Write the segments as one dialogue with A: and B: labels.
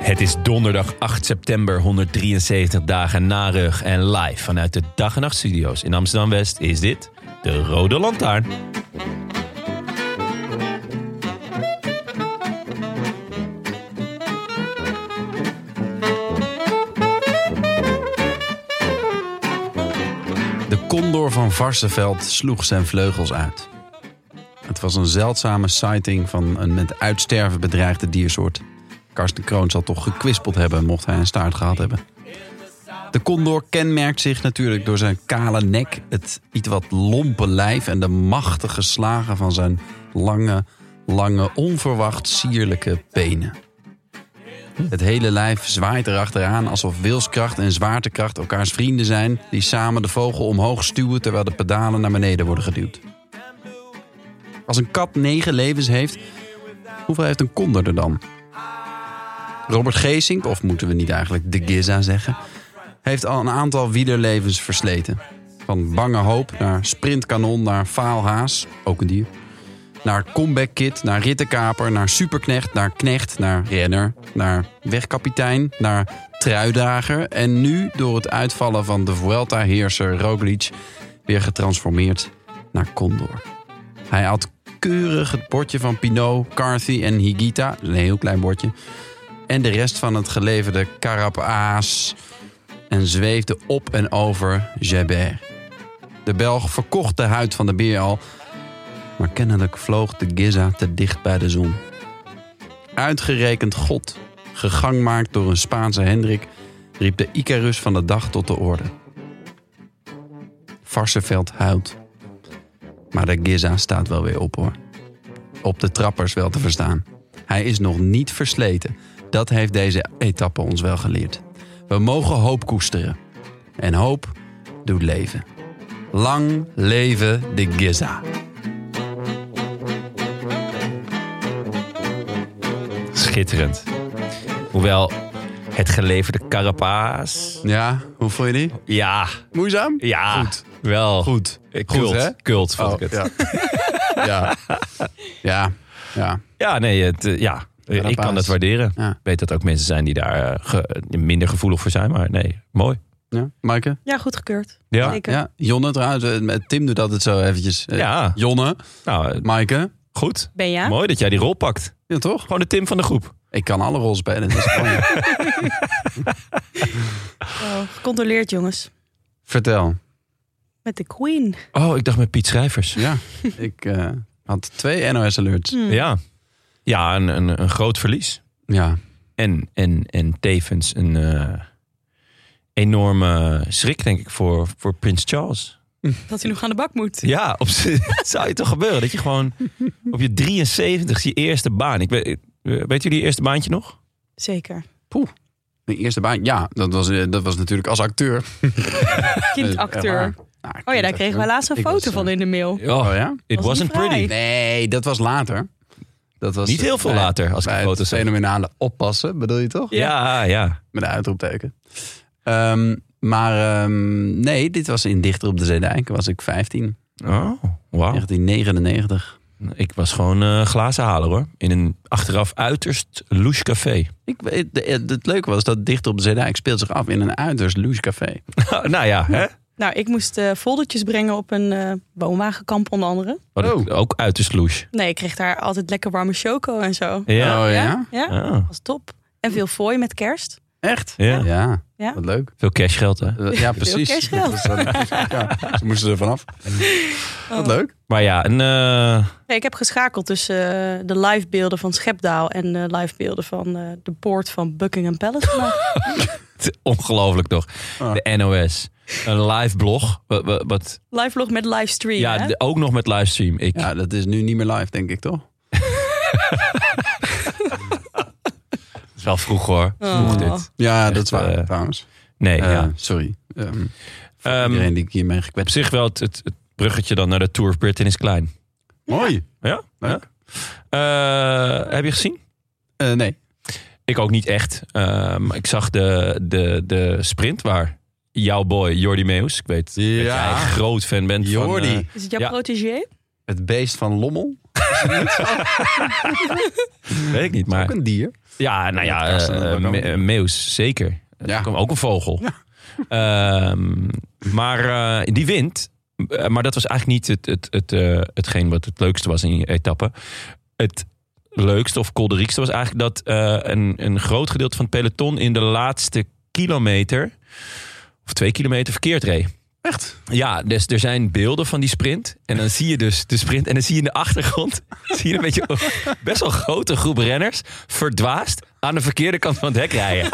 A: Het is donderdag 8 september, 173 dagen na rug. En live vanuit de Dag en Nacht Studio's in Amsterdam-West is dit de Rode Lantaarn.
B: De condor van Varsenveld sloeg zijn vleugels uit. Het was een zeldzame sighting van een met uitsterven bedreigde diersoort. Karsten Kroon zal toch gekwispeld hebben mocht hij een staart gehad hebben. De condor kenmerkt zich natuurlijk door zijn kale nek, het iets wat lompe lijf en de machtige slagen van zijn lange, lange, onverwacht sierlijke benen. Het hele lijf zwaait erachteraan alsof wilskracht en zwaartekracht elkaars vrienden zijn die samen de vogel omhoog stuwen terwijl de pedalen naar beneden worden geduwd. Als een kat negen levens heeft, hoeveel heeft een konder er dan? Robert Geesink, of moeten we niet eigenlijk de Giza zeggen, heeft al een aantal wielerlevens versleten. Van bange hoop naar sprintkanon, naar faalhaas, ook een dier. Naar comeback kid, naar rittenkaper, naar superknecht, naar knecht, naar renner, naar wegkapitein, naar truidager. En nu, door het uitvallen van de Vuelta-heerser Roglic, weer getransformeerd naar Condor. Hij had keurig het bordje van Pinot, Carthy en Higita, een heel klein bordje, en de rest van het geleverde Carapaas en zweefde op en over Jebert. De Belg verkocht de huid van de beer al, maar kennelijk vloog de Giza te dicht bij de zon. Uitgerekend God, gegangmaakt door een Spaanse Hendrik, riep de Icarus van de dag tot de orde. Varsenveld huilt. Maar de Giza staat wel weer op hoor. Op de trappers wel te verstaan. Hij is nog niet versleten. Dat heeft deze etappe ons wel geleerd. We mogen hoop koesteren. En hoop doet leven. Lang leven de Giza.
A: Schitterend. Hoewel het geleverde carapaas.
B: Ja, hoe voel je die?
A: Ja,
B: Moeizaam?
A: ja.
B: Goed.
A: Wel.
B: Goed.
A: Eh,
B: Goed,
A: Kult,
B: hè?
A: kult vond
B: Oh,
A: ik het. Ja,
B: Ja. ja. ja. Ja.
A: nee, het, eh, ja. Eh, ik
B: Carapaas.
A: kan het waarderen.
B: Ja.
A: Ik weet dat er ook mensen zijn die daar eh, ge- minder gevoelig voor zijn, maar nee, mooi.
B: Ja. Maaike?
C: Ja, goedgekeurd.
A: Ja,
C: Zeker.
B: Ja. Jonne trouwens. eh, met Tim doet altijd zo eventjes. Eh,
A: ja.
B: Jonne.
A: nou, eh,
B: Maaike.
A: goed.
C: Ben jij?
A: Mooi dat jij die rol pakt.
B: Ja, toch?
A: Gewoon de Tim van de groep.
B: Ik kan alle rollen spelen. dat is mooi.
C: Oh, gecontroleerd, jongens.
B: Vertel.
C: Met de Queen.
A: Oh, ik dacht met Piet Schrijvers.
B: Ja. Ik eh, had twee NOS alerts.
C: Hmm.
A: Ja, ja een, een, een groot verlies.
B: Ja.
A: En, en, en tevens een eh, enorme schrik, denk ik, voor, voor Prins Charles.
C: Dat hij nog aan de bak moet.
A: Ja, op z'n- het zou je toch gebeuren? Dat je gewoon op je 73 je eerste baan. Ik weet, eh, weten jullie je eerste baantje nog?
C: Zeker.
B: Mijn eerste baan. Ja, dat was, eh, dat was natuurlijk als acteur.
C: Kindacteur.
B: Eh, echt waar. Nou,
C: Oh ja, daar
B: kindacteur.
C: kregen we laatst een
B: Ik
C: foto
B: was, eh,
C: van in de mail.
B: Oh ja?
A: It
C: Was
A: wasn't
C: niet vrij.
A: pretty.
B: Nee, dat was later. Dat was
A: Niet heel veel
B: bij-
A: later, als ik
B: bij
A: de foto's
B: het
A: zag.
B: fenomenale oppassen, bedoel je toch?
A: Ja, ja.
B: Met een uitroepteken. Ehm, maar ehm, nee, dit was in Dichter op de Zeedijk. Was ik 15,
A: Oh, wauw.
B: 1999.
A: Ik was gewoon eh, glazen halen hoor. In een achteraf uiterst louche café.
B: Ik, weet- de- eh, het leuke was dat Dichter op de Zeedijk speelt zich af in een uiterst luxe café.
A: nou ja, hè?
C: Nou, ik moest eh foldertjes brengen op een eh woonwagenkamp onder andere.
A: Wat ik
B: Oh.
A: Ook uiterst louche.
C: Nee, ik kreeg daar altijd lekker warme choco en zo.
A: Ja.
B: Oh ja?
C: Ja,
A: Ah.
C: was top. En veel fooi met kerst.
B: Echt?
A: Ja.
B: Ja,
C: Ja.
B: wat leuk.
A: Veel cashgeld, hè?
B: Eh, Ja, precies.
C: cashgeld.
B: Dat was dan- ja, ze moesten er vanaf. Wat leuk.
A: Maar ja, een, eh,
C: Nee, ik heb geschakeld tussen eh, de live beelden van Schepdaal en de live beelden van eh, de poort van Buckingham Palace. vandaag.
A: t- ongelooflijk toch.
B: Ah.
A: De NOS. Een live blog. Wat, wat, wat-
C: live vlog met livestream.
A: ja,
C: hè?
A: de- ook nog met livestream. Ik,
B: Ja, dat is nu niet meer live, denk ik toch?
A: Het is wel vroeg hoor. Vroeg
C: Oh.
A: dit.
B: Ja, dat is
A: Echt,
B: waar,
A: eh,
B: trouwens.
A: Nee,
B: Eh,
A: ja.
B: Sorry. Ehm, voor
A: Ehm,
B: iedereen die ik hiermee
A: Op
B: gekwetst
A: zich wel, het, het, het bruggetje dan naar de Tour of Britain is klein.
B: heb. Mooi.
A: Ja?
B: Leuk.
A: Ja. Eh, heb je gezien?
B: Eh, nee.
A: Ik ook niet echt. Eh, maar ik zag de, de, de sprint waar jouw boy Jordi Meus, ik weet dat jij een
B: Ja.
A: groot fan bent
B: Jordi,
A: van... eh,
C: Is het jouw
A: Ja.
C: protégé?
B: het beest van Lommel.
A: weet ik niet, maar...
B: Ook een dier.
A: Ja, nou ja,
B: Dat kan
A: eh,
B: ze dan
A: me-
B: ook.
A: eh, meeuws, zeker.
B: Ja.
A: Ook, ook een vogel. Ehm, maar eh, die wint. Eh, Maar dat was eigenlijk niet het, het, het, eh, hetgeen wat het leukste was in die etappe. Het leukste of kolderiekste was eigenlijk dat eh, een, een groot gedeelte van het peloton in de laatste kilometer of twee kilometer verkeerd reed.
B: Echt?
A: Ja, dus er zijn beelden van die sprint. En dan zie je dus de sprint. En dan zie je in de achtergrond zie je een beetje best wel grote groep renners verdwaasd aan de verkeerde kant van het hek rijden.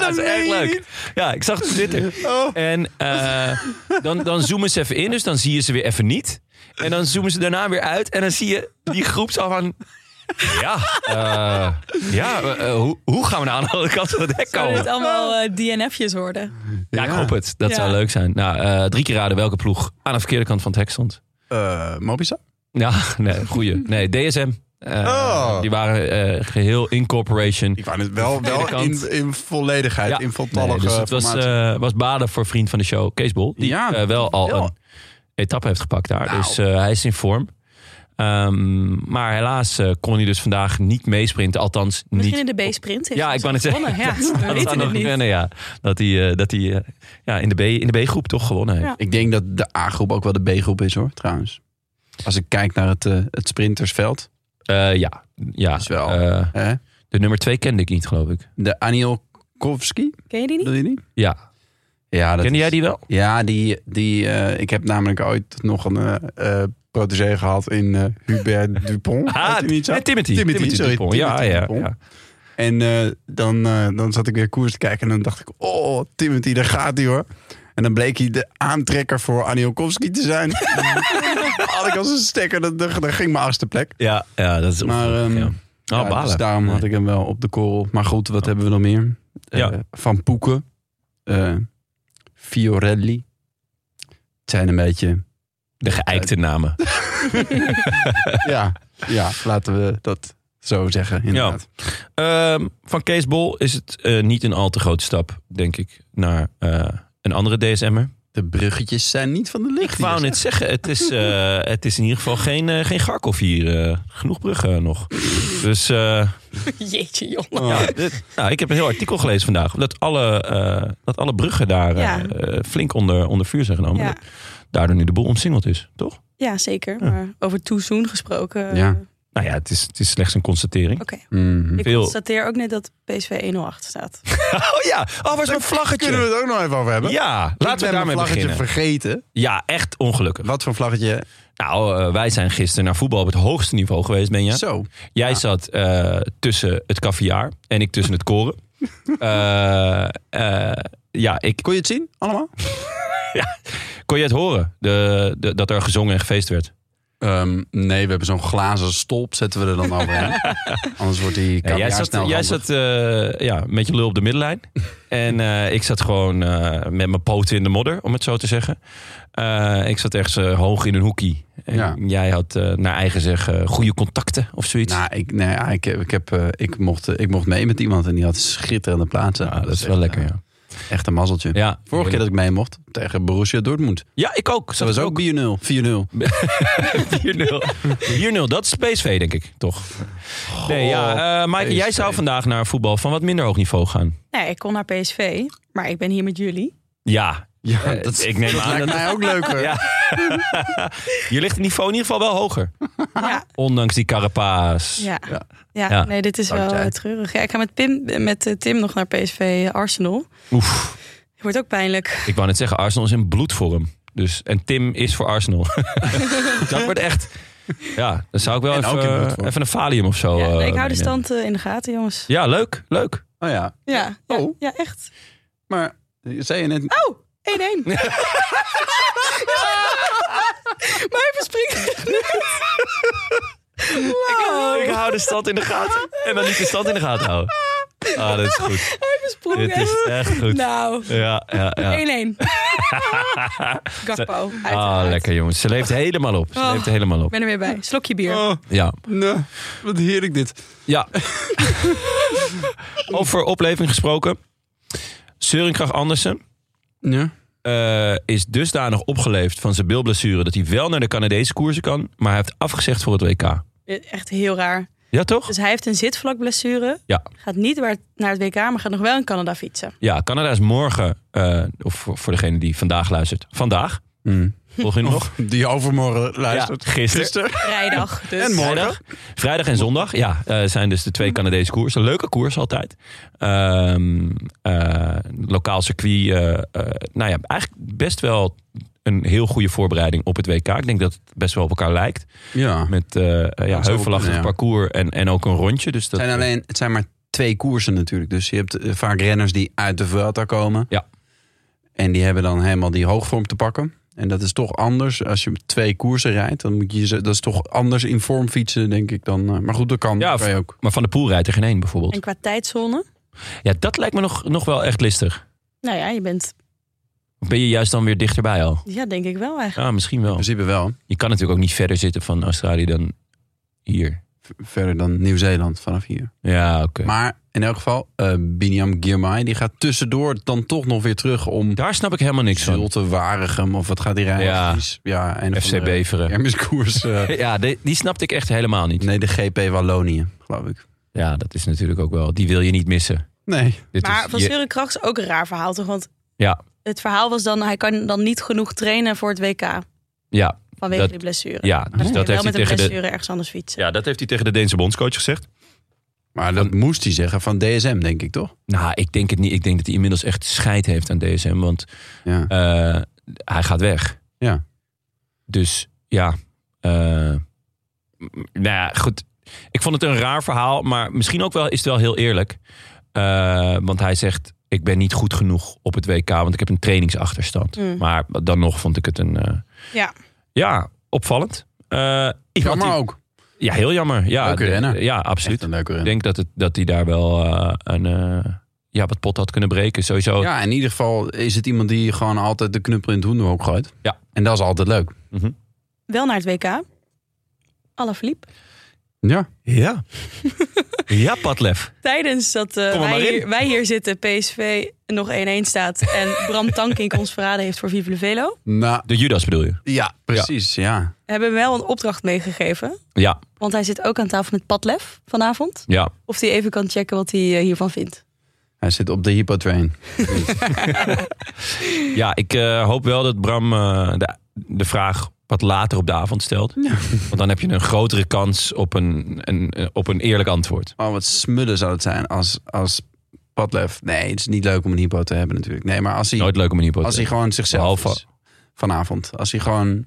A: dat is echt leuk. Ja, ik zag het op Twitter. En eh, dan, dan zoomen ze even in, dus dan zie je ze weer even niet. En dan zoomen ze daarna weer uit. En dan zie je die groep zo van... Ja, eh, ja eh, eh, hoe, hoe gaan we nou aan de andere kant van het hek
C: Zouden
A: komen?
C: dit allemaal eh, DNF'jes worden?
A: Ja, ik hoop het. Dat zou leuk zijn. Nou, eh, drie keer raden welke ploeg aan de verkeerde kant van het hek stond.
B: Eh, Mobisa?
A: Ja, nee, goeie. Nee, DSM. Eh,
B: Oh.
A: Die waren eh, geheel incorporation.
B: Ik wou het wel,
A: Tweede
B: wel
A: kant.
B: in, in volledigheid,
A: Ja.
B: in voltallige
A: Nee, dus het was,
B: formatie.
A: eh, was baden voor vriend van de show, Kees Bol. Die
B: Ja, Nou.
A: eh, wel al
B: wel.
A: een etappe heeft gepakt daar. Dus eh, hij is in vorm. Ehm, maar helaas eh, kon hij dus vandaag niet meesprinten. Althans,
C: Misschien
A: niet.
C: in de B-sprint. heeft
A: Ja,
C: hij
A: ik wou net
C: zelfs
A: zeggen.
C: gewonnen. Ja, we
A: Dat zou
C: weten het
A: nog
C: niet.
A: kunnen, ja. Dat hij, eh, dat hij eh, ja, in de B- in de B-groep toch gewonnen heeft.
C: Ja.
B: eh, Ik denk dat de A-groep ook wel de B-groep is hoor, trouwens. Als ik kijk naar het, eh, het sprintersveld.
A: Eh, ja. ja.
B: Is wel.
A: Eh,
B: Hè?
A: de nummer twee kende ik niet, geloof ik.
B: De Anielkowski,
C: Ken je die niet?
B: bedoel je die?
A: Ja.
B: Ja, dat
A: Kende jij
B: is-
A: die wel?
B: Ja, die, die, eh, ik heb namelijk ooit nog een eh eh, protégé gehad in eh, Hubert Dupont. Heet hij niet zo?
A: eh, Timothy.
B: Timothy, sorry,
A: Dupont. Ja,
B: Timothy
A: ja,
B: Dupont.
A: ja.
B: En eh, dan, eh, dan zat ik weer koers te kijken en dan dacht ik, oh, Timothy, daar gaat hij hoor. En dan bleek hij de aantrekker voor Anielkowski te zijn. had ik als een stekker, dat, dat, dat ging mijn achtste plek.
A: Ja, ja dat is
B: Maar,
A: ongelooflijk,
B: ehm,
A: ja. Oh,
B: Ja,
A: balen.
B: Dus daarom had ik hem wel op de korrel. Maar goed, wat hebben we nog meer? Eh,
A: Ja.
B: Van Poeken. eh, Fiorelli. Het zijn een beetje...
A: De geëikte namen.
B: ja, ja, laten we dat zo zeggen inderdaad.
A: Ehm, van Kees Bol is het eh, niet een al te grote stap, denk ik, naar eh, een andere DSM'er.
B: De bruggetjes zijn niet van de
A: Ik
B: licht.
A: wou
B: hier,
A: net zeggen, het is, eh, het is in ieder geval geen, eh, geen Garkov hier. eh, genoeg bruggen nog. Dus eh,
C: Jeetje, joh.
A: ja, dit- nou, ik heb een heel artikel gelezen vandaag. Dat alle, eh, dat alle bruggen daar eh,
C: Ja.
A: eh, flink onder, onder vuur zijn genomen.
C: Ja.
A: Daardoor nu de boel omsingeld is, toch?
C: Ja, zeker. Maar over Too Soon gesproken. eh,
B: Ja. mhm.
C: Oké.
A: Nou ja, het is, het is slechts een constatering.
B: zeg. Mhm.
C: Ik
A: Veel.
C: constateer ook net dat PSV 108 staat.
A: Oh ja, oh, waar is mijn
B: Kunnen we
A: vlaggetje?
B: het ook nog even over hebben?
A: Ja, laten we daarmee
B: een vlaggetje
A: beginnen.
B: vergeten.
A: Ja, echt ongelukkig.
B: Wat voor vlaggetje?
A: Nou, eh, wij zijn gisteren naar voetbal op het hoogste niveau geweest, Benja.
B: Zo.
A: Jij zat eh, tussen het kaviaar en ik tussen het koren. Eh, eh, ja, ik,
B: Kon je het zien allemaal?
A: kon je het horen de, de- dat er gezongen en gefeest werd?
B: Ehm, nee, we hebben zo'n glazen stolp. Zetten we er dan overheen. Anders wordt die
A: Ja, jij zat, jij zat eh, ja, met je lul op de middenlijn. en eh, ik zat gewoon eh, met mijn poten in de modder, om het zo te zeggen. Eh, ik zat ergens eh, hoog in een hoekie. En
B: Ja.
A: jij had eh, naar eigen zeggen goede contacten of zoiets.
B: Nou, ik, nee, ja, ik, heb- ik, heb, eh, ik, mocht, eh, ik mocht mee met iemand en die had schitterende plaatsen.
A: Ja, dat is wel
B: echt,
A: lekker,
B: eh,
A: ja.
B: Echt een mazzeltje.
A: Ja,
B: Vorige keer dat ik mee mocht tegen Borussia Dortmund.
A: ja ik ook.
B: Dat was ook 4-0. 4-0.
A: 4-0. 4-0, dat is PSV, denk ik, toch? nee, ja. eh Maaike, jij
B: PSV.
A: zou vandaag naar voetbal van wat minder hoog niveau gaan.
C: Nee, ik kon naar PSV, maar ik ben hier met jullie.
A: Ja,
B: Ja,
A: Eh, ik neem aan
B: lijkt
A: dat-
B: mij nou ook leuker.
A: Ja. Je ligt het niveau in ieder geval wel hoger.
C: Ja.
A: Ondanks die carapaas.
C: Ja.
B: Ja.
C: Ja.
A: Ah. Ja.
C: nee, dit is
B: Dank
C: wel
B: jij.
C: eh, treurig. Ja, ik ga met, Pim, met eh, Tim nog naar PSV eh, Arsenal.
A: Oef.
C: Wordt ook pijnlijk.
A: Ik wou net zeggen, Arsenal is in bloedvorm. Dus, en Tim is voor Arsenal. dat wordt echt... Ja, dan zou ik wel
B: En ook in
A: even,
B: bloedvorm.
A: even een Valium of zo...
C: ja, nee,
A: eh,
C: ik hou de
A: meenemen.
C: stand eh, in de gaten, jongens.
A: Ja, leuk, leuk.
B: Oh ja,
C: Ja, ja,
B: Oh.
C: ja echt.
B: maar zei je
A: Ah.
B: net...
C: Oh, 1-1. maar hij verspringt.
A: Ik hou de stand in de gaten. En dan niet de stand in de gaten houden. Ah, dat is goed.
C: Hij versprong
A: Dit is echt goed.
C: Nou, 1-1.
A: Ja, ja, ja.
C: Gakpo.
A: Ah,
C: uiteraard.
A: lekker jongens. Ze leeft helemaal op. Ze
C: Oh.
A: leeft helemaal
C: Ik
A: op.
C: ben er weer bij. Slokje bier.
B: Oh,
A: Ja.
B: nee, wat heerlijk dit.
A: Ja. Over opleving gesproken. Seuringkracht Andersen
B: Ja.
A: eh, is dusdanig opgeleefd van zijn bilblessure... dat hij wel naar de Canadese koersen kan... maar hij heeft afgezegd voor het WK.
C: Echt heel raar.
A: Ja, toch?
C: Dus hij heeft een zitvlakblessure.
A: Ja.
C: Gaat niet waar- naar het WK, maar gaat nog wel in Canada fietsen.
A: Ja, Canada is morgen... eh, of voor, voor degene die vandaag luistert. Vandaag. Volg je nog?
B: Die overmorgen Hmm. luistert.
A: Ja, gisteren.
C: Vrijdag. Dus.
B: En morgen.
A: Vrijdag, vrijdag en zondag, ja, eh, zijn dus de twee Canadese koersen. Leuke koers altijd. Ehm, eh, lokaal circuit, eh, eh, nou ja, eigenlijk best wel een heel goede voorbereiding op het WK. Ik denk dat het best wel op elkaar lijkt.
B: Ja.
A: Met eh, eh, ja,
B: is
A: heuvelachtig
B: open, ja.
A: parcours en, en ook een rondje. Dus dat,
B: Het zijn, alleen, het zijn maar twee koersen natuurlijk. Dus je hebt eh, vaak renners die uit de Vuelta komen.
A: Ja.
B: En die hebben dan helemaal die hoogvorm te pakken. En dat is toch anders als je twee koersen rijdt. Dan moet je ze, dat is toch anders in vorm fietsen, denk ik dan. eh, Maar goed, dat kan.
A: Ja,
B: dat kan je ook.
A: Maar Van de Poel rijdt er geen één bijvoorbeeld.
C: En qua tijdzone.
A: Ja, dat lijkt me nog, nog wel echt listig.
C: Nou ja, je bent,
A: Of ben je juist dan weer dichterbij al?
C: ja, denk ik wel eigenlijk.
A: Ja, misschien
B: In
A: wel.
B: principe wel.
A: Je kan natuurlijk ook niet verder zitten van Australië dan hier.
B: V- Verder dan Nieuw-Zeeland vanaf hier.
A: Ja, oké.
B: Maar in elk geval, eh Biniam Girmay, die gaat tussendoor dan toch nog weer terug om
A: Daar snap ik helemaal niks van.
B: Zulte Waregem of wat gaat die rijden?
A: Ja.
B: Precies. ja en
A: FC Beveren.
B: Hermeskoers. eh,
A: Ja, die, die snapte ik echt helemaal niet.
B: nee, de GP Wallonië, geloof ik.
A: Ja, dat is natuurlijk ook wel. Die wil je niet missen.
B: Nee.
A: Dit
C: Maar
A: is,
C: van
A: Dus je-
C: Seuren Kracht is ook een raar verhaal toch? Want
A: ja,
C: het verhaal was dan, hij kan dan niet genoeg trainen voor het WK.
A: ja,
C: Vanwege
A: Dat-
C: die blessure.
A: ja. Dus
C: Dan
A: dat
C: kun je
A: heeft,
C: Oh, wel
A: hij
C: met een
A: tegen
C: blessure
A: de,
C: ergens anders fietsen.
A: ja, dat heeft hij tegen de Deense bondscoach gezegd.
B: Maar dat moest hij zeggen van DSM, denk ik toch?
A: Nou, ik denk het niet. Ik denk dat hij inmiddels echt scheid heeft aan DSM. Want
B: Ja.
A: eh, hij gaat weg.
B: Ja.
A: Dus ja. eh, m- nou ja, goed. Ik vond het een raar verhaal. Maar misschien ook wel is het wel heel eerlijk. Eh, want hij zegt... Ik ben niet goed genoeg op het WK, want ik heb een trainingsachterstand.
C: Mm.
A: Maar dan nog vond ik het een... eh,
C: Ja.
A: Ja, opvallend. Eh, iemand
B: Jammer
A: die-
B: ook.
A: Ja, heel jammer. Ja,
B: Leuke
A: de-
B: renner.
A: Ja,
B: nou. Echt
A: absoluut.
B: een eh, leuke
A: Ik
B: renner.
A: denk dat hij dat die daar wel eh, een, eh, ja, wat pot had kunnen breken. Sowieso.
B: Ja, in ieder geval is het iemand die gewoon altijd de knuppel in het hoenderhoek gooit.
A: Ja.
B: En dat is altijd leuk.
A: Mhm.
C: Wel naar het WK. Alaphilippe.
B: Ja.
A: Ja, ja Padlef.
C: Tijdens dat eh,
A: Kom er
C: wij,
A: maar in.
C: hier, wij hier zitten, PSV nog 1-1 staat. En Bram Tankink ons verraden heeft voor Vive le Velo.
B: Nou,
A: De Judas bedoel je?
B: ja, precies. Ja.
C: Hebben we wel een opdracht meegegeven.
A: Ja,
C: Want hij zit ook aan tafel met Padlef vanavond.
A: ja.
C: Of hij even kan checken wat hij eh, hiervan vindt.
B: Hij zit op de hypotrain.
A: ja ik eh, hoop wel dat Bram eh, de, de vraag wat later op de avond stelt. Want dan heb je een grotere kans op een, een, op een eerlijk antwoord.
B: Oh, wat smullen zou het zijn als, als Padlef. Nee, het is niet leuk om een hypo te hebben natuurlijk. Nee, maar als hij,
A: Nooit leuk om een hypothese.
B: als hij gewoon zichzelf
A: Behalve-
B: is vanavond. Als hij gewoon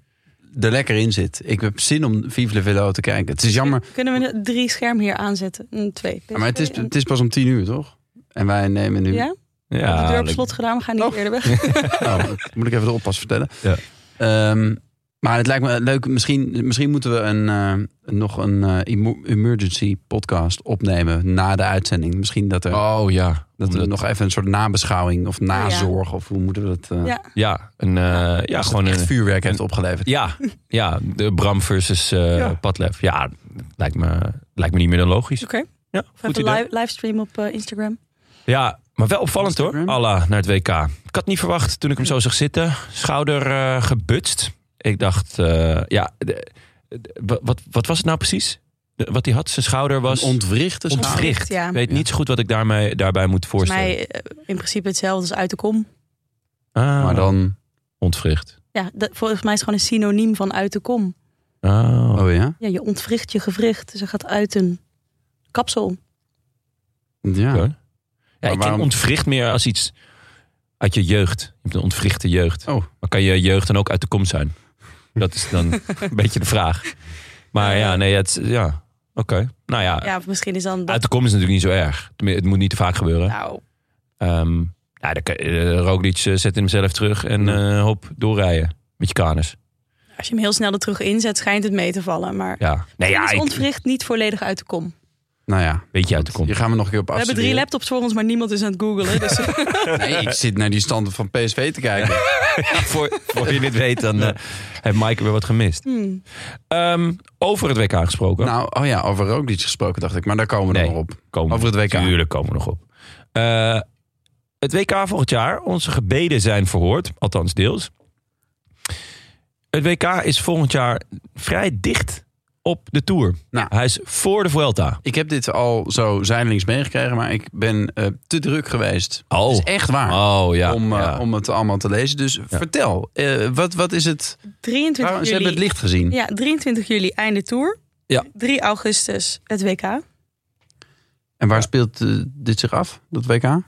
B: er lekker in zit. Ik heb zin om Vive le Velo te kijken. Het is jammer.
C: Kunnen we drie schermen hier aanzetten? Een, twee.
B: Ja, maar het is,
C: PSV en-
B: het is pas om tien uur, toch? En wij nemen nu...
C: Ja,
A: ja,
C: de deur op
A: leuk.
C: slot gedaan. We gaan niet
B: Oh.
C: eerder weg.
B: Oh, dat moet ik even de oppas vertellen.
A: Ja.
B: Ehm, maar het lijkt me leuk. Misschien, misschien moeten we een, eh, nog een eh, emo- emergency podcast opnemen na de uitzending. Misschien dat, er,
A: Oh ja.
B: dat we
A: Omdat-
B: nog even een soort nabeschouwing of nazorg. Of hoe moeten we dat... eh,
C: Oh, Ja.
A: Ja, een, eh, ja
B: als het
A: gewoon
B: echt
A: een...
B: vuurwerk heeft opgeleverd.
A: Ja, ja, de Bram versus eh
B: Ja.
A: Padlef. Ja, lijkt me, lijkt me niet meer dan logisch.
C: Oké.
A: Ja,
C: Of
A: goed
C: even
A: idee.
C: live, livestream op eh, Instagram.
A: Ja, maar wel opvallend hoor.
B: Instagram.
A: Alla naar het WK. Ik had het niet verwacht toen ik hem zo zag zitten. Schouder eh, gebutst. Ik dacht, eh, ja, de- de- wa- wat, wat was het nou precies? De- wat hij had, zijn schouder was
B: Een ontwrichte schaal.
A: ontwricht.
C: Ja.
A: Ik weet niet zo goed wat ik daarmee, daarbij moet
C: Volgens
A: voorstellen.
C: mij eh, in principe hetzelfde als uit de kom.
A: Ah,
B: Maar dan...
A: ontwricht.
C: Ja, dat, volgens mij is het gewoon een synoniem van uit de kom.
A: Oh.
B: Oh ja?
C: Ja, je ontwricht je gewricht. Dus dat gaat uit een kapsel.
B: Ja.
A: Oké. Ja, ik
B: waarom-
A: ken ontwricht meer als iets uit je jeugd. Je hebt een ontwrichte jeugd.
B: Oh.
A: Maar kan je jeugd dan ook uit de kom zijn? Dat is dan een beetje de vraag. Maar ja, nee, het, is- ja, oké. Nou ja,
C: Ja, of misschien is dan... Dat,
A: uit de kom is natuurlijk niet zo erg. Tenmin- Het moet niet te vaak gebeuren.
C: nou,
A: Ehm ja, dan kan- eh, Roglic eh, zet hem zelf terug en eh hop, doorrijden. Met je kanus.
C: als je hem heel snel er terug inzet, schijnt het mee te vallen. Maar
A: Ja. Nee, ja,
C: is
A: ik-
C: ontwricht niet volledig uit de kom.
B: Nou ja.
A: beetje uit de kom.
B: Hier gaan we nog een keer op
C: We hebben drie laptops voor ons, maar niemand is aan het googlen. Dus
B: Nee, ik zit naar die standen van PSV te kijken.
A: voor, voor je dit weet, dan eh, heeft Mike weer wat gemist.
C: hmm.
A: Ehm, over het WK gesproken.
B: Nou, oh ja, over Roglic gesproken dacht ik. Maar daar komen we
A: Nee.
B: nog op.
A: komen
B: Over het WK.
A: Tuurlijk komen we nog op. Eh, het WK volgend jaar. Onze gebeden zijn verhoord. Althans deels. Het WK is volgend jaar vrij dicht op de Tour.
B: Nou.
A: Hij is voor de Vuelta.
B: Ik heb dit al zo zijdelings meegekregen, maar ik ben eh, te druk geweest.
A: Oh.
B: Dat is echt waar.
A: Oh ja.
B: om, eh,
A: ja.
B: om het allemaal te lezen. Dus vertel, eh, wat, wat is het?
C: 23
B: Waarom-
C: juli.
B: ze hebben het licht gezien.
C: Ja, 23 juli einde tour.
A: Ja.
C: 3 augustus het WK.
B: En waar speelt eh, dit zich af, dat WK?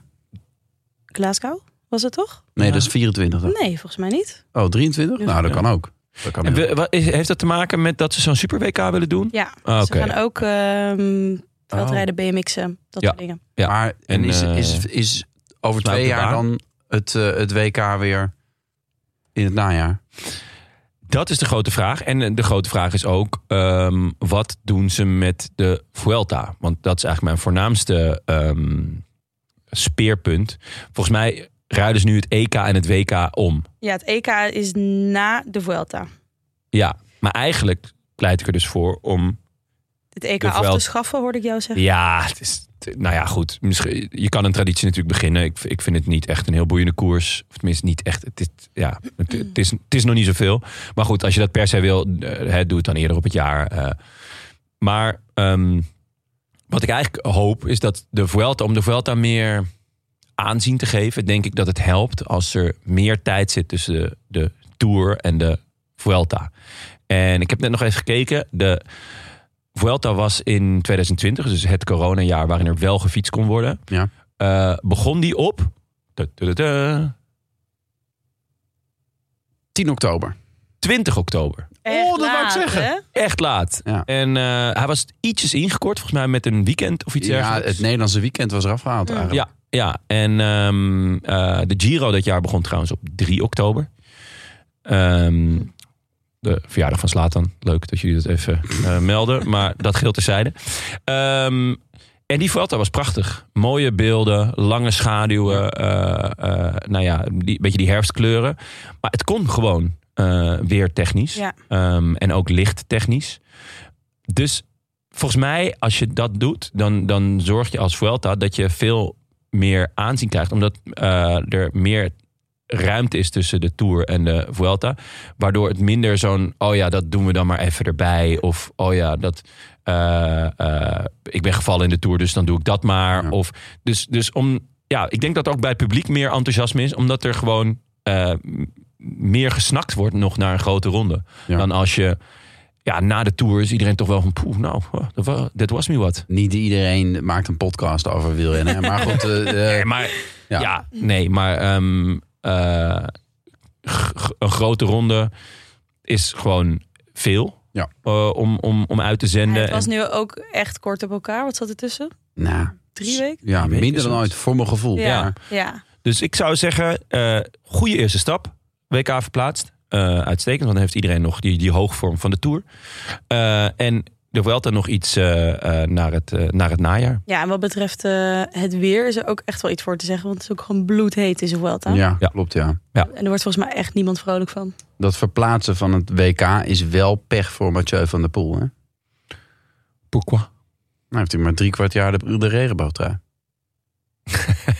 C: Glasgow was het toch?
B: Nee,
A: Ja.
B: dat is 24. dan.
C: Nee, volgens mij niet.
B: Oh, 23? Nou, dat
A: Ja.
B: kan ook. Dat kan
A: En
B: heel
A: we- wat is- heeft dat te maken met dat ze zo'n Super WK willen doen?
C: Ja,
A: Ah,
C: ze
A: oké.
C: gaan ook ehm veldrijden, BMX'en, dat
A: Ja.
C: soort dingen.
A: Ja.
B: Maar en
A: En,
B: is,
A: eh,
B: is, is over
A: volgens mij
B: twee
A: op de
B: jaar
A: baan.
B: dan het, eh, het WK weer in het najaar?
A: Dat is de grote vraag. En eh, de grote vraag is ook, ehm, wat doen ze met de Vuelta? Want dat is eigenlijk mijn voornaamste ehm, speerpunt. Volgens mij ruilen ze nu het EK en het WK om.
C: Ja, het EK is na de Vuelta.
A: Ja, maar eigenlijk pleit ik er dus voor om...
C: Het EK
A: De
C: af
A: Vuelta.
C: te schaffen, hoorde ik jou zeggen.
A: Ja, het is, het- nou ja, goed. Misschien, je kan een traditie natuurlijk beginnen. Ik, ik vind het niet echt een heel boeiende koers. Of tenminste, niet echt. Het is, ja, het, het is, het is nog niet zoveel. Maar goed, als je dat per se wil, eh, hè, doe het dan eerder op het jaar. eh. maar ehm, wat ik eigenlijk hoop, is dat de Vuelta, om de Vuelta meer aanzien te geven, denk ik dat het helpt als er meer tijd zit tussen de, de Tour en de Vuelta. En ik heb net nog even gekeken. De Vuelta was in 2020, dus het coronajaar waarin er wel gefietst kon worden.
B: Ja.
A: Eh, begon die op. da, da, da, da,
B: 10 oktober.
A: 20 oktober.
C: Echt
B: Oh, dat wou ik
C: laat,
B: zeggen.
C: hè?
A: Echt laat.
B: Ja.
A: En eh, hij was ietsjes ingekort, volgens mij met een weekend of iets
B: Ja,
A: dergelijks.
B: het Nederlandse weekend was eraf gehaald
C: Mm.
B: eigenlijk.
A: Ja, ja. en ehm, eh, de Giro dat jaar begon trouwens op 3 oktober. Ehm, de verjaardag van Slatan. Leuk dat jullie dat even eh, melden. Maar dat geldt terzijde. Ehm, en die Vuelta was prachtig. Mooie beelden, lange schaduwen. eh, eh, nou ja, een beetje die herfstkleuren. Maar het kon gewoon eh, weer technisch.
C: Ja.
A: Ehm, en ook licht technisch. Dus volgens mij, als je dat doet, dan, dan zorg je als Vuelta dat je veel meer aanzien krijgt. Omdat eh, er meer ruimte is tussen de Tour en de Vuelta. Waardoor het minder zo'n, oh ja, dat doen we dan maar even erbij. Of, oh ja, dat, eh, eh, ik ben gevallen in de Tour, dus dan doe ik dat maar.
B: Ja.
A: Of, dus, dus om, ja, ik denk dat ook bij het publiek meer enthousiasme is. Omdat er gewoon eh, m- meer gesnakt wordt nog naar een grote ronde.
B: Ja.
A: Dan als je, ja, na de Tour is iedereen toch wel van, poeh, nou, huh, dat wa- dat was me wat.
B: Niet iedereen maakt een podcast over wielrennen. hè. Maar goed, eh, eh,
A: Nee, maar,
B: Ja.
A: ja. nee, maar ehm, eh, g- g- een grote ronde is gewoon veel
B: Ja.
A: eh, om, om, om uit te
C: Ja,
A: zenden.
C: het was
A: En-
C: nu ook echt kort op elkaar. Wat zat er tussen?
B: nou,
C: Drie weken?
B: ja,
A: weken
B: minder dan
A: soms.
B: ooit voor mijn gevoel.
C: Ja.
B: Maar
C: Ja,
A: Dus ik zou zeggen, eh goede eerste stap. WK verplaatst. Eh, uitstekend, want dan heeft iedereen nog die, die hoogvorm van de Tour. Eh, en er wel dan nog iets eh, eh, naar, het, eh, naar het najaar.
C: ja en wat betreft eh, het weer is er ook echt wel iets voor te zeggen. Want het is ook gewoon bloedheet in de Vuelta.
B: ja,
A: Ja.
B: klopt ja.
C: En er wordt volgens mij echt niemand vrolijk van.
B: Dat verplaatsen van het WK is wel pech voor Mathieu van der Poel. Hè? Nou
A: Pourquoi?
B: heeft hij maar drie kwart jaar de, de regenboogtrui.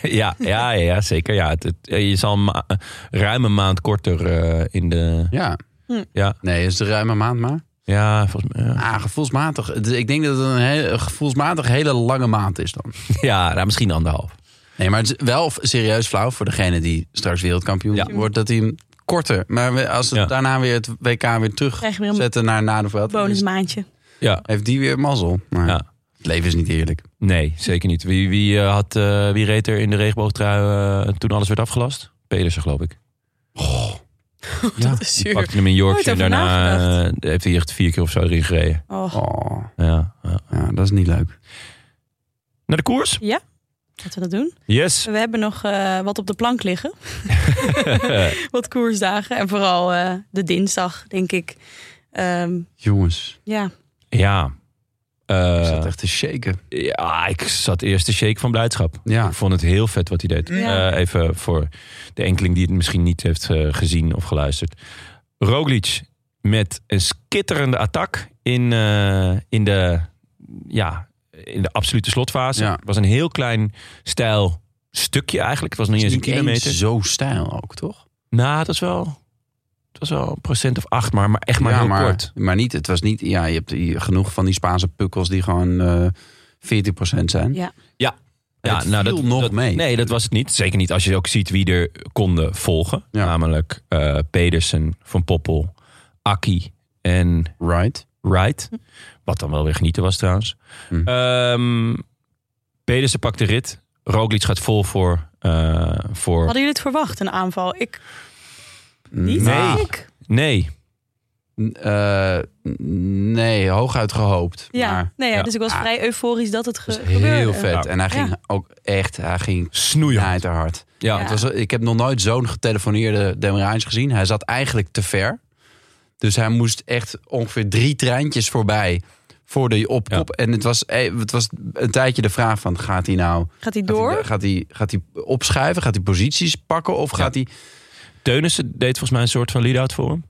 A: ja, ja, ja, ja, zeker. Ja, het, het- je zal een ma- eh, ruim een maand korter eh, in de...
B: Ja.
C: Hm.
A: Ja.
B: Nee, is de ruime maand maar.
A: Ja, volgens mij. Ja,
B: Ah, gevoelsmatig. Het- Ik denk dat het een, heel, gevoelsmatig hele lange maand is dan.
A: ja nou, misschien anderhalf.
B: Nee, maar het is wel f- serieus flauw voor degene die straks wereldkampioen
A: Ja.
B: wordt. Dat hij hem korter. Maar we- als het
A: Ja.
B: daarna weer het WK weer terug
C: Krijg je weer een
B: zetten naar na de Vuelta, dan is-
C: bonusmaandje.
A: Ja.
B: Heeft die weer mazzel. Maar
A: Ja.
B: het leven is niet eerlijk.
A: Nee, zeker niet. Wie, wie, eh, had, eh, wie reed er in de regenboogtrui eh, toen alles werd afgelast? Pedersen, geloof ik.
B: Ja.
C: Dat is
A: Die
C: zuur.
A: pakte hem in Yorkshire en
C: Nooit over
A: daarna eh, heeft hij echt vier keer of zo erin gereden.
C: Oh,
B: Oh,
A: Ja, ja.
B: ja, dat is niet leuk.
A: Naar de koers?
C: laten we dat doen.
A: Yes.
C: We hebben nog eh, wat op de plank liggen. wat koersdagen. En vooral eh, de dinsdag, denk ik. Ehm,
B: Jongens,
C: ja,
A: ja.
B: ik
A: Eh,
B: zat echt te shaken.
A: ja, ik zat eerst te shake van blijdschap.
B: Ja.
A: Ik vond het heel vet wat hij deed.
C: Ja.
A: Eh, even voor de enkeling die het misschien niet heeft eh, gezien of geluisterd. Roglic met een skitterende attack in, eh, in, de, ja, in de absolute slotfase.
B: Ja.
A: Het was een heel klein stijl stukje eigenlijk. Het was nog niet
B: Het
A: eens
B: is
A: een
B: niet eens
A: kilometer.
B: zo stijl ook, toch?
A: Nou, het was wel, het was wel een procent of acht, maar, maar echt maar
B: ja,
A: heel
B: maar,
A: kort.
B: maar niet, het was niet, ja, je hebt hier genoeg van die Spaanse pukkels die gewoon eh 14% zijn.
C: ja.
A: Ja,
B: Het viel nog mee.
A: Nee, dat was het niet. Zeker niet als je ook ziet wie er konden volgen.
B: Ja.
A: Namelijk eh, Pedersen, Van Poppel, Akki en
B: Right?
C: Hm.
A: Wright. Wat dan wel weer genieten was trouwens.
B: Hm.
A: Ehm, Pedersen pakt de rit. Roglic gaat vol voor... eh, voor...
C: Hadden jullie het verwacht, een aanval? Ik niet.
B: Nou,
C: Ik?
A: Nee,
B: eh, nee, hooguit gehoopt.
C: Ja.
B: Maar
C: nee, ja,
A: ja.
C: dus ik was
B: Ah.
C: vrij euforisch dat het ge-
B: het was
C: gebeurde.
B: heel
A: Ja.
B: vet. En hij ging
C: Ja.
B: ook echt, hij ging
A: snoeien. Ja,
B: knijter hard.
C: Ja.
B: Het was, ik heb nog nooit zo'n getelefoneerde Demerains gezien. Hij zat eigenlijk te ver. Dus hij moest echt ongeveer drie treintjes voorbij voor de op
A: Ja.
B: op. En het was, eh, het was een tijdje de vraag van, gaat hij nou...
C: Gaat hij
B: Gaat hij-
C: door?
B: Gaat hij, gaat hij opschuiven? Gaat hij posities pakken? Of gaat hij...
A: Teunissen deed volgens mij een soort van lead-out voor hem.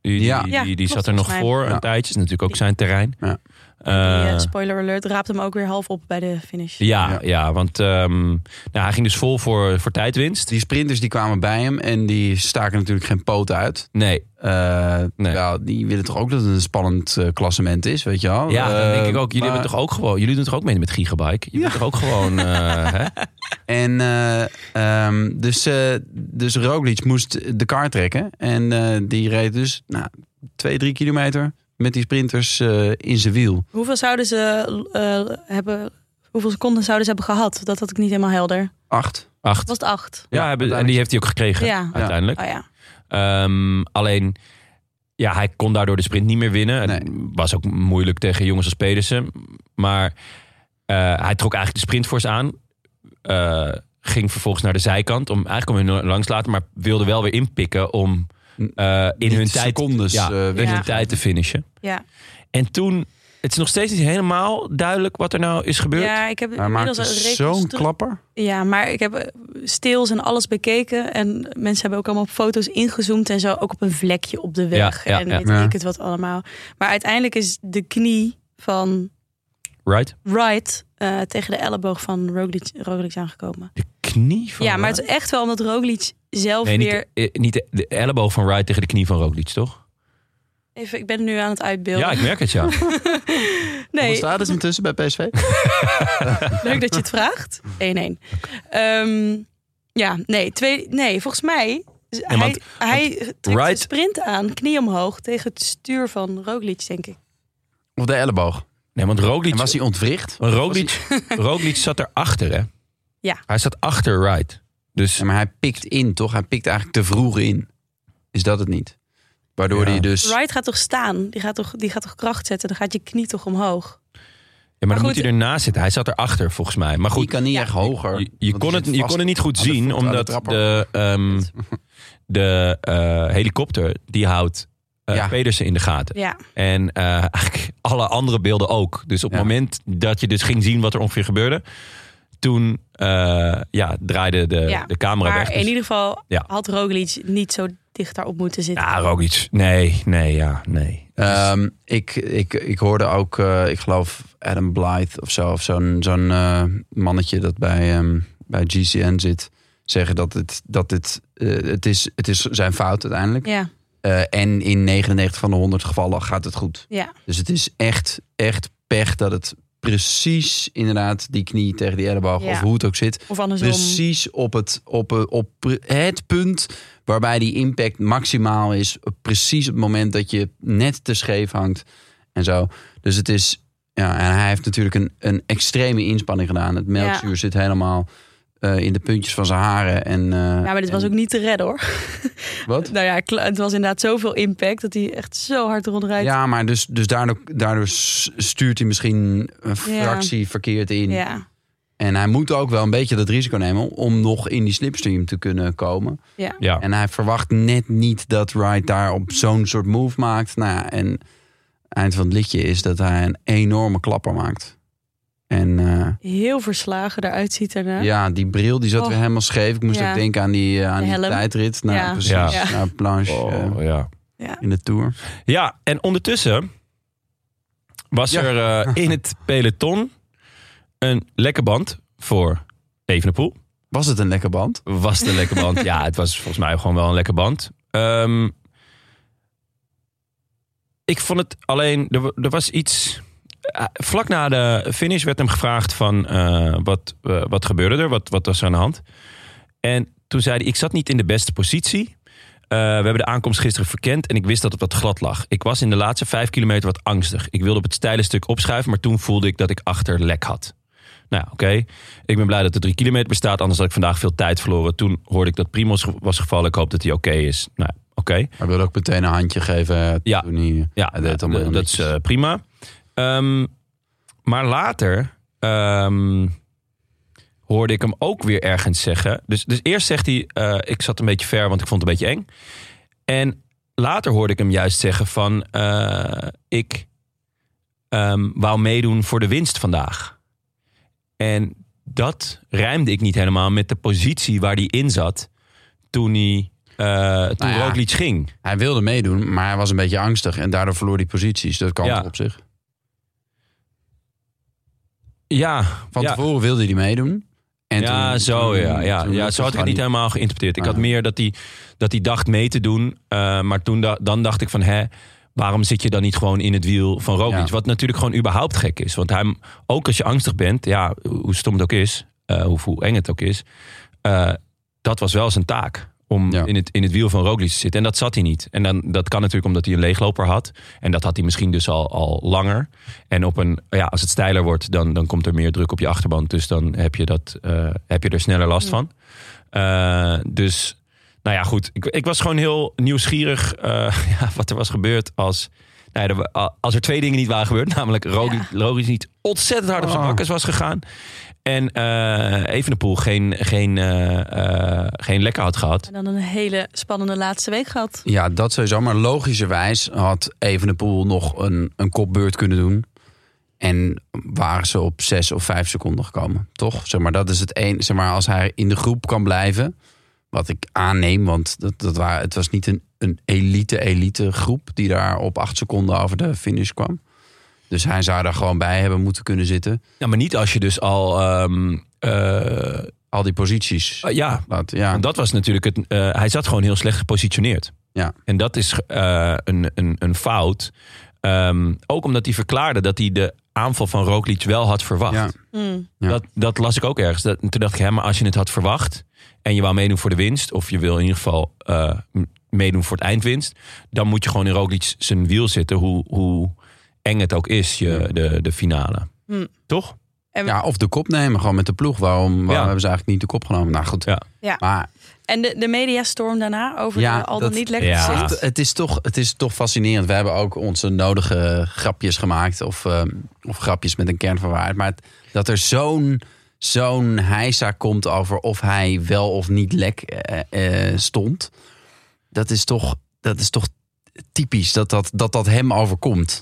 A: Die,
B: Ja.
A: die,
C: Ja,
A: die, die
C: klopt
A: zat er nog
C: volgens mij.
A: voor een
B: Ja.
A: tijdje. Is natuurlijk ook zijn terrein.
B: Ja.
C: Die, eh,
A: Eh,
C: spoiler alert, raapt hem ook weer half op bij de finish.
A: Ja, ja.
B: Ja.
A: want ehm, nou, hij ging dus vol voor, voor tijdwinst.
B: Die sprinters die kwamen bij hem en die staken natuurlijk geen poot uit.
A: Nee,
B: Eh
A: Nee.
B: wel, die willen toch ook dat het een spannend eh, klassement is, weet je wel?
A: ja,
B: Eh,
A: dan denk ik ook. Jullie,
B: maar-
A: hebben toch ook gewoon, jullie doen toch ook mee met Gigabyte? Jullie doen toch ook gewoon... eh, hè?
B: En eh, ehm, dus, eh dus Roglic moest de kar trekken. En eh, die reed dus nou, twee, drie kilometer met die sprinters eh, in zijn wiel.
C: Hoeveel zouden ze eh, hebben... Hoeveel seconden zouden ze hebben gehad? Dat had ik niet helemaal helder.
B: Acht.
A: Acht.
C: Was het acht?
A: Ja, hebben- en die heeft hij ook gekregen
C: Ja.
A: uiteindelijk.
C: Oh ja.
A: Ehm, alleen, ja, hij kon daardoor de sprint niet meer winnen. En Was ook moeilijk tegen jongens als Pedersen. Maar eh, hij trok eigenlijk de sprintforce aan. Eh, ging vervolgens naar de zijkant. Om, eigenlijk om hun langs te laten. Maar wilde wel weer inpikken om eh, in
B: Niet
A: hun tijd...
B: secondes,
A: ja,
B: eh, weg
A: in
C: te
A: hun
C: gaan.
A: tijd te finishen.
C: Ja.
A: En toen... Het is nog steeds niet helemaal duidelijk wat er nou is gebeurd.
C: ja, ik heb
B: Hij
C: inmiddels
B: maakte
C: een
B: zo'n
C: reconstructie-
B: klapper.
C: Ja, maar ik heb eh, stils en alles bekeken. En mensen hebben ook allemaal op foto's ingezoomd en zo. Ook op een vlekje op de weg.
A: Ja, ja,
C: en
A: ja.
C: weet
B: Ja.
C: ik het wat allemaal. Maar uiteindelijk is de knie van
A: Right?
C: Wright eh, tegen de elleboog van Roglic, Roglic aangekomen.
A: De knie van
C: ja, maar het
A: Wright?
C: is echt wel omdat Roglic zelf
A: Nee,
C: weer...
A: niet, eh, niet de, de elleboog van Wright tegen de knie van Roglic, toch?
C: Even, ik ben nu aan het uitbeelden.
A: Ja, ik merk het, ja.
B: Hoe
C: nee,
B: staat het intussen bij PSV?
C: leuk dat je het vraagt. 1-1. Ehm, ja, nee, twee, nee, volgens mij... hij,
A: want-
C: hij trekt
A: Wright-
C: de sprint aan, knie omhoog, tegen het stuur van Roglic, denk ik.
B: Of de elleboog.
A: Nee, want Roglic,
B: En was hij ontwricht?
A: want Roglic, Roglic zat erachter, hè?
C: Ja.
A: Hij zat achter Wright. Dus
B: Ja, maar hij pikt in, toch? Hij pikt eigenlijk te vroeg in. Is dat het niet? Waardoor
A: Ja.
B: hij dus...
C: Wright gaat toch staan? Die gaat toch, die gaat toch kracht zetten? Dan gaat je knie toch omhoog?
A: ja, maar dan
C: goed.
A: moet hij ernaast zitten. Hij zat erachter, volgens mij. Maar
B: Die
A: goed,
B: kan niet echt hoger.
A: je, je
B: want
A: kon,
B: hij
A: het,
B: zit
A: je
B: vast
A: kon het niet goed
B: aan de
A: zien,
B: voet, aan de
A: omdat
B: trapper.
A: de, ehm, de eh, helikopter, die houdt eh,
B: Ja.
A: Pedersen in de gaten.
C: Ja.
A: En eh, eigenlijk alle andere beelden ook. Dus op het
B: Ja.
A: moment dat je dus ging zien wat er ongeveer gebeurde... toen eh, ja, draaide de,
C: Ja,
A: de camera
C: maar
A: weg.
C: in
A: Dus-
C: ieder geval
A: Ja.
C: had Roglic niet zo dicht daarop moeten zitten.
A: Ja, Roglic. Nee, nee, ja, nee.
B: Ehm, ik, ik, ik hoorde ook, eh, ik geloof Adam Blythe of zo, of zo'n zo'n eh, mannetje dat bij, ehm, bij GCN zit, zeggen dat het, dat het, eh, het, is, het is zijn fout uiteindelijk.
C: ja,
B: Eh, en in 99 van de 100 gevallen gaat het goed.
C: ja.
B: Dus het is echt, echt pech dat het precies inderdaad die knie tegen die elleboog
C: Ja.
B: of hoe het ook zit.
C: Of andersom.
B: Precies op het, op, eh, op pre- het punt waarbij die impact maximaal is. Precies het moment dat je net te scheef hangt en zo. Dus het is, ja, en hij heeft natuurlijk een, een extreme inspanning gedaan. Het melkzuur zit helemaal eh, in de puntjes van zijn haren. En, eh,
C: Ja, maar dit was
B: en-
C: ook niet te redden hoor.
B: Wat?
C: Nou ja, kla- het was inderdaad zoveel impact dat hij echt zo hard rondrijdt.
B: Ja, maar dus, dus daardoor, daardoor s- stuurt hij misschien een
C: Ja.
B: fractie verkeerd in.
C: ja.
B: En hij moet ook wel een beetje dat risico nemen om nog in die slipstream te kunnen komen.
C: ja.
A: Ja.
B: En hij verwacht net niet dat Wright daar op zo'n soort move maakt. Nou ja, en eind van het liedje is dat hij een enorme klapper maakt. En eh,
C: Heel verslagen eruit ziet daarna.
B: ja, die bril die zat
C: Oh.
B: weer helemaal scheef. Ik moest
C: Ja.
B: ook denken aan die, eh, aan
C: De
B: die
C: helm.
B: tijdrit. Nou,
C: Ja.
B: precies.
A: Ja.
B: Naar Planche eh,
A: Oh, ja.
C: Ja.
B: in de Tour.
A: Ja, en ondertussen was
B: Ja.
A: er eh, in het peloton een lekke band voor Evenepoel.
B: Was het een lekker band?
A: Was het een lekke band? Ja, het was volgens mij gewoon wel een lekke band. Ehm, ik vond het alleen, er, wa- er was iets... eh, Vlak na de finish werd hem gevraagd van eh, wat, eh, wat gebeurde er? Wat, wat was er aan de hand? En toen zei hij, ik zat niet in de beste positie. Eh, we hebben de aankomst gisteren verkend en ik wist dat het wat glad lag. Ik was in de laatste vijf kilometer wat angstig. Ik wilde op het steile stuk opschuiven, maar toen voelde ik dat ik achter lek had. Nou, ja, oké. Ik ben blij dat er drie kilometer bestaat, anders had ik vandaag veel tijd verloren. Toen hoorde ik dat Primoz ge- was gevallen. Ik hoop dat hij oké is. Nou, ja, oké.
B: Hij wilde ook meteen een handje geven. eh,
A: Ja.
B: Toen hij,
A: Ja,
B: hij deed het allemaal
A: d-
B: heel
A: dat is
B: netjes.
A: eh, prima. Ehm, maar later ehm, hoorde ik hem ook weer ergens zeggen. Dus, dus eerst zegt hij, eh, ik zat een beetje ver, want ik vond het een beetje eng. En later hoorde ik hem juist zeggen van, eh, ik ehm, wou meedoen voor de winst vandaag. En dat rijmde ik niet helemaal met de positie waar hij in zat toen hij... eh toen
B: Nou ja.
A: Roglic ging.
B: Hij wilde meedoen, maar hij was een beetje angstig. En daardoor verloor hij posities. Dat kan
A: Ja.
B: toch op zich.
A: Ja,
B: Van
A: ja.
B: tevoren wilde hij meedoen. En
A: ja,
B: toen-
A: zo
B: toen-
A: ja. Ja,
B: toen
A: ja
B: lukte
A: zo had ik
B: gewoon
A: het niet helemaal geïnterpreteerd. Ik
B: Ah.
A: had meer dat hij, dat hij dacht mee te doen. eh, maar toen da- dan dacht ik van, hè, waarom zit je dan niet gewoon in het wiel van Roglic?
B: Ja.
A: Wat natuurlijk gewoon überhaupt gek is. Want hij, ook als je angstig bent, ja, hoe stom het ook is, eh, hoe, hoe eng het ook is. eh, dat was wel zijn taak. Om
B: Ja.
A: in, het, in het wiel van Roglic te zitten. En dat zat hij niet. En dan, dat kan natuurlijk omdat hij een leegloper had. En dat had hij misschien dus al, al langer. En op een, ja, als het steiler wordt, dan, dan komt er meer druk op je achterband. Dus dan heb je, dat, eh, heb je er sneller last van. Eh, dus, nou ja, goed. Ik, ik was gewoon heel nieuwsgierig eh, ja, wat er was gebeurd als... Nou ja, er wa- als er twee dingen niet waren gebeurd, namelijk Roglic, Roglic niet ontzettend hard op zijn
B: Oh.
A: bakkes was gegaan. En eh Evenepoel geen, geen, eh, eh, geen lekker had gehad.
C: En dan een hele spannende laatste week gehad.
B: Ja, dat sowieso. Maar logischerwijs had Evenepoel nog een, een kopbeurt kunnen doen. En waren ze op zes of vijf seconden gekomen. Toch? Zeg maar, dat is het een. Zeg maar, als hij in de groep kan blijven. Wat ik aanneem, want dat, dat waren, het was niet een, een elite, elite groep. die daar op acht seconden over de finish kwam. Dus hij zou daar gewoon bij hebben moeten kunnen zitten.
A: Ja, maar niet als je dus al... ehm, eh,
B: Al die posities.
A: ja,
B: Dat, ja.
A: want dat was natuurlijk het... eh, hij zat gewoon heel slecht gepositioneerd.
B: Ja.
A: En dat is eh, een, een, een fout. Ehm, ook omdat hij verklaarde dat hij de aanval van Roglic wel had verwacht.
B: Ja.
C: Mm.
B: Ja.
A: Dat, dat las ik ook ergens. Dat, en toen dacht ik, hè, maar als je het had verwacht en je wou meedoen voor de winst, of je wil in ieder geval eh, m- meedoen voor het eindwinst, dan moet je gewoon in Roglic zijn wiel zitten, hoe, hoe eng het ook is, je, de, de finale.
C: Hm.
A: Toch?
B: Ja, of de kop nemen, gewoon met de ploeg. Waarom, waarom
A: Ja.
B: hebben ze eigenlijk niet de kop genomen? Nou goed.
A: Ja.
C: Ja.
B: Maar
C: En de, de mediastorm daarna over
B: Ja,
C: de al
B: dat-
C: dan niet lekker
A: ja.
C: gezicht.
B: het, het is toch, het is toch fascinerend. We hebben ook onze nodige grapjes gemaakt. Of, eh, of grapjes met een kern van waarheid. Maar het- dat er zo'n zo'n heisa komt over of hij wel of niet lek eh, eh, stond. Dat is toch, dat is toch typisch dat dat, dat, dat hem overkomt.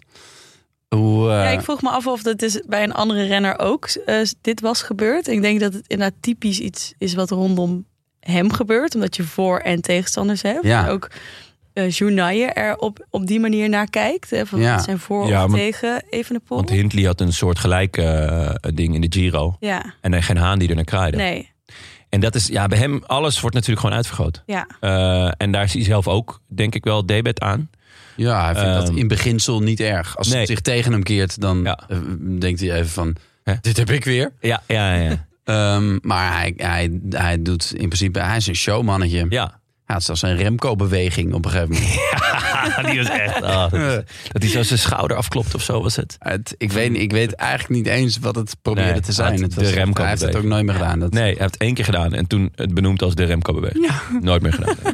B: Hoe, eh,
C: Ja, ik vroeg me af of dat is bij een andere renner ook eh, dit was gebeurd. Ik denk dat het inderdaad typisch iets is wat rondom hem gebeurt. Omdat je voor- en tegenstanders hebt.
B: Ja.
C: En ook eh Journaille er op, op die manier naar kijkt. Hè, van
B: Ja.
C: wat zijn voor-
A: Ja,
C: of
A: maar-
C: tegen Evenepoel.
A: Want Hindley had een soort gelijk eh, ding in de Giro.
C: Ja,
A: En dan geen haan die er naar kraaide.
C: nee.
A: En dat is, ja, bij hem, alles wordt natuurlijk gewoon uitvergroot.
C: Ja.
A: Eh, en daar is hij zelf ook, denk ik wel, debet aan.
B: Ja, hij vindt dat
A: Ehm,
B: in beginsel niet erg. Als
A: nee.
B: het zich tegen hem keert, dan
A: Ja.
B: eh, denkt hij even van...
A: Hè?
B: Dit heb ik weer.
A: Ja, ja, ja.
B: Ehm, maar hij, hij, hij doet in principe... Hij is een showmannetje.
A: ja.
B: Hij had zelfs een Remco-beweging op een gegeven moment.
A: ja. die was echt... oh, dat, dat hij zo zijn schouder afklopt of zo was het.
B: Het, ik, weet, niet- ik weet eigenlijk niet eens wat het probeerde
A: Nee,
B: te zijn.
A: het-
B: Het
A: de
B: was-
A: Remco
B: hij heeft het ook
A: betekent.
B: nooit meer gedaan. Dat,
A: Nee, hij heeft het één keer gedaan en toen het benoemd als de Remco-beweging. Nooit meer gedaan. Nee.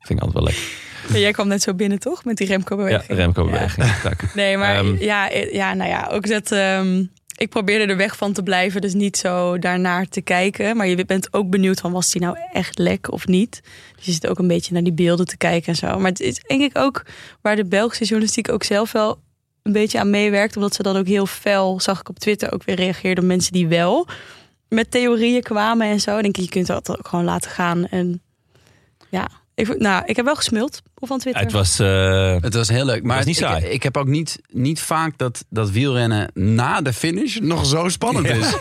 A: Vind ik altijd wel lekker.
C: Maar Jij kwam net zo binnen, toch? Met die
A: Ja,
C: Remco-beweging.
A: Remco-beweging. Tak.
C: Nee, maar
A: Ehm.
C: ja, ja, nou ja, ook dat... ehm, ik probeerde er weg van te blijven, dus niet zo daarnaar te kijken. Maar je bent ook benieuwd van, was die nou echt lek of niet? Dus je zit ook een beetje naar die beelden te kijken en zo. Maar het is denk ik ook waar de Belgische journalistiek ook zelf wel een beetje aan meewerkt. Omdat ze dan ook heel fel, zag ik op Twitter, ook weer reageerden op mensen die wel met theorieën kwamen en zo. Dan denk ik, je kunt dat ook gewoon laten gaan. En ja, ik, vond- nou, ik heb wel gesmuld op van Twitter.
A: Het was... eh,
B: Het was heel leuk. Maar
A: was niet
B: ik-
A: saai.
B: Ik, heb ook niet, niet vaak dat, dat wielrennen na de finish nog zo spannend is.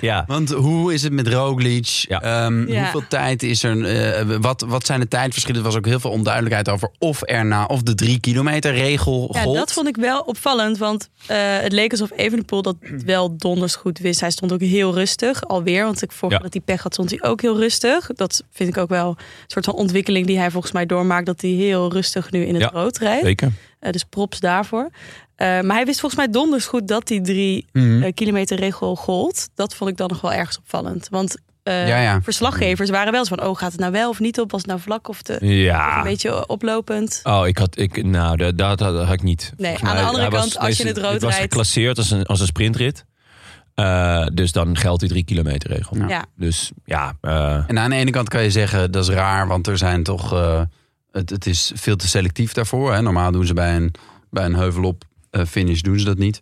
A: ja.
B: Want hoe is het met Roglic?
A: Ja.
B: Ehm,
C: Ja.
B: Hoeveel tijd is er? eh, wat, wat zijn de tijdverschillen? Er was ook heel veel onduidelijkheid over of er na of de drie kilometer regel
C: Ja,
B: gold.
C: dat vond ik wel opvallend, want eh, het leek alsof Evenepoel dat wel donders goed wist. Hij stond ook heel rustig, alweer, want ik vorige
A: Ja.
C: keer dat hij pech had, stond hij ook heel rustig. Dat vind ik ook wel een soort van ontwikkeling die hij volgens mij doormaakt, dat hij heel rustig nu in het
A: Ja,
C: rood rijdt.
A: Zeker.
C: Eh, dus props daarvoor. Eh, maar hij wist volgens mij donders goed dat die drie
B: Mhm.
C: eh, kilometer regel gold. Dat vond ik dan nog wel ergens opvallend, want eh,
B: Ja, ja.
C: verslaggevers waren wel eens van, oh gaat het nou wel of niet op, was het nou vlak of, te, of een
A: Ja.
C: beetje oplopend.
A: Oh, ik had, ik, nou, dat, dat, dat had ik niet.
C: Nee,
A: Volgens
C: aan de
A: mij,
C: andere
A: hij was
C: kant, als je in het rood
A: dit was
C: rijdt-
A: geclasseerd als een, als een sprintrit. Eh, dus dan geldt die drie kilometer regel.
B: Ja.
C: ja.
A: Dus ja, eh,
B: En aan de ene kant kan je zeggen dat is raar, want er zijn toch. eh, het, het is veel te selectief daarvoor. Hè? Normaal doen ze bij een, bij een heuvelop eh, finish doen ze dat niet.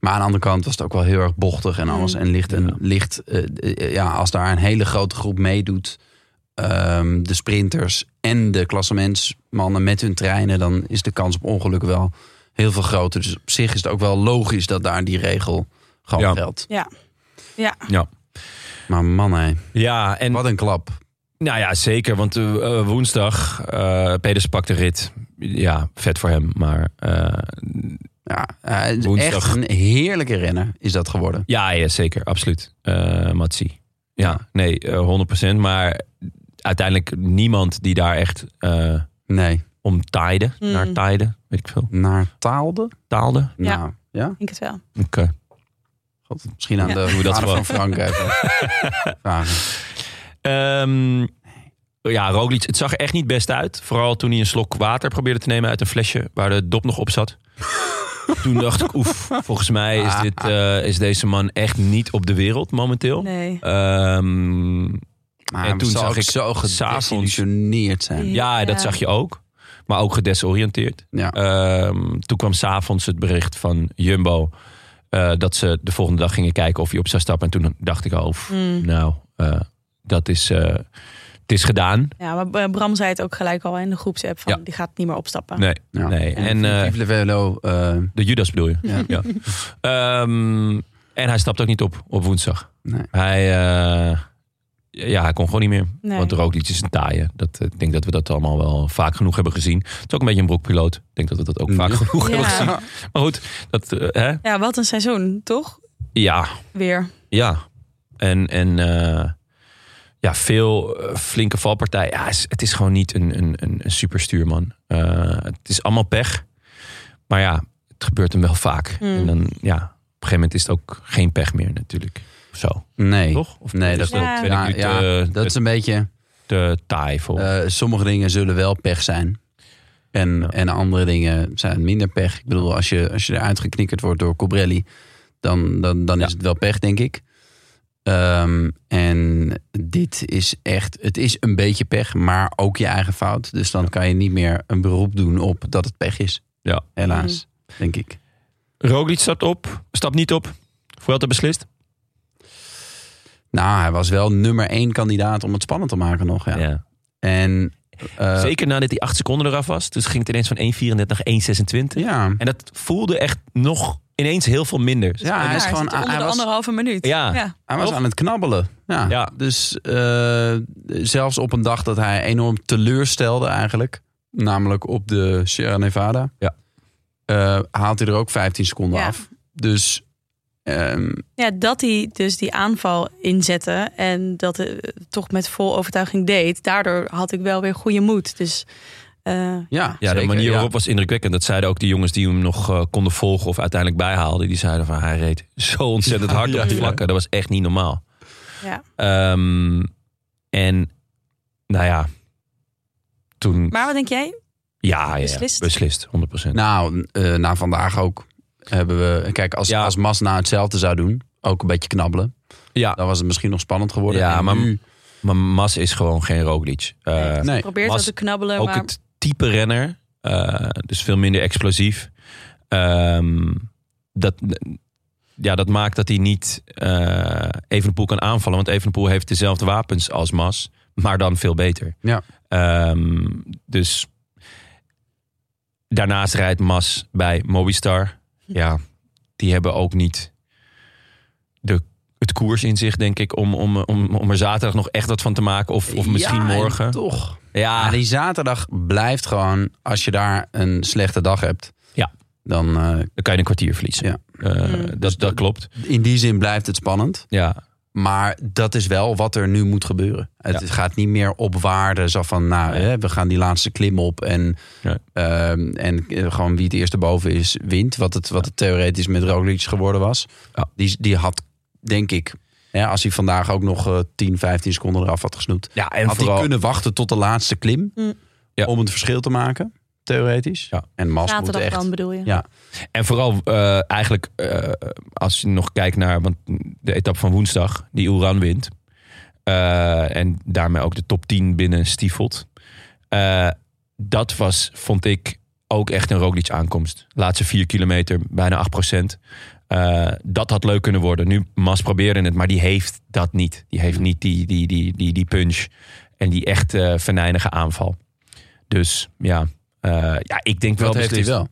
B: Maar aan de andere kant was het ook wel heel erg bochtig en alles. En licht en
A: Hmm. Ja.
B: licht. eh, eh, ja, als daar een hele grote groep meedoet. ehm, de sprinters en de klassementsmannen met hun treinen, dan is de kans op ongeluk wel heel veel groter. Dus op zich is het ook wel logisch dat daar die regel gewoon
A: Ja.
B: geldt.
C: Ja. Ja.
A: Ja.
B: Maar man, hé,
A: ja, en
B: wat een klap.
A: nou ja, zeker. Want eh, eh, woensdag, eh Peders pakt de rit. Ja, vet voor hem. Maar eh,
B: Ja, hij is
A: Woensdag.
B: echt een heerlijke renner is dat geworden.
A: Ja, ja zeker. Absoluut. Eh Matsi. Ja, nee, eh 100%. Maar uiteindelijk niemand die daar echt eh
B: Nee,
A: om taaide.
C: Mm.
A: Naar taaide, weet ik veel.
B: naar Taalde?
A: Taalde. eh,
C: Ja.
B: Nou, ja?
C: Ik denk het wel.
A: Oké.
B: God, misschien aan
C: Ja.
B: de
A: Doen we dat
B: vader van
A: gewoon?
B: Frank even vragen.
A: Ehm, ja, Roglic, het zag er echt niet best uit. Vooral toen hij een slok water probeerde te nemen uit een flesje waar de dop nog op zat. toen dacht ik, oef, volgens mij is, dit, eh, is deze man echt niet op de wereld momenteel.
C: Nee.
A: Ehm,
B: Maar
A: En
B: toen zag ik zo
A: s'avonds-
B: gedesillusioneerd zijn.
A: ja,
C: Ja.
A: dat zag je ook. Maar ook gedesoriënteerd.
B: Ja.
A: Ehm, toen kwam s'avonds het bericht van Jumbo. eh, dat ze de volgende dag gingen kijken of hij op zou stappen. En toen dacht ik al, oef, nou, eh, dat is, eh, het is gedaan.
C: Ja, maar eh, Bram zei het ook gelijk al in de groepsapp van
A: Ja.
C: die gaat niet meer opstappen.
A: Nee,
B: Ja.
A: nee. En eh,
B: Vive le Velo, eh,
A: de Judas bedoel je?
B: Ja.
A: Ja. Ehm, en hij stapt ook niet op op woensdag.
B: Nee.
A: Hij, eh, ja, hij kon gewoon niet meer.
C: Nee.
A: Want Roglic is een taaie. Dat, eh, ik denk dat we dat allemaal wel vaak genoeg hebben gezien. Het is ook een beetje een broekpiloot. Ik denk dat we dat ook vaak
B: Ja.
A: genoeg hebben gezien.
C: Ja.
A: Maar goed, dat, eh, hè?
C: ja, wat een seizoen, toch?
A: ja,
C: Weer.
A: Ja, en, en eh, ja, veel eh, flinke valpartijen. Ja, is- het is gewoon niet een, een, een, een superstuurman. Eh, het is allemaal pech. Maar ja, het gebeurt hem wel vaak.
B: Hmm.
C: Mm.
A: En dan, ja, op een gegeven moment is het ook geen pech meer natuurlijk. Of Zo,
B: nee.
A: toch? Of
B: Nee,
A: is
B: dat
C: klopt.
A: Ben
B: Ja,
A: ik eh, nu
B: ja,
A: te,
B: dat is een beetje...
A: te taai voor?
B: eh, sommige dingen zullen wel pech zijn. En,
A: Ja.
B: en andere dingen zijn minder pech. Ik bedoel, als je, als je eruit geknikkerd wordt door Cobrelli, dan, dan, dan is
A: Ja.
B: het wel pech, denk ik. Ehm, en dit is echt, het is een beetje pech, maar ook je eigen fout. Dus dan kan je niet meer een beroep doen op dat het pech is.
A: Ja.
B: Helaas, denk ik.
A: Roglic stapt op, stapt niet op. Vuelta beslist.
B: Nou, hij was wel nummer één kandidaat om het spannend te maken nog. Ja.
A: Ja.
B: En, eh,
A: Zeker nadat hij acht seconden eraf was. Dus ging het ineens van 1,34 naar 1,26.
B: Ja,
A: En dat voelde echt nog ineens heel veel minder.
B: ja, hij is gewoon...
C: zit onder
B: hij
C: de
B: was,
C: anderhalve minuut.
A: Ja.
B: Hij was
A: Toch?
B: aan het knabbelen. Ja.
A: Ja.
B: Dus eh, zelfs op een dag dat hij enorm teleurstelde eigenlijk. namelijk op de Sierra Nevada,
A: Ja.
B: eh, haalt hij er ook 15 seconden
C: Ja.
B: af. Dus ehm,
C: Ja, dat hij dus die aanval inzette en dat het toch met vol overtuiging deed. Daardoor had ik wel weer goede moed. Dus eh,
B: ja,
A: Ja, de
B: zeker,
A: manier
B: ja.
A: waarop was indrukwekkend. Dat zeiden ook de jongens die hem nog eh, konden volgen of uiteindelijk bijhaalden. Die zeiden van hij reed zo ontzettend
B: Ja,
A: hard
B: ja,
A: op de
B: ja.
A: vlakken. Dat was echt niet normaal.
C: ja.
A: Ehm, en nou ja, toen...
C: Maar wat denk jij?
A: ja, ja, ja,
C: beslist?
A: beslist, 100%.
B: Nou, eh, na vandaag ook hebben we... Kijk, als,
A: Ja.
B: als Mas nou hetzelfde zou doen, ook een beetje knabbelen...
A: Ja.
B: dan was het misschien nog spannend geworden.
A: Ja,
B: En
A: maar-
B: nu-
A: Maar Mas is gewoon geen Roglic. Eh,
B: nee.
C: Probeert
A: was
C: wel te knabbelen,
A: ook
C: maar
A: het type renner, eh, dus veel minder explosief. Ehm, dat, ja, dat maakt dat hij niet eh Evenepoel kan aanvallen. Want Evenepoel heeft dezelfde wapens als Mas, maar dan veel beter.
B: Ja.
A: Ehm, dus daarnaast rijdt Mas bij Mobistar. Ja, die hebben ook niet de, het koers in zich, denk ik, om, om, om, om er zaterdag nog echt wat van te maken. Of, of misschien
B: Ja, en
A: morgen. Ah.
B: toch.
A: Ja,
B: Maar die zaterdag blijft gewoon, als je daar een slechte dag hebt...
A: Ja.
B: dan eh,
A: dan kan je een kwartier verliezen.
B: Ja.
A: Eh,
C: Mm.
A: dat, dat klopt.
B: in die zin blijft het spannend.
A: Ja.
B: Maar dat is wel wat er nu moet gebeuren. Het gaat niet meer op waarde. Zo van, nou,
A: Nee.
B: hè, we gaan die laatste klim op. En,
A: Nee.
B: ehm, en eh, gewoon wie het eerste boven is, wint. Wat het, wat het theoretisch met Roglic geworden was.
A: Ja.
B: Die, die had, denk ik... Hè, als hij vandaag ook nog eh, 10, 15 seconden eraf had gesnoept.
A: ja en
B: had hij kunnen wachten tot de laatste klim.
C: Mm.
A: Ja.
B: Om het verschil te maken, theoretisch.
A: Ja.
B: En Mas moet
C: zaterdag
B: echt...
C: dan bedoel je?
B: Ja.
A: En vooral eh, eigenlijk, eh, als je nog kijkt naar want de etappe van woensdag, die Oeran wint. eh, en daarmee ook de top 10 binnen stiefelt. Eh, dat was, vond ik, ook echt een Roglic aankomst. Laatste 4 kilometer, bijna 8 procent. Eh, dat had leuk kunnen worden. Nu, Mas probeerde het, maar die heeft dat niet. Die heeft niet die, die, die, die, die punch en die echt eh venijnige aanval. Dus ja, eh, ja ik denk wel
B: Dat heeft hij
A: beslist.
B: wel.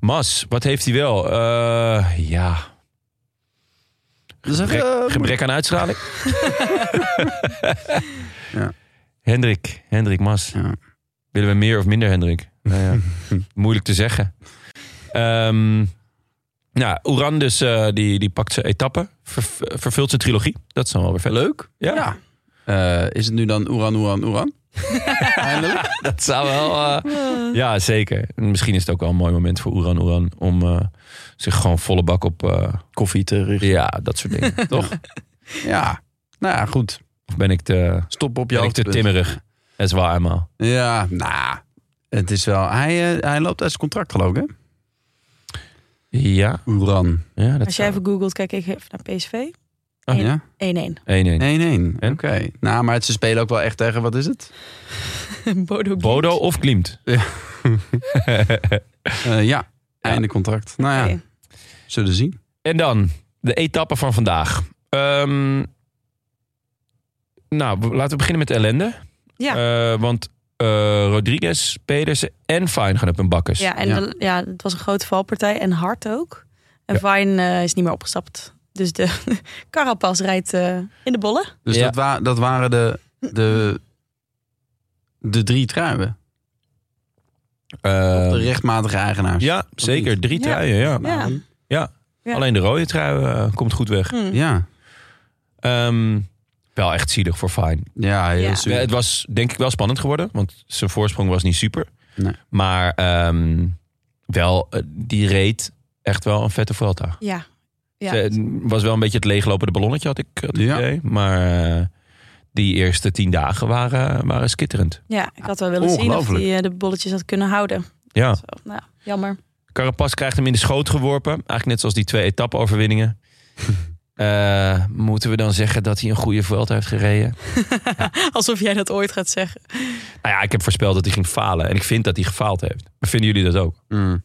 A: Mas, wat heeft hij wel? Eh, ja.
B: Dat is eh,
A: Gebrek, gebrek aan uitstraling.
B: Ja.
A: Hendrik, Hendrik Mas.
B: Ja.
A: Willen we meer of minder Hendrik? Nou ja, moeilijk te zeggen. Ehm nou, Oeran dus, eh, die, die pakt zijn etappe. ver- vervult zijn trilogie. Dat is dan wel weer vet.
B: Leuk.
A: Ja,
B: Ja. Eh, is het nu dan Oeran, Oeran, Oeran? Eindelijk?
A: dat zou wel... eh, ja, zeker. En misschien is het ook wel een mooi moment voor Oeran Oeran... om eh, zich gewoon volle bak op... eh,
B: Koffie te richten.
A: ja, dat soort dingen. Toch?
B: Ja. Nou ja, goed.
A: Of ben ik te,
B: Stop op je
A: ben ik te
B: hoogtepunt.
A: timmerig? Dat is waar, eenmaal.
B: Ja, nou. het is wel... Hij, eh, hij loopt uit zijn contract geloof ik, hè?
A: Ja,
B: Oeran.
A: ja dat
C: Als jij
A: zou...
C: even googelt, kijk ik even naar PSV.
A: Oh,
C: Eén-
B: ja?
C: 1-1.
A: 1-1.
B: Nee, nee. Oké.
A: En?
B: Nou, maar het- ze spelen ook wel echt tegen... Wat is het?
C: Bodo. Glimt.
A: Bodo of Klimt?
B: Ja. Eh, ja. Einde contract. Nou ja,
C: Oké.
B: zullen zien.
A: en dan de etappe van vandaag. Ehm, nou, we- laten we beginnen met de ellende.
C: Ja.
A: Eh, want eh, Rodriguez, Pedersen en Fijn gaan op hun bakkers.
C: Ja, en
B: Ja.
C: de- ja, het was een grote valpartij en hard ook. En
A: Ja.
C: Vine eh, is niet meer opgestapt. Dus de Carapas rijdt eh, in de bollen.
B: Dus
A: Ja.
B: dat, wa- dat waren de, de, de drie truien.
A: Eh,
B: Of de rechtmatige eigenaars.
A: ja zeker. Drie
C: Ja.
A: truien, ja.
C: Ja. Ja.
A: Alleen de rode trui eh, komt goed weg.
C: Hm.
B: Ja,
A: Ehm, wel echt zielig voor Fijn.
B: ja heel
C: Ja.
B: zuur.
A: Ja, het was denk ik wel spannend geworden, want zijn voorsprong was niet super.
B: Nee.
A: Maar ehm, wel, eh, die reed echt wel een vette Vuelta.
C: Ja. Ja.
A: Het was wel een beetje het leeglopende ballonnetje, had ik het
B: Ja.
A: idee. Maar eh, die eerste tien dagen waren, waren skitterend.
C: ja, ik had wel willen zien of
B: Ongelooflijk.
C: hij eh, de bolletjes had kunnen houden.
A: Ja.
C: Zo, nou, jammer.
A: Carapaz krijgt hem in de schoot geworpen. Eigenlijk net zoals die twee etappe-overwinningen. Eh, moeten we dan zeggen dat hij een goede Vuelta heeft gereden?
C: Alsof jij dat ooit gaat zeggen.
A: Nou ja, ik heb voorspeld dat hij ging falen. En ik vind dat hij gefaald heeft. Vinden jullie dat ook?
B: Mm.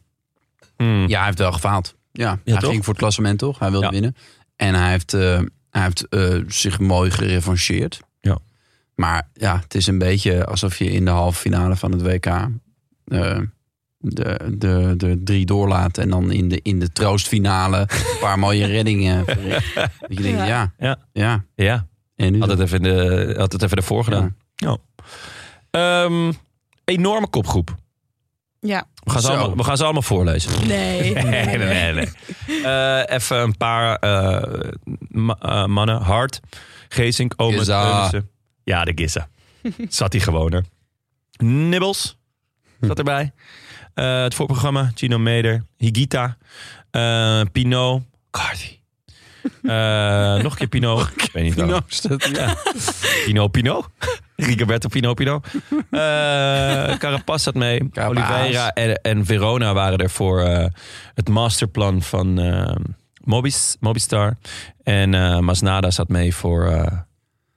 A: Hmm.
B: Ja, hij heeft wel gefaald. Ja, hij
A: toch?
B: ging voor het klassement toch? Hij wilde
A: Ja.
B: winnen. En hij heeft, eh, hij heeft eh, zich mooi gerevancheerd.
A: Ja.
B: Maar ja, het is een beetje alsof je in de halve finale van het WK... eh, de, de, de drie doorlaat en dan in de, in de troostfinale een paar mooie reddingen. verricht. Dat je denkt, ja,
A: Ja.
B: ja,
A: Ja.
B: En nu
A: Had het even, de, had het even ervoor gedaan. Ja. Ehm, enorme kopgroep.
C: Ja.
A: We gaan, ze
B: Zo.
A: allemaal, we gaan ze allemaal voorlezen.
C: Nee.
A: Nee, nee, nee. nee. Eh, even een paar eh, ma- eh, mannen. Hart, Geesink, Omen,
B: Gissa.
A: Teunissen. Ja, de Gissa. Zat hij gewoon er. Nibbles zat erbij. Eh, het voorprogramma, Gino Meder, Higita, eh, Pinot, Cardi. Eh, nog een keer Pinot. Ik weet niet waarom.
B: Nou, is dat- ja.
A: Pino Pino. Rigoberto Pino Pino. Eh Carapaz zat mee.
B: Carapaz.
A: Oliveira en, en Verona waren er voor eh, het masterplan van eh, Mobis, Mobistar. En eh Masnada zat mee voor, eh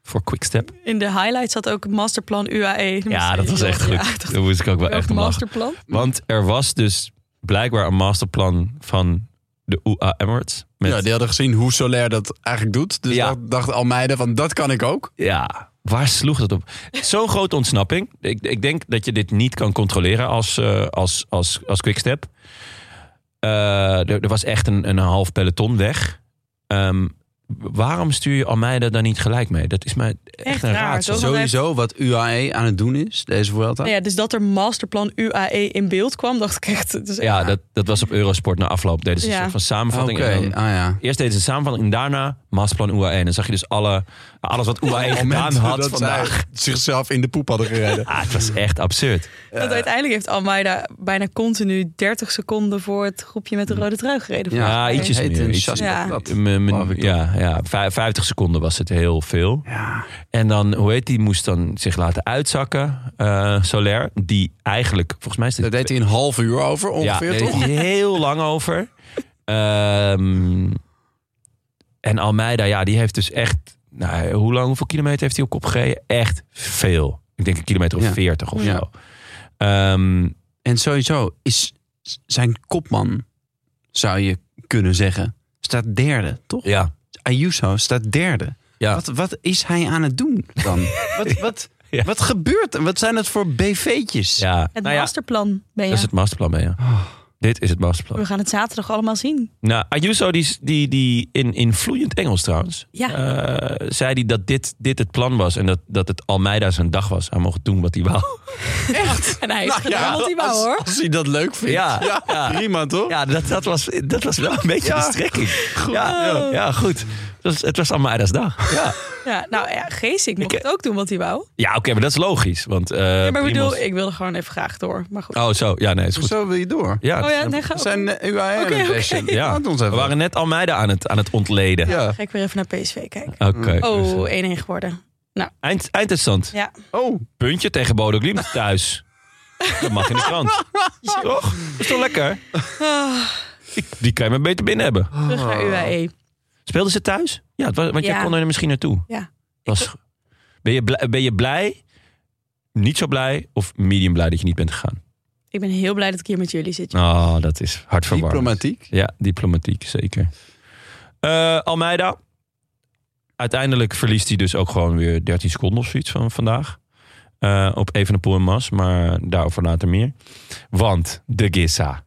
A: voor Quickstep.
C: In de highlight zat ook het masterplan UAE.
A: Ja, dat was echt
C: Ja,
A: goed.
C: dacht,
A: Daar moest ik ook wel
C: welk
A: echt om lachen.
C: masterplan?
A: Want er was dus blijkbaar een masterplan van de UA Emirates. Met,
B: Ja, die hadden gezien hoe Soler dat eigenlijk doet. Dus
A: Ja.
B: dat dacht Almeida van, dat kan ik ook.
A: Ja, waar sloeg dat op? Zo'n grote ontsnapping. Ik, ik denk dat je dit niet kan controleren als, eh als, als, als quickstep. Eh, er, er was echt een, een half peloton weg. Ehm, waarom stuur je Almeida daar niet gelijk mee? Dat is mij echt,
C: Echt
A: een
C: raar,
A: raadsel.
C: toch?
B: Sowieso wat UAE aan het doen is, deze Vuelta.
C: Nou ja, dus dat er masterplan UAE in beeld kwam, dacht ik echt. het is echt-
A: Ja, dat, dat was op Eurosport na afloop. Deden ze een
C: Ja.
A: soort van
B: Oké,
A: samenvatting. En dan-
B: ah ja.
A: eerst deden ze een samenvatting en daarna Maasplan UAE. En dan zag je dus alle, alles wat UAE gedaan
B: Momenten
A: had
B: dat
A: vandaag.
B: zij zichzelf in de poep hadden gereden.
A: Ah, het was echt absurd.
C: Want uiteindelijk heeft Almeida bijna continu 30 seconden voor het groepje met de rode trui gereden.
B: Ja,
C: volgens
A: Ja,
C: mij.
A: ietsjes
B: Heet
A: meer.
B: een
A: Ietsjes
B: sas-
C: Ja.
B: dat.
A: M- m-
B: Geloof ik
A: ja, ja, vij- 50 seconden was het heel veel. En dan, hoe heet die, moest dan zich laten uitzakken. eh Soler, die eigenlijk, volgens mij is dit...
B: Daar deed hij een half uur over ongeveer,
A: ja,
B: toch?
A: deed hij heel lang over. Ehm, en Almeida, ja, die heeft dus echt... Nou, hoe lang, hoeveel kilometer heeft hij op kop gereden? Echt veel. Ik denk een kilometer of
B: Ja.
A: 40 of
B: Ja.
A: zo. Ehm,
B: En sowieso is zijn kopman, zou je kunnen zeggen, staat derde, toch?
A: ja,
B: Ayuso staat derde.
A: ja.
B: Wat, wat is hij aan het doen dan? wat, wat,
A: Ja.
B: wat gebeurt er? Wat zijn het voor BV'tjes?
A: ja.
C: Het
A: nou ja,
C: masterplan ben je.
A: dat is het masterplan, hè, ja.
B: Oh.
A: Dit is het masterplan.
C: We gaan het zaterdag allemaal zien.
A: Nou, Ayuso, die, die, die in, in vloeiend Engels trouwens,
C: Ja.
A: eh, zei hij dat dit, dit het plan was en dat, dat het Almeida zijn dag was. Hij mocht doen wat hij wou.
C: En hij
B: Nou
C: is
B: ja,
C: gedaan wat hij wou
B: als,
C: hoor.
B: als hij dat leuk vindt.
A: Ja, ja.
B: prima toch?
A: Ja, dat, dat, was, dat was wel een beetje de strekking. Ja, ja. goed. Het was, het was Almeida's dag. Ja,
C: Ja, nou ja, Geesink mocht
A: Ik-
C: het ook doen wat hij wou.
A: ja oké, maar dat is logisch. Want, eh,
C: Ja, maar ik bedoel,
A: Primoz-
C: ik wilde gewoon even graag door. Maar goed.
A: Oh, zo. Ja, nee, is goed.
B: Zo wil je door.
A: Ja,
C: Oh ja,
A: het-
C: nee, ga
B: We zijn
C: ook-
B: eh, UAE aan
C: Oké,
B: het
C: oké.
B: bashen.
A: ja.
B: Laat ons even.
A: We waren net Almeida aan het, aan het ontleden.
B: Ja.
C: Ga ik weer even naar PSV kijken.
A: Oké. dus,
C: Oh,
A: eh,
C: 1-1 geworden.
A: eind, eindstand.
C: Ja.
B: Oh,
A: Puntje tegen Bodo Glimt thuis. Dat mag in de krant. Toch? Dat is toch lekker?
C: Ah,
A: Die, die kan je maar beter binnen hebben.
C: terug naar E. UAE.
A: Speelden ze thuis? Ja, het was- want jij
C: Ja.
A: kon er misschien naartoe.
C: Ja.
A: Was, ben, je blij, ben je blij, niet zo blij of medium blij dat je niet bent gegaan?
C: Ik ben heel blij dat ik hier met jullie zit.
A: Oh, dat is hartverwarmend.
B: diplomatiek.
A: Ja, diplomatiek, zeker. Eh, Almeida. Uiteindelijk verliest hij dus ook gewoon weer 13 seconden of zoiets van vandaag. Eh op Evenepoel en Mas, maar daarover later meer. Want de Gissa.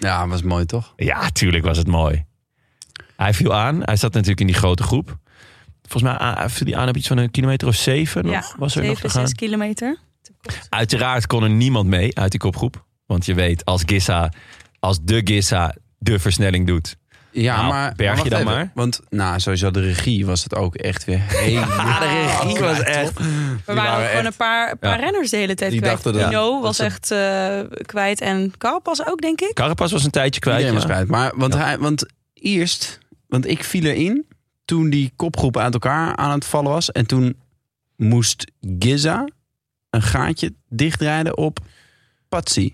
B: Ja, was mooi toch?
A: Ja, tuurlijk was het mooi. Hij viel aan. Hij zat natuurlijk in die grote groep. Volgens mij a- viel hij aan op iets van een kilometer of zeven.
C: Ja,
A: nog, Nou, was er nog te
C: 7,
A: gaan.
C: 6 kilometer.
A: Uiteraard kon er niemand mee uit die kopgroep. Want je weet, als Gissa, als de Gissa de versnelling doet.
B: Ja,
A: Nou,
B: maar.
A: berg je
B: wacht
A: dan
B: even.
A: maar.
B: Want, nou, sowieso de regie was het ook echt weer helemaal.
A: de regie was echt...
C: We waren ook
B: waren
C: gewoon
B: echt-
C: een paar, een paar
A: Ja.
C: renners de hele tijd
B: Die
C: kwijt.
B: dachten dat-
C: Pino
B: dat
C: was
B: ze-
C: echt eh, kwijt en Carpas ook, denk ik.
A: Carapaz was een tijdje kwijt. dus
B: Iedereen was
A: ja.
B: kwijt. Maar, want, hij, want eerst, want ik viel erin toen die kopgroep uit elkaar aan het vallen was. En toen moest Giza een gaatje dichtrijden op Patsy.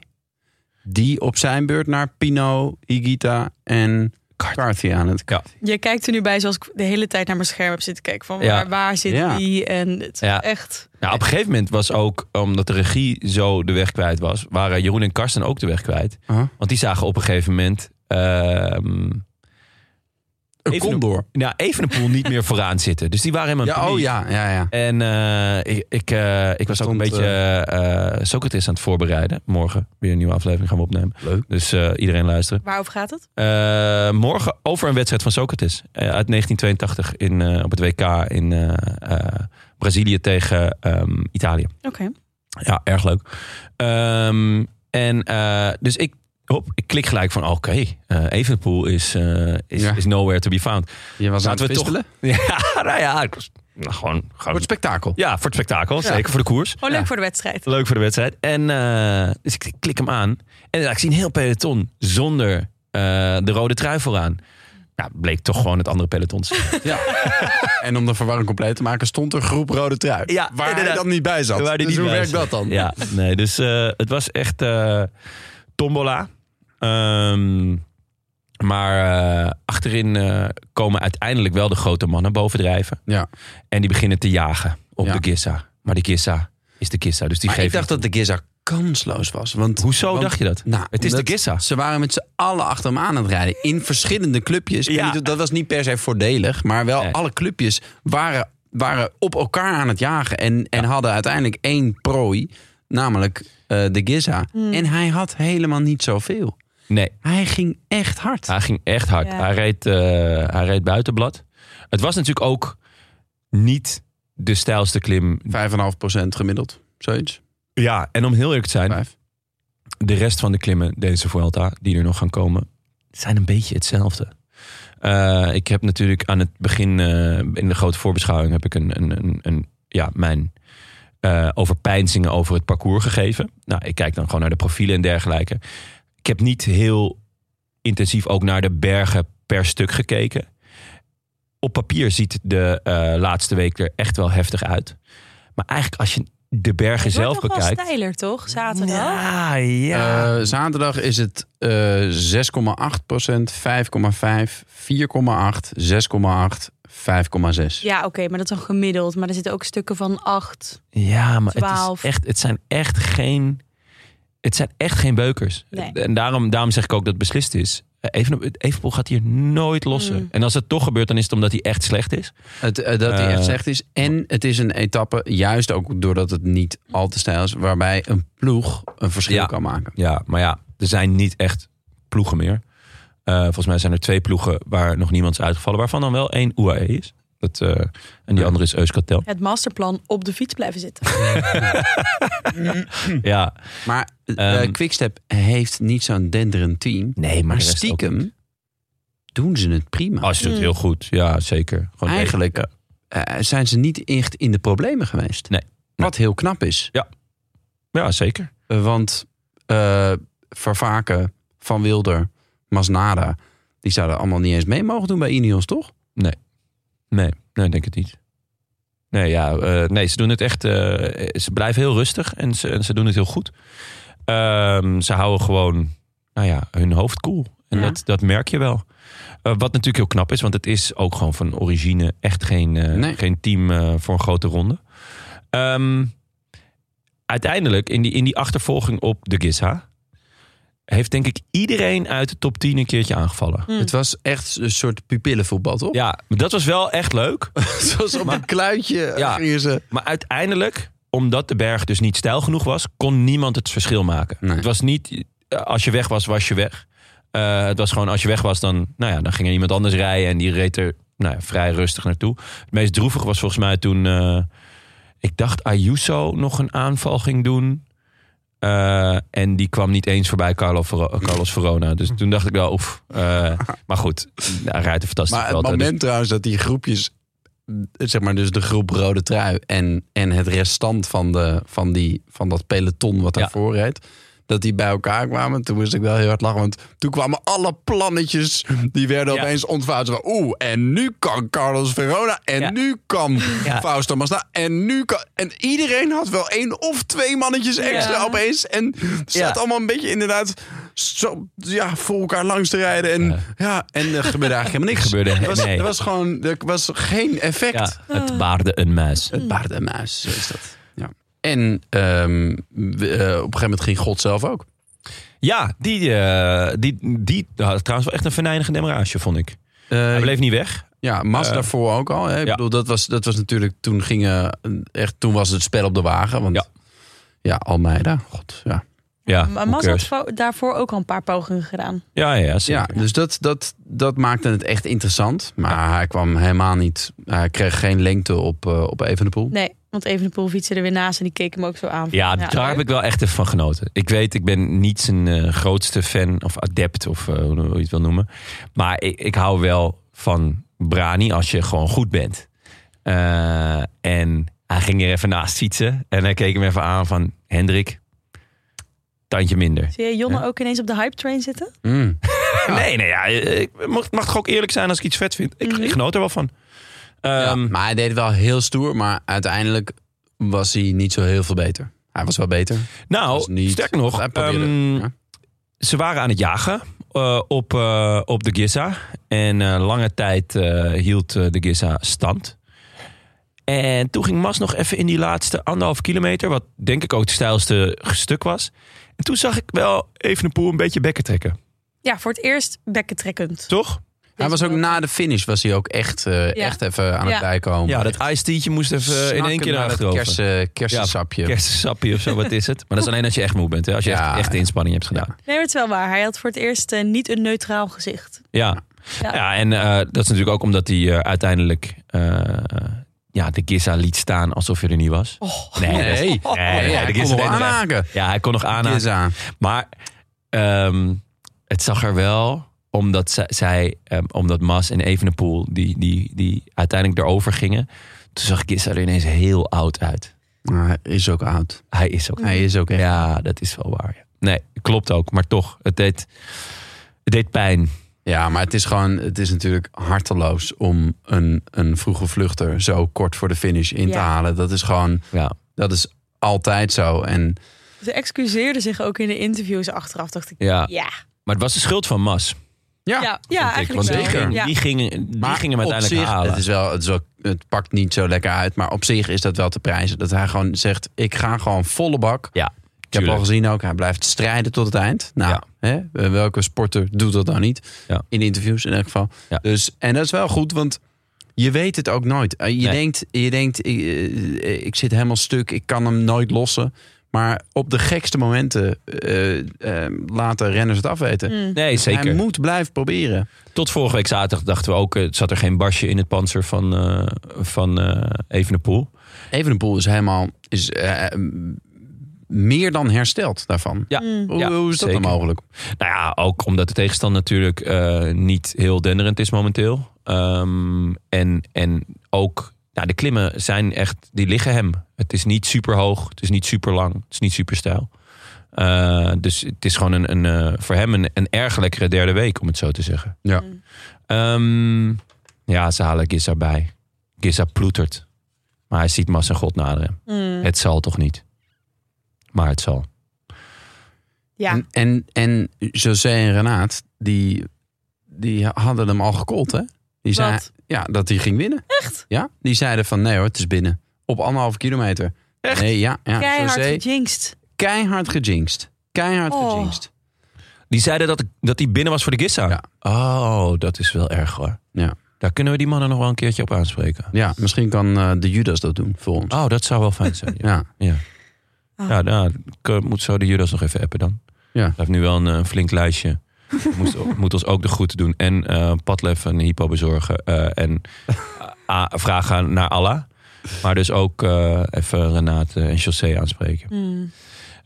B: Die op zijn beurt naar Pino, Higita en Carthy aan het
A: Ja.
C: Je kijkt er nu bij zoals ik de hele tijd naar mijn scherm heb zitten kijken. Van
A: Ja.
C: waar, waar zit
B: Ja.
C: die? En het is
A: Ja.
C: echt...
A: Nou, op een gegeven moment was ook, omdat de regie zo de weg kwijt was, waren Jeroen en Karsten ook de weg kwijt.
B: Aha.
A: Want die zagen op een gegeven moment. ehm,
B: Een
A: Even-
B: condor.
A: nou, Evenepoel niet meer vooraan zitten. Dus die waren helemaal in
B: Ja, oh
A: paniek.
B: ja, ja, ja.
A: En eh, ik, ik, eh, ik was ook een
B: Stond,
A: beetje eh, Socrates aan het voorbereiden. Morgen weer een nieuwe aflevering gaan we opnemen.
B: Leuk.
A: Dus eh, iedereen luisteren.
C: Waarover gaat het?
A: Eh, morgen over een wedstrijd van Socrates. eh, uit 1982 in, eh, op het WK in eh, eh, Brazilië tegen ehm, Italië.
C: Oké.
A: Ja, erg leuk. Ehm, en eh, dus ik, hop, ik klik gelijk van, oké, eh, Evenepoel is, eh, is,
B: Ja.
A: is nowhere to be found.
B: Je was aan
A: Laten
B: het
A: we toch-
B: wisselen.
A: Ja, nou ja, ik was- nou, gewoon,
B: Voor
A: gewoon...
B: het spektakel.
A: Ja, voor het spektakel, zeker voor de koers.
C: Oh, leuk
B: Ja.
C: voor de wedstrijd.
A: Leuk voor de wedstrijd. En eh, dus ik klik hem aan. En ja, ik zie een heel peloton zonder eh, de rode trui vooraan. Ja, bleek toch gewoon het andere peloton te zijn.
B: Ja. en om de verwarring compleet te maken, stond er groep rode trui.
A: Ja,
B: waar
A: inderdaad.
B: hij dan niet bij zat.
A: Waar hij
B: dus
A: niet
B: hoe
A: bij
B: werkt
A: zat.
B: dat dan?
A: ja, nee, dus eh, het was echt eh, tombola. Ehm, maar eh, achterin eh, komen uiteindelijk wel de grote mannen bovendrijven.
B: Ja.
A: En die beginnen te jagen op
B: Ja.
A: de Gissa. Maar die Gissa is de Gissa. Dus die
B: Maar ik
A: geven...
B: dacht dat de Giza kansloos was. Want,
A: Hoezo
B: want-
A: dacht je dat?
B: Nou,
A: het is de
B: omdat
A: Gissa.
B: Ze waren met z'n allen achter hem aan aan het rijden. In verschillende clubjes. Ik
A: Ja.
B: weet niet, dat was niet per se voordelig. Maar wel
A: Nee.
B: alle clubjes waren, waren op elkaar aan het jagen. En, en hadden uiteindelijk één prooi. Namelijk eh, de Giza. En hij had helemaal niet zoveel.
A: Nee,
B: Hij ging echt hard.
A: Hij ging echt hard.
C: Ja.
A: Hij, reed, eh, hij reed buitenblad. Het was natuurlijk ook niet de stijlste klim.
B: 5,5% gemiddeld. Zoiets.
A: Ja, en om heel eerlijk te zijn,
B: Vijf.
A: de rest van de klimmen deze Vuelta, die er nog gaan komen, zijn een beetje hetzelfde. Eh, ik heb natuurlijk aan het begin, eh, in de grote voorbeschouwing, heb ik een, een, een, een- ja, mijn eh overpeinzingen over het parcours gegeven. Nou, ik kijk dan gewoon naar de profielen en dergelijke. Ik heb niet heel intensief ook naar de bergen per stuk gekeken. Op papier ziet de eh, laatste week er echt wel heftig uit. Maar eigenlijk als je de bergen
C: Het
A: zelf
C: wordt nog wel
A: bekijkt.
C: steiler, toch? Zaterdag.
A: Ja, ja.
B: Eh, zaterdag is het eh 6,8%, 5,5, 4,8, 6,8, 5,6.
C: Ja, oké, maar dat is dan gemiddeld. Maar er zitten ook stukken van acht.
A: Ja, maar het,
C: Twaalf.
A: is echt, het zijn echt geen. Het zijn echt geen beukers.
C: Nee.
A: En daarom, daarom zeg ik ook dat het beslist is. Eh, Even, Evenpoel gaat hier nooit lossen.
C: Mm.
A: En als het toch gebeurt, dan is het omdat hij echt slecht is.
B: Het, eh, dat hij
A: Eh,
B: echt slecht is. En het is een etappe, juist ook doordat het niet al te stijl is, waarbij een ploeg een verschil
A: Ja.
B: kan maken.
A: Ja, maar ja, er zijn niet echt ploegen meer. Eh, volgens mij zijn er twee ploegen waar nog niemand is uitgevallen. Waarvan dan wel één UAE is. Dat, eh, en die
B: Ja.
A: andere is Euskatel.
C: Het masterplan op de fiets blijven zitten.
A: Ja.
B: Maar eh,
A: Ehm,
B: Quickstep heeft niet zo'n denderend team.
A: Nee,
B: Maar
A: de rest ook niet.
B: stiekem doen ze het prima.
A: Oh, ze
C: Mm.
A: doet het heel goed. Ja, zeker. Gewoon
B: Eigenlijk
A: ja.
B: eh, zijn ze niet echt in de problemen geweest.
A: Nee.
B: Wat heel knap is.
A: Ja, zeker.
B: Eh, Want eh, Vervaken, Van Wilder, Masnada... die zouden allemaal niet eens mee mogen doen bij Ineos, toch?
A: Nee, nee, ik denk het niet. Nee, ja, eh, nee, ze doen het echt. eh, ze blijven heel rustig en ze, en ze doen het heel goed. Ehm, ze houden gewoon, nou ja, hun hoofd koel. En
C: Ja.
A: dat, dat merk je wel. Eh, wat natuurlijk heel knap is, want het is ook gewoon van origine echt geen, eh,
B: Nee.
A: geen team eh, voor een grote ronde. Ehm, uiteindelijk, in die, in die achtervolging op de Giza, heeft denk ik iedereen uit de top 10 een keertje aangevallen.
C: Hm.
B: Het was echt een soort pupillenvoetbal, toch?
A: Ja, maar dat was wel echt leuk.
B: Zoals op een kluitje
A: Ja.
B: gingen ze...
A: Maar uiteindelijk, omdat de berg dus niet stijl genoeg was, kon niemand het verschil maken.
B: Nee.
A: Het was niet, eh, als je weg was, was je weg. Eh, het was gewoon, als je weg was, dan, nou ja, dan ging er iemand anders rijden. En die reed er nou ja, vrij rustig naartoe. Het meest droevige was volgens mij toen, eh, ik dacht Ayuso nog een aanval ging doen. Eh, en die kwam niet eens voorbij Carlo Vero- eh, Carlos Verona. Dus toen dacht ik wel, oef. eh, maar goed, hij rijdt een fantastische
B: Maar het
A: Vuelta, dus-
B: moment trouwens dat die groepjes... zeg maar dus de groep Rode Trui... en, en het restant van, de, van, die, van dat peloton wat
A: Ja.
B: daarvoor reed... dat die bij elkaar kwamen. Toen moest ik wel heel hard lachen. Want toen kwamen alle plannetjes... die werden
A: Ja.
B: opeens ontvouwd. Zo van, Oeh, en nu kan Carlos Verona. En
A: Ja.
B: nu kan
A: Ja.
B: Fausto Masna. En nu kan... En iedereen had wel één of twee mannetjes extra
C: Ja.
B: opeens. En zat
A: Ja.
B: allemaal een beetje inderdaad... Zo, ja, voor elkaar langs te rijden. En, ja.
A: Ja.
B: en er gebeurde eigenlijk helemaal niks.
A: Gebeurde-
B: Er was,
A: nee.
B: er was gewoon, er was geen effect.
A: ja, het baarde een muis.
B: Het paard en muis, zo is dat. Ja. En ehm, we- eh, op een gegeven moment ging God zelf ook.
A: Ja, die, eh, die, die had trouwens wel echt een venijnige demarage, vond ik. Hij bleef niet weg.
B: ja, Mas
A: eh,
B: daarvoor ook al. Hè? Ik
A: ja.
B: bedoel, dat was, dat was natuurlijk, toen eh, gingen, echt, toen was het spel op de wagen. Want, ja.
A: Ja.
B: Almeida, god, ja.
A: Ja,
C: Maar
A: who
C: Mas had
A: cares?
C: vo- daarvoor ook al een paar pogingen gedaan.
A: ja, ja,
B: Ja,
A: zeker.
B: dus dat, dat, dat maakte het echt interessant. Maar hij kwam helemaal niet. Hij kreeg geen lengte op, eh op Evenepoel.
C: Nee, want Evenepoel fietste er weer naast en die keek hem ook zo aan.
A: Ja, daar heb ik wel echt even van genoten. Ik weet, ik ben niet zijn eh, grootste fan of adept of eh, hoe je het wil noemen. Maar ik, ik hou wel van Brani als je gewoon goed bent. Eh, en hij ging er even naast fietsen. En hij keek hem even aan van Hendrik, tandje minder.
C: Zie je Jonne ook ineens op de hype train zitten?
B: Mm.
A: Nee, nee, ja, ik mag, mag toch ook eerlijk zijn als ik iets vet vind. Ik, ik genoot er wel van.
B: Ja,
A: Ehm,
B: maar hij deed het wel heel stoer. Maar uiteindelijk was hij niet zo heel veel beter. Hij was wel beter. was
A: nou,
B: niet-
A: sterker nog,
B: Hij probeerde,
A: ehm,
B: ja.
A: ze waren aan het jagen eh, op, eh, op de Giza. En eh, lange tijd eh, hield eh, de Giza stand. En toen ging Mas nog even in die laatste anderhalf kilometer, wat denk ik ook het stijlste stuk was. En toen zag ik wel even een poel een beetje bekken trekken,
C: Ja, voor het eerst bekkentrekkend.
A: toch?
B: Hij was ook
C: wel.
B: na de finish was hij ook echt, eh, echt even aan
C: Ja.
B: het bijkomen.
A: Ja, dat iced moest even eh, in één keer naar achterover.
B: Kers, kersensapje.
A: Ja, kersensappie of zo, wat is het? Maar dat is alleen als je echt moe bent, hè? als je
B: Ja,
A: echt, echt de
B: ja.
A: inspanning hebt gedaan.
C: Nee, maar het is wel waar. Hij had voor het eerst eh, niet een neutraal gezicht.
A: Ja, ja.
C: Ja.
A: en eh, dat is natuurlijk ook omdat hij eh, uiteindelijk eh, ja, de Giza liet staan alsof hij er niet was.
B: Oh.
A: nee, Oh, dat is-
B: Nee.
A: nee, nee,
B: hij
A: de
B: kon
A: Giza
B: nog
A: deed het echt.
B: aanhaken.
A: Ja, hij kon nog aanhaken.
B: Giza.
A: Maar ehm, het zag er wel, omdat zij, zij ehm, omdat Mas en Evenepoel, die, die, die uiteindelijk erover gingen, toen zag Giza er ineens heel oud uit.
B: Maar hij is ook oud.
A: Hij is ook
B: Hij is ook echt.
A: Ja, dat is wel waar. ja. Nee, klopt ook. Maar toch, het deed, het deed pijn.
B: Ja, maar het is gewoon, het is natuurlijk harteloos om een, een vroege vluchter zo kort voor de finish in te
C: Ja.
B: halen. Dat is gewoon,
A: Ja.
B: dat is altijd zo. En
C: Ze excuseerde zich ook in de interviews achteraf. Dacht ik,
A: Ja.
C: ja.
A: Maar het was de schuld van Mas.
B: ja,
C: Ja, ja eigenlijk
B: want
C: wel.
B: die ging-
C: Ja.
A: Die gingen, die gingen hem
B: op
A: uiteindelijk
B: zich,
A: halen.
B: Het, is wel, het, is wel, het pakt niet zo lekker uit, maar op zich is dat wel te prijzen. Dat hij gewoon zegt, ik ga gewoon volle bak.
A: Ja,
B: Ik heb al
A: tuurlijk.
B: gezien ook, hij blijft strijden tot het eind. Nou,
A: Ja.
B: hè, welke sporter doet dat nou niet?
A: Ja.
B: In interviews in elk geval.
A: Ja.
B: Dus, en dat is wel goed, want je weet het ook nooit. Eh, Je
A: Nee.
B: denkt, je denkt ik, eh, ik zit helemaal stuk, ik kan hem nooit lossen. Maar op de gekste momenten eh, eh, laten renners het afweten.
A: Nee, zeker.
B: Hij moet blijven proberen.
A: Tot vorige week zaterdag dachten we ook... eh, zat er geen basje in het panzer van, eh van eh Evenepoel.
B: Evenepoel is helemaal is, eh, meer dan hersteld daarvan.
A: Ja,
B: Hoe,
A: ja,
B: hoe is dat
A: zeker.
B: dan mogelijk?
A: Nou ja, ook omdat de tegenstand natuurlijk eh, niet heel denderend is momenteel. Ehm, en, en ook nou, de klimmen zijn echt, die liggen hem. Het is niet super hoog, het is niet super lang, het is niet super stijl. Eh, dus het is gewoon een, een, eh, voor hem een, een erg lekkere derde week, om het zo te zeggen.
B: Ja.
A: Ehm, ja, ze halen Giza bij. Giza ploetert. Maar hij ziet Mas en God naderen. Het zal toch niet? Maar het zal.
C: Ja.
B: En, en, en José en Renaat, die, die hadden hem al gekold, hè? Die zei
C: Wat?
B: ja, dat hij ging winnen.
C: Echt?
B: Ja, die zeiden van nee hoor, het is binnen. Op anderhalve kilometer.
A: Echt?
B: Nee, ja, ja.
C: Keihard
B: José,
C: gejinxed.
B: keihard gejinxed. Keihard
C: Oh.
B: gejinxed.
A: Die zeiden dat, dat die binnen was voor de Gissa.
B: Ja.
A: Oh, dat is wel erg hoor.
B: Ja.
A: Daar kunnen we die mannen nog wel een keertje op aanspreken.
B: Ja, misschien kan eh, de Judas dat doen voor ons.
A: Oh, dat zou wel fijn zijn. Ja,
B: Ja,
A: ja.
C: Oh.
A: ja nou, ik moet zo de Judas nog even appen dan.
B: Ja.
A: Hij heeft nu wel een, eh, flink lijstje. Moest, moet ons ook de groeten doen. En eh padlef en hypo bezorgen. eh, en a- vragen naar Allah. Maar dus ook eh, even Renate en José aanspreken.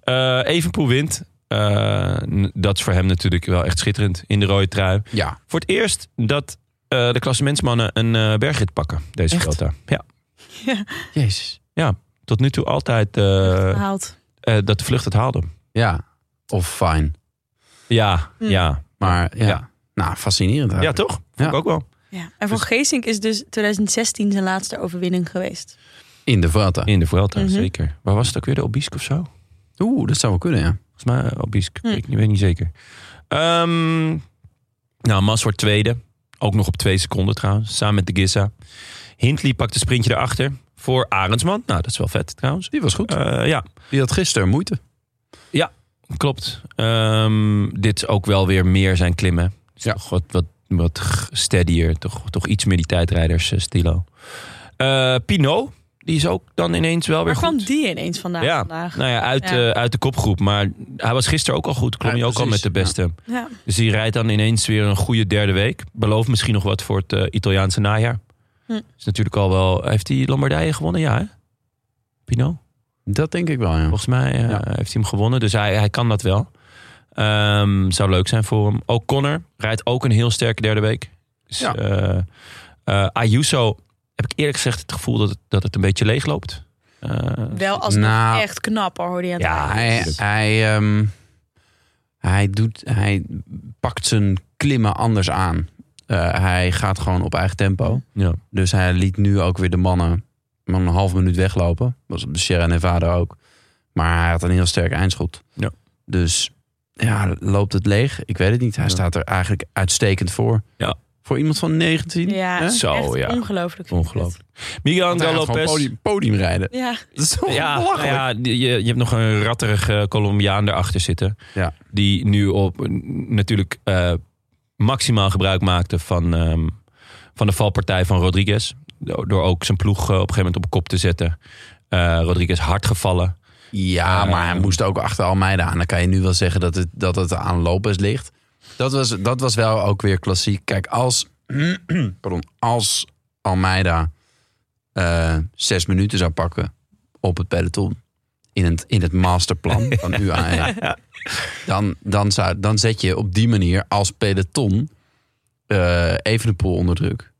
A: Eh Evenpoel wint. Eh, n- dat is voor hem natuurlijk wel echt schitterend. In de rode trui.
B: ja.
A: Voor het eerst dat eh, de klassementsmannen een eh bergrit pakken, deze
B: Echt?
A: Vuelta. Ja,
B: Jezus.
A: tot nu toe altijd eh,
C: Haalt.
A: eh, dat de vlucht het haalde.
B: Ja, of fijn.
A: Ja, ja.
B: Maar ja,
A: Ja.
B: nou, fascinerend.
A: ja,
B: eigenlijk.
A: toch? Vond
B: Ja.
A: ik ook wel.
C: Ja. En Van Geesink is dus 2016 zijn laatste overwinning geweest.
B: In de Vuelta.
A: In de Vuelta,
C: Mhm.
A: zeker. Waar was het ook weer? De Obisk of zo?
B: Oeh, dat zou wel kunnen, ja.
A: Volgens mij eh, Obisk, ik weet niet zeker. Ehm, nou, Mas wordt tweede. Ook nog op twee seconden trouwens, samen met de Giza. Hindley pakt een sprintje erachter voor Arendsman. Nou, dat is wel vet trouwens.
B: Die was goed.
A: Eh, ja,
B: Die had gisteren moeite.
A: Klopt. Ehm, dit is ook wel weer meer zijn klimmen. Dus
B: Ja.
A: toch wat, wat, wat steadier. Toch, toch iets meer die tijdrijders eh, stilo. Eh Pinot, Die is ook dan ineens wel weer
C: Waar kwam
A: goed.
C: die ineens vandaan
A: ja,
C: vandaag?
A: nou ja, uit, eh,
C: Ja.
A: uit de kopgroep. Maar hij was gisteren ook al goed. Klom
B: Ja,
A: hij ook al met
B: precies,
A: de beste.
C: Ja.
A: Dus die rijdt dan ineens weer een goede derde week. Belooft misschien nog wat voor het eh, Italiaanse najaar.
C: Hm.
A: Is natuurlijk al wel. Heeft hij Lombardije gewonnen? Ja, hè? Pino?
B: Dat denk ik wel, ja.
A: Volgens mij eh,
B: Ja.
A: heeft hij hem gewonnen. Dus hij, hij kan dat wel. Ehm, zou leuk zijn voor hem. Ook Connor rijdt ook een heel sterke derde week. Dus,
B: Ja.
A: eh, eh, Ayuso heb ik eerlijk gezegd het gevoel dat het, dat het een beetje leeg loopt. Eh,
C: Wel als nog
B: Nou.
C: echt knap hoor, hoe die aan het
A: Ja,
C: rijden
B: Hij,
C: is.
B: hij, ehm, hij, doet, hij pakt zijn klimmen anders aan. Eh, hij gaat gewoon op eigen tempo.
A: ja.
B: Dus hij liet nu ook weer de mannen maar een half minuut weglopen. Dat was op de Sierra Nevada ook. Maar hij had een heel sterk eindschot.
A: Ja.
B: Dus ja, loopt het leeg? Ik weet het niet. Hij
A: Ja.
B: staat er eigenlijk uitstekend voor.
A: Ja.
B: Voor iemand van 19.
C: Ja,
B: hè?
A: Zo,
C: echt
A: ja.
C: Ongelooflijk.
A: Ongelooflijk. Miguel
B: Want hij
A: Angel
B: gaat gewoon
A: Lopez.
B: podium, podium rijden.
C: Ja,
B: Dat is toch
A: Ja, nou
B: Oh, belachelijk?
A: ja, die- je, je hebt nog een ratterige Colombiaan erachter zitten.
B: Ja.
A: Die nu op eh, natuurlijk eh, maximaal gebruik maakte van, ehm, van de valpartij van Rodriguez. Do- Door ook zijn ploeg eh, op een gegeven moment op kop te zetten. Eh, Rodriguez hard gevallen.
B: Ja,
A: Eh,
B: maar hij moest ook achter Almeida aan. Dan kan je nu wel zeggen dat het, dat het aan Lopez ligt. Dat was, dat was wel ook weer klassiek. Kijk, als, pardon, als Almeida eh, zes minuten zou pakken op het peloton... in het, in het masterplan van UAE... Dan, dan, zou, dan zet je op die manier als peloton eh even de pool onder druk.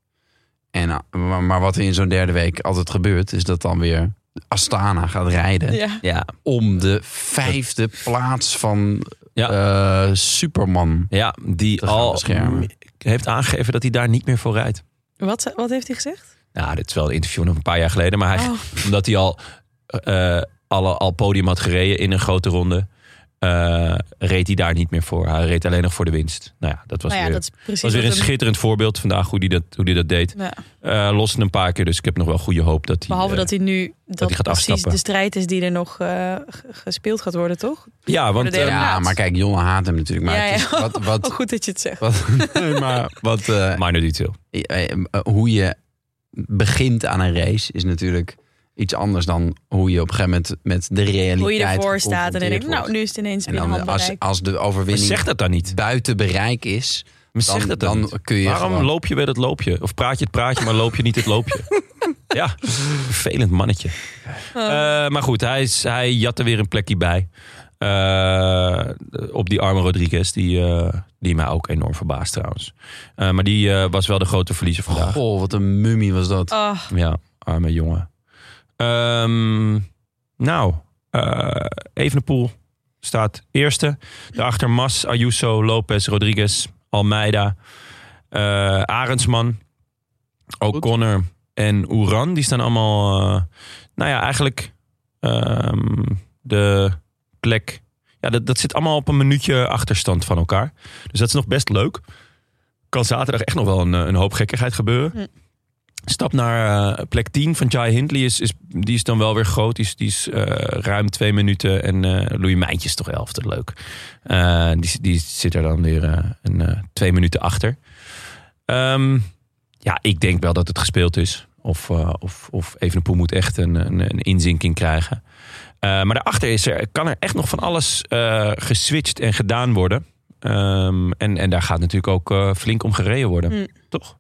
B: En, eh, maar, maar wat er in zo'n derde week altijd gebeurt... is dat dan weer Astana gaat rijden
C: ja.
A: Ja.
B: om de vijfde plaats van eh, Superman.
A: Ja, die
B: Te gaan
A: al
B: beschermen.
A: heeft aangegeven dat hij daar niet meer voor rijdt.
C: Wat, wat heeft hij gezegd?
A: Nou, dit is wel een interview nog een paar jaar geleden. Maar hij,
C: Oh.
A: Omdat hij al, eh, alle, al podium had gereden in een grote ronde. eh, reed hij daar niet meer voor. Hij reed alleen nog voor de winst. Nou ja, dat was
C: nou ja,
A: weer,
C: dat is precies
A: was weer een
C: wat hem-
A: schitterend voorbeeld vandaag hoe hij dat, hoe die dat deed.
C: Ja.
A: Eh loste een paar keer, dus ik heb nog wel goede hoop dat hij...
C: Behalve
A: eh,
C: dat hij nu dat,
A: hij gaat
C: precies
A: afstappen.
C: de strijd is die er nog eh, g- gespeeld gaat worden, toch?
A: Ja, want
C: de
A: eh,
C: derde
A: ja,
B: Ja,
C: plaats.
B: maar kijk, Jonne haat hem natuurlijk. Maar
C: Ja,
B: het is-
C: ja.
B: wat, wat,
C: Oh, goed dat je het zegt.
B: wat, nee, maar wat, eh,
A: minor detail.
B: eh, eh, hoe je begint aan een race is natuurlijk iets anders dan hoe je op een gegeven moment met de realiteit
C: Hoe je ervoor staat en dan
B: geconfronteerd
C: denk ik, nou,
B: wordt.
C: nu is het ineens
B: En
C: weer
B: dan eh, als,
C: handbereik.
B: als de
A: Maar
B: overwinning
A: zeg dat dan niet.
B: buiten bereik is,
A: Maar
B: dan,
A: zeg dat dan,
B: dan
A: niet.
B: kun je
A: Waarom
B: gewoon-
A: loop je weer dat loopje? Of praat je het praatje, maar loop je niet het loopje? ja, vervelend mannetje. Eh, maar goed, hij, is, hij jat er weer een plekje bij. Eh, op die arme Rodriguez, die, eh, die mij ook enorm verbaast trouwens. Eh, maar die eh, was wel de grote verliezer vandaag.
B: Goh, wat een mummie was dat.
C: Oh,
A: Ja, arme jongen. Ehm, nou, eh Evenepoel staat eerste. Daarachter Mas, Ayuso, Lopez, Rodriguez, Almeida, eh Arendsman, O'Connor en Oeran. Die staan allemaal, eh, nou ja, eigenlijk ehm, de plek... Ja, dat, dat zit allemaal op een minuutje achterstand van elkaar. Dus dat is nog best leuk. Kan zaterdag echt nog wel een, eh, een hoop gekkigheid gebeuren. Stap naar eh, plek 10 van Jai Hindley. Is, is, die is dan wel weer groot. Die is, die is eh, ruim twee minuten. En eh Louis Mijntje is toch elfde. Leuk. Eh, die, die zit er dan weer eh, een, eh, twee minuten achter. Ehm, ja, ik denk wel dat het gespeeld is. Of, eh of, of Evenepoel moet echt een, een, een inzinking krijgen. Eh, maar daarachter is er, kan er echt nog van alles eh, geswitcht en gedaan worden. Ehm, en, en daar gaat natuurlijk ook eh, flink om gereden worden.
C: Mm.
A: Toch?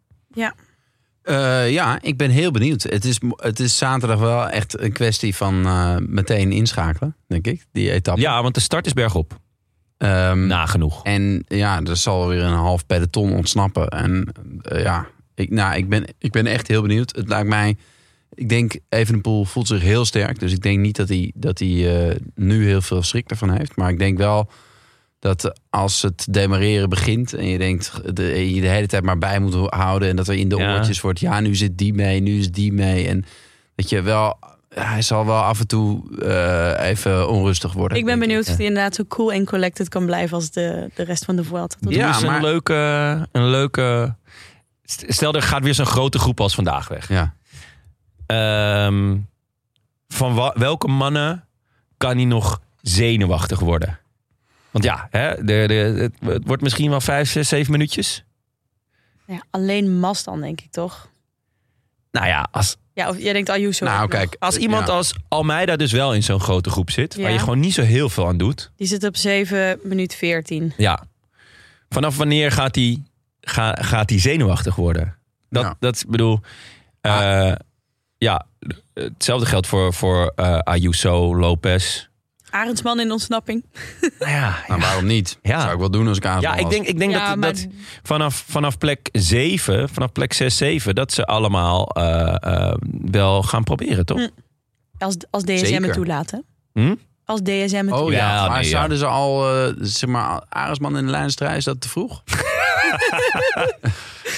B: Eh, ja, ik ben heel benieuwd. Het is, het is zaterdag wel echt een kwestie van eh, meteen inschakelen, denk ik, die etappe.
A: Ja, want de start is bergop.
B: Ehm,
A: Nagenoeg.
B: En ja, er zal weer een half peloton ontsnappen. En eh, ja, ik, nou, ik, ben, ik ben echt heel benieuwd. Het lijkt mij, ik denk Evenepoel voelt zich heel sterk. Dus ik denk niet dat hij, dat hij eh, nu heel veel schrik ervan heeft. Maar ik denk wel dat als het demareren begint en je denkt de, eh, je de hele tijd maar bij moet houden en dat er in de
A: Ja.
B: oortjes wordt, ja nu zit die mee, nu is die mee en dat je wel, hij zal wel af en toe eh, even onrustig worden.
C: ik ben
B: denk
C: benieuwd
B: Ja.
C: of hij inderdaad zo cool en collected kan blijven als de, de rest van de Vuelta. tot nu
B: Ja,
A: Ja, is een
B: maar-
A: leuke, een leuke. st- Stel, er gaat weer zo'n grote groep als vandaag weg.
B: Ja.
A: Ehm, van wa- welke mannen kan hij nog zenuwachtig worden? Want ja, hè, de, de, het, het wordt misschien wel vijf, zes, zeven minuutjes.
C: toe. Ja, alleen Mas dan, denk ik toch?
A: Nou ja, als,
C: Ja, of jij denkt Ayuso.
B: Nou,
C: ook nog.
B: kijk.
A: Als iemand
B: ja.
A: als Almeida dus wel in zo'n grote groep zit, waar
C: Ja.
A: je gewoon niet zo heel veel aan doet.
C: Die zit op 7 minuut 14.
A: Ja. Vanaf wanneer gaat hij ga, gaat hij zenuwachtig worden? Dat,
B: Ja.
A: dat is- bedoel. eh, Ja, hetzelfde geldt voor, voor eh, Ayuso, Lopez.
C: Arendsman in ontsnapping.
A: Nou ja,
B: Nou, waarom niet?
A: Ja.
B: Zou ik wel doen als ik aanval
A: ja ik
B: was.
A: denk, ik denk
C: ja,
A: dat,
C: maar
A: dat vanaf, vanaf plek 7, vanaf plek 6, 7, dat ze allemaal eh, eh, wel gaan proberen, toch?
C: Hm. als, als DSM
B: Zeker.
C: het toelaat, hè?
A: Hm?
C: Als DSM het
B: Oh ja,
A: Ja,
B: maar
A: nee, ja.
B: zouden ze al, eh, zeg maar, Aresman in de lijnstrijd, is dat te vroeg?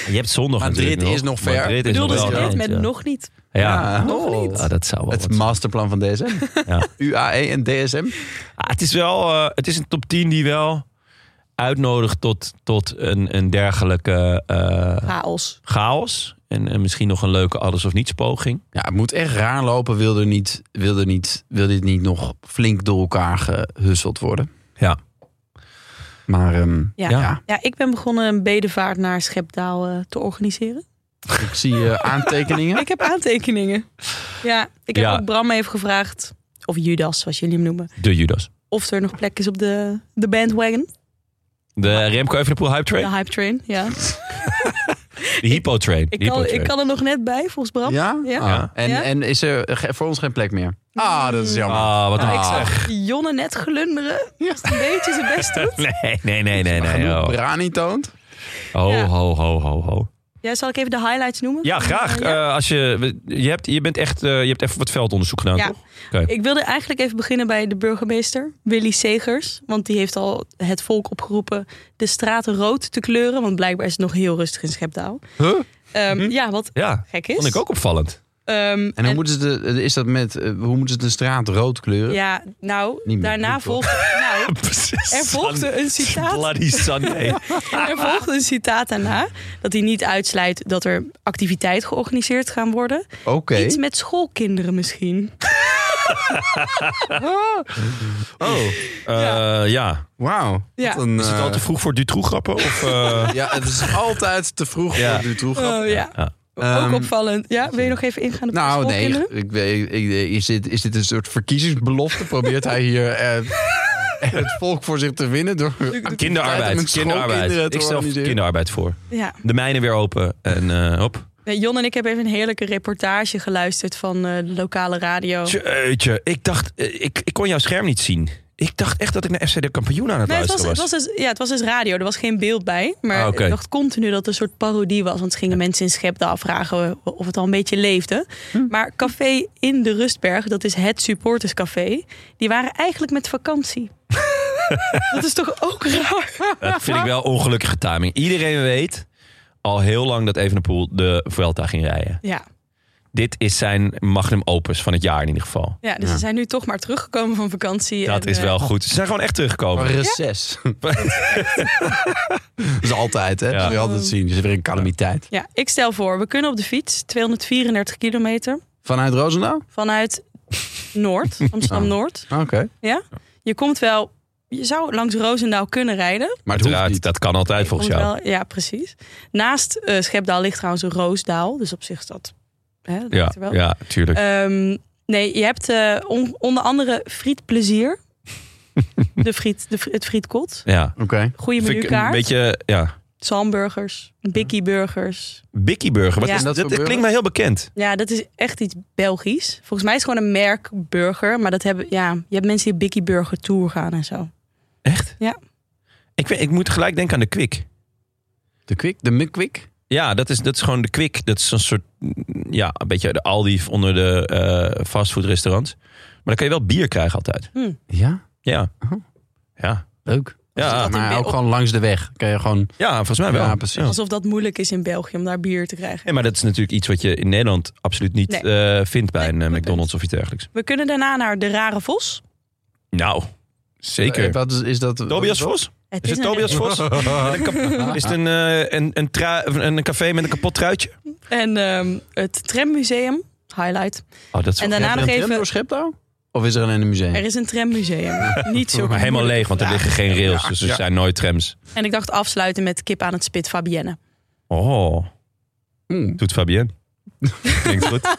A: Je hebt zondag
B: Madrid
A: natuurlijk nog.
B: is nog ver.
A: Madrid is
C: Bedoelde
A: nog
C: ze
A: wel
C: dit
A: eind,
C: met
A: ja.
C: nog niet.
A: Ja.
B: Ja.
A: Oh.
B: Nog niet.
A: Ah, dat zou wel
B: Het
A: wat zijn.
B: masterplan van DSM.
A: Ja.
B: UAE E en DSM.
A: Ah, het is wel eh, het is een top 10 die wel uitnodigt tot, tot een, een dergelijke eh,
C: Chaos.
A: chaos. En, en misschien nog een leuke alles of niets poging.
B: Ja, het moet echt raar lopen. Wil, er niet, wil, er niet, wil dit niet nog flink door elkaar gehusseld worden?
A: Ja.
B: Maar ehm,
C: Ja.
B: ja.
C: Ja. ik ben begonnen een bedevaart naar Schepdaal eh, te organiseren.
B: ik zie eh, aantekeningen.
C: Ik heb aantekeningen. Ja, ik heb
A: Ja.
C: ook Bram even gevraagd, of Judas, zoals jullie hem noemen,
A: De Judas.
C: of er nog plek is op de, de bandwagon,
A: De Remco Evenepoel Hype
C: de
A: Train.
C: hype train. Ja.
A: De Hippo Train.
C: Ik,
A: De Hippo
C: kan,
A: Train.
C: ik kan er nog net bij, volgens Bram.
B: Ja?
C: Ja.
B: Ah, En,
C: Ja.
B: en is er ge- voor ons geen plek meer? Ah, dat is jammer.
A: Ah, wat
B: Ah.
A: een
C: Ik
A: ah.
C: zag Jonne net glunderen. Als hij een beetje zijn best doet.
A: Nee, nee, nee, nee. nee,
B: Genoeg
A: oh.
B: Brani toont.
A: Ho,
C: Ja.
A: ho, ho, ho, ho.
C: Ja, zal ik even de highlights noemen?
A: Ja,
C: Van,
A: graag.
C: eh, ja.
A: Eh, als je, we- je, hebt, je, bent echt, eh, je hebt even wat veldonderzoek gedaan,
C: Ja.
A: toch?
C: Ik wilde eigenlijk even beginnen bij de burgemeester, Willy Segers. Want die heeft al het volk opgeroepen de straten rood te kleuren. Want blijkbaar is het nog heel rustig in Schepdaal.
B: Huh?
C: Ehm,
A: Mhm.
C: Ja, wat
A: Ja,
C: gek is.
A: vond ik ook opvallend.
C: Ehm,
B: En hoe moeten ze de, is dat met, eh, hoe moeten ze de straat rood kleuren?
C: Ja, nou,
B: Niet meer
C: daarna
B: goed, hoor.
C: volgde, nou, er volgde een citaat.
A: Bloody Sunday.
C: Er volgde een citaat daarna. Dat hij niet uitsluit dat er activiteiten georganiseerd gaan worden.
B: Oké.
C: Iets met schoolkinderen misschien.
A: Oh, ja. Eh, ja.
B: Wauw.
C: Ja.
B: Wat een,
A: Is het al
B: eh,
A: te vroeg voor Dutroux-grappen? Of, eh,
B: Ja, het is altijd te vroeg
A: Ja.
B: voor Dutroux.
C: Oh, ja.
A: Ja.
B: Ehm,
C: ook opvallend. Ja, wil je nog even ingaan op de
B: Nou, nee.
C: schoolkinderen?
B: Ik, weet- ik, is, dit, is dit een soort verkiezingsbelofte? Probeert hij hier eh, het volk voor zich te winnen? Door activiteiten
A: kinderarbeid.
B: met schoolkinderen
A: kinderarbeid.
B: te
A: Ik stel
B: organiseren?
A: kinderarbeid voor.
C: Ja.
A: De mijnen weer open en eh, hop.
C: Nee, Jon en ik hebben even een heerlijke reportage geluisterd van eh, de lokale radio.
A: Jeetje, ik dacht, eh, ik, ik kon jouw scherm niet zien. Ik dacht echt dat ik naar FC de Kampioen aan het
C: Nee, het was,
A: luisteren
C: het,
A: was.
C: was dus, ja, het was dus radio, er was geen beeld bij. Maar
A: Ah, oké.
C: ik dacht continu dat het een soort parodie was. Want ze gingen mensen in Schepdaal vragen of het al een beetje leefde. Maar Café in de Rustberg, dat is het supporterscafé... die waren eigenlijk met vakantie. dat is toch ook raar?
A: Dat vind ik wel ongelukkige timing. Iedereen weet al heel lang dat Evenepoel de Vuelta ging rijden.
C: Ja,
A: Dit is zijn magnum opus van het jaar in ieder geval.
C: ja dus ze zijn nu toch maar teruggekomen van vakantie.
A: Dat
C: en,
A: is
C: eh,
A: wel goed. Ze zijn gewoon echt teruggekomen.
B: Een reces. dat is altijd, hè? Dat wil je altijd zien. Er is weer een calamiteit.
C: Ja, ik stel voor, we kunnen op de fiets, 234 kilometer...
B: Vanuit Roosendaal?
C: vanuit Noord,
A: Ah.
C: Amsterdam-Noord.
B: Oké.
C: Ja? Je komt wel, je zou langs Roosendaal kunnen rijden.
B: Maar het hoeft
A: Uiteraard,
B: niet.
A: dat kan altijd volgens
C: Komt
A: jou.
C: wel- ja, precies. Naast eh, Schepdaal ligt trouwens een Roosdaal, dus op zich is dat. Hè, dat
A: Ja,
C: ligt er wel.
A: ja, tuurlijk.
C: Ehm, nee, je hebt eh, on- onder andere frietplezier. de friet, de, fri- het frietkot.
A: ja.
B: Oké.
C: Goede
A: Vind ik een
C: menukaart.
A: beetje, ja.
C: Zalmburgers, bikkie burgers.
A: Bikkie Burger. Wat
C: Ja.
A: is
C: En
A: dat?
B: dat voor
A: Dat klinkt
B: burger?
A: mij heel bekend.
C: Ja, dat is echt iets Belgisch. Volgens mij is het gewoon een merk burger. Maar dat hebben, ja, je hebt mensen die bikkie burger tour gaan en
A: Oh.
C: zo.
A: Echt?
C: Ja.
A: Ik, weet- ik moet gelijk denken aan de Kwik.
B: De Kwik? De McQuik?
A: Ja, dat is, dat is gewoon de Kwik. Dat is een soort, mm, ja, een beetje de Aldi onder de eh fastfoodrestaurants. Maar dan kan je wel bier krijgen altijd.
B: Ja,
A: Ja.
B: Oh.
A: Ja.
B: leuk.
A: Ja,
B: maar ook gewoon langs de weg. Kan je gewoon...
A: ja, volgens mij wel.
B: Ja, precies.
C: Alsof dat moeilijk is in België om daar bier te krijgen.
A: Nee, maar dat is natuurlijk iets wat je in Nederland absoluut niet eh, vindt bij
C: Nee,
A: een eh,
C: goed
A: McDonald's of iets dergelijks.
C: We kunnen daarna naar de Rare Vos.
A: Nou, zeker.
B: Eh, Wat is, is dat...
A: Tobias Vos?
C: Het
A: Is het Tobias Vos? Met een kap- Is het een, eh, een, een, trui- of een een café met een kapot truitje?
C: En ehm, het trammuseum, highlight.
A: Oh, dat is
C: En daarna nog
B: Een tram
C: even,
B: door Schepdaal? Of is er een in een museum?
C: er is een trammuseum. Niet zo
A: maar helemaal leeg, want er liggen geen rails. Dus er
B: Ja.
A: zijn nooit trams.
C: En ik dacht afsluiten met kip aan het spit Fabienne.
A: Oh,
B: Mm.
A: doet Fabienne. Klinkt goed.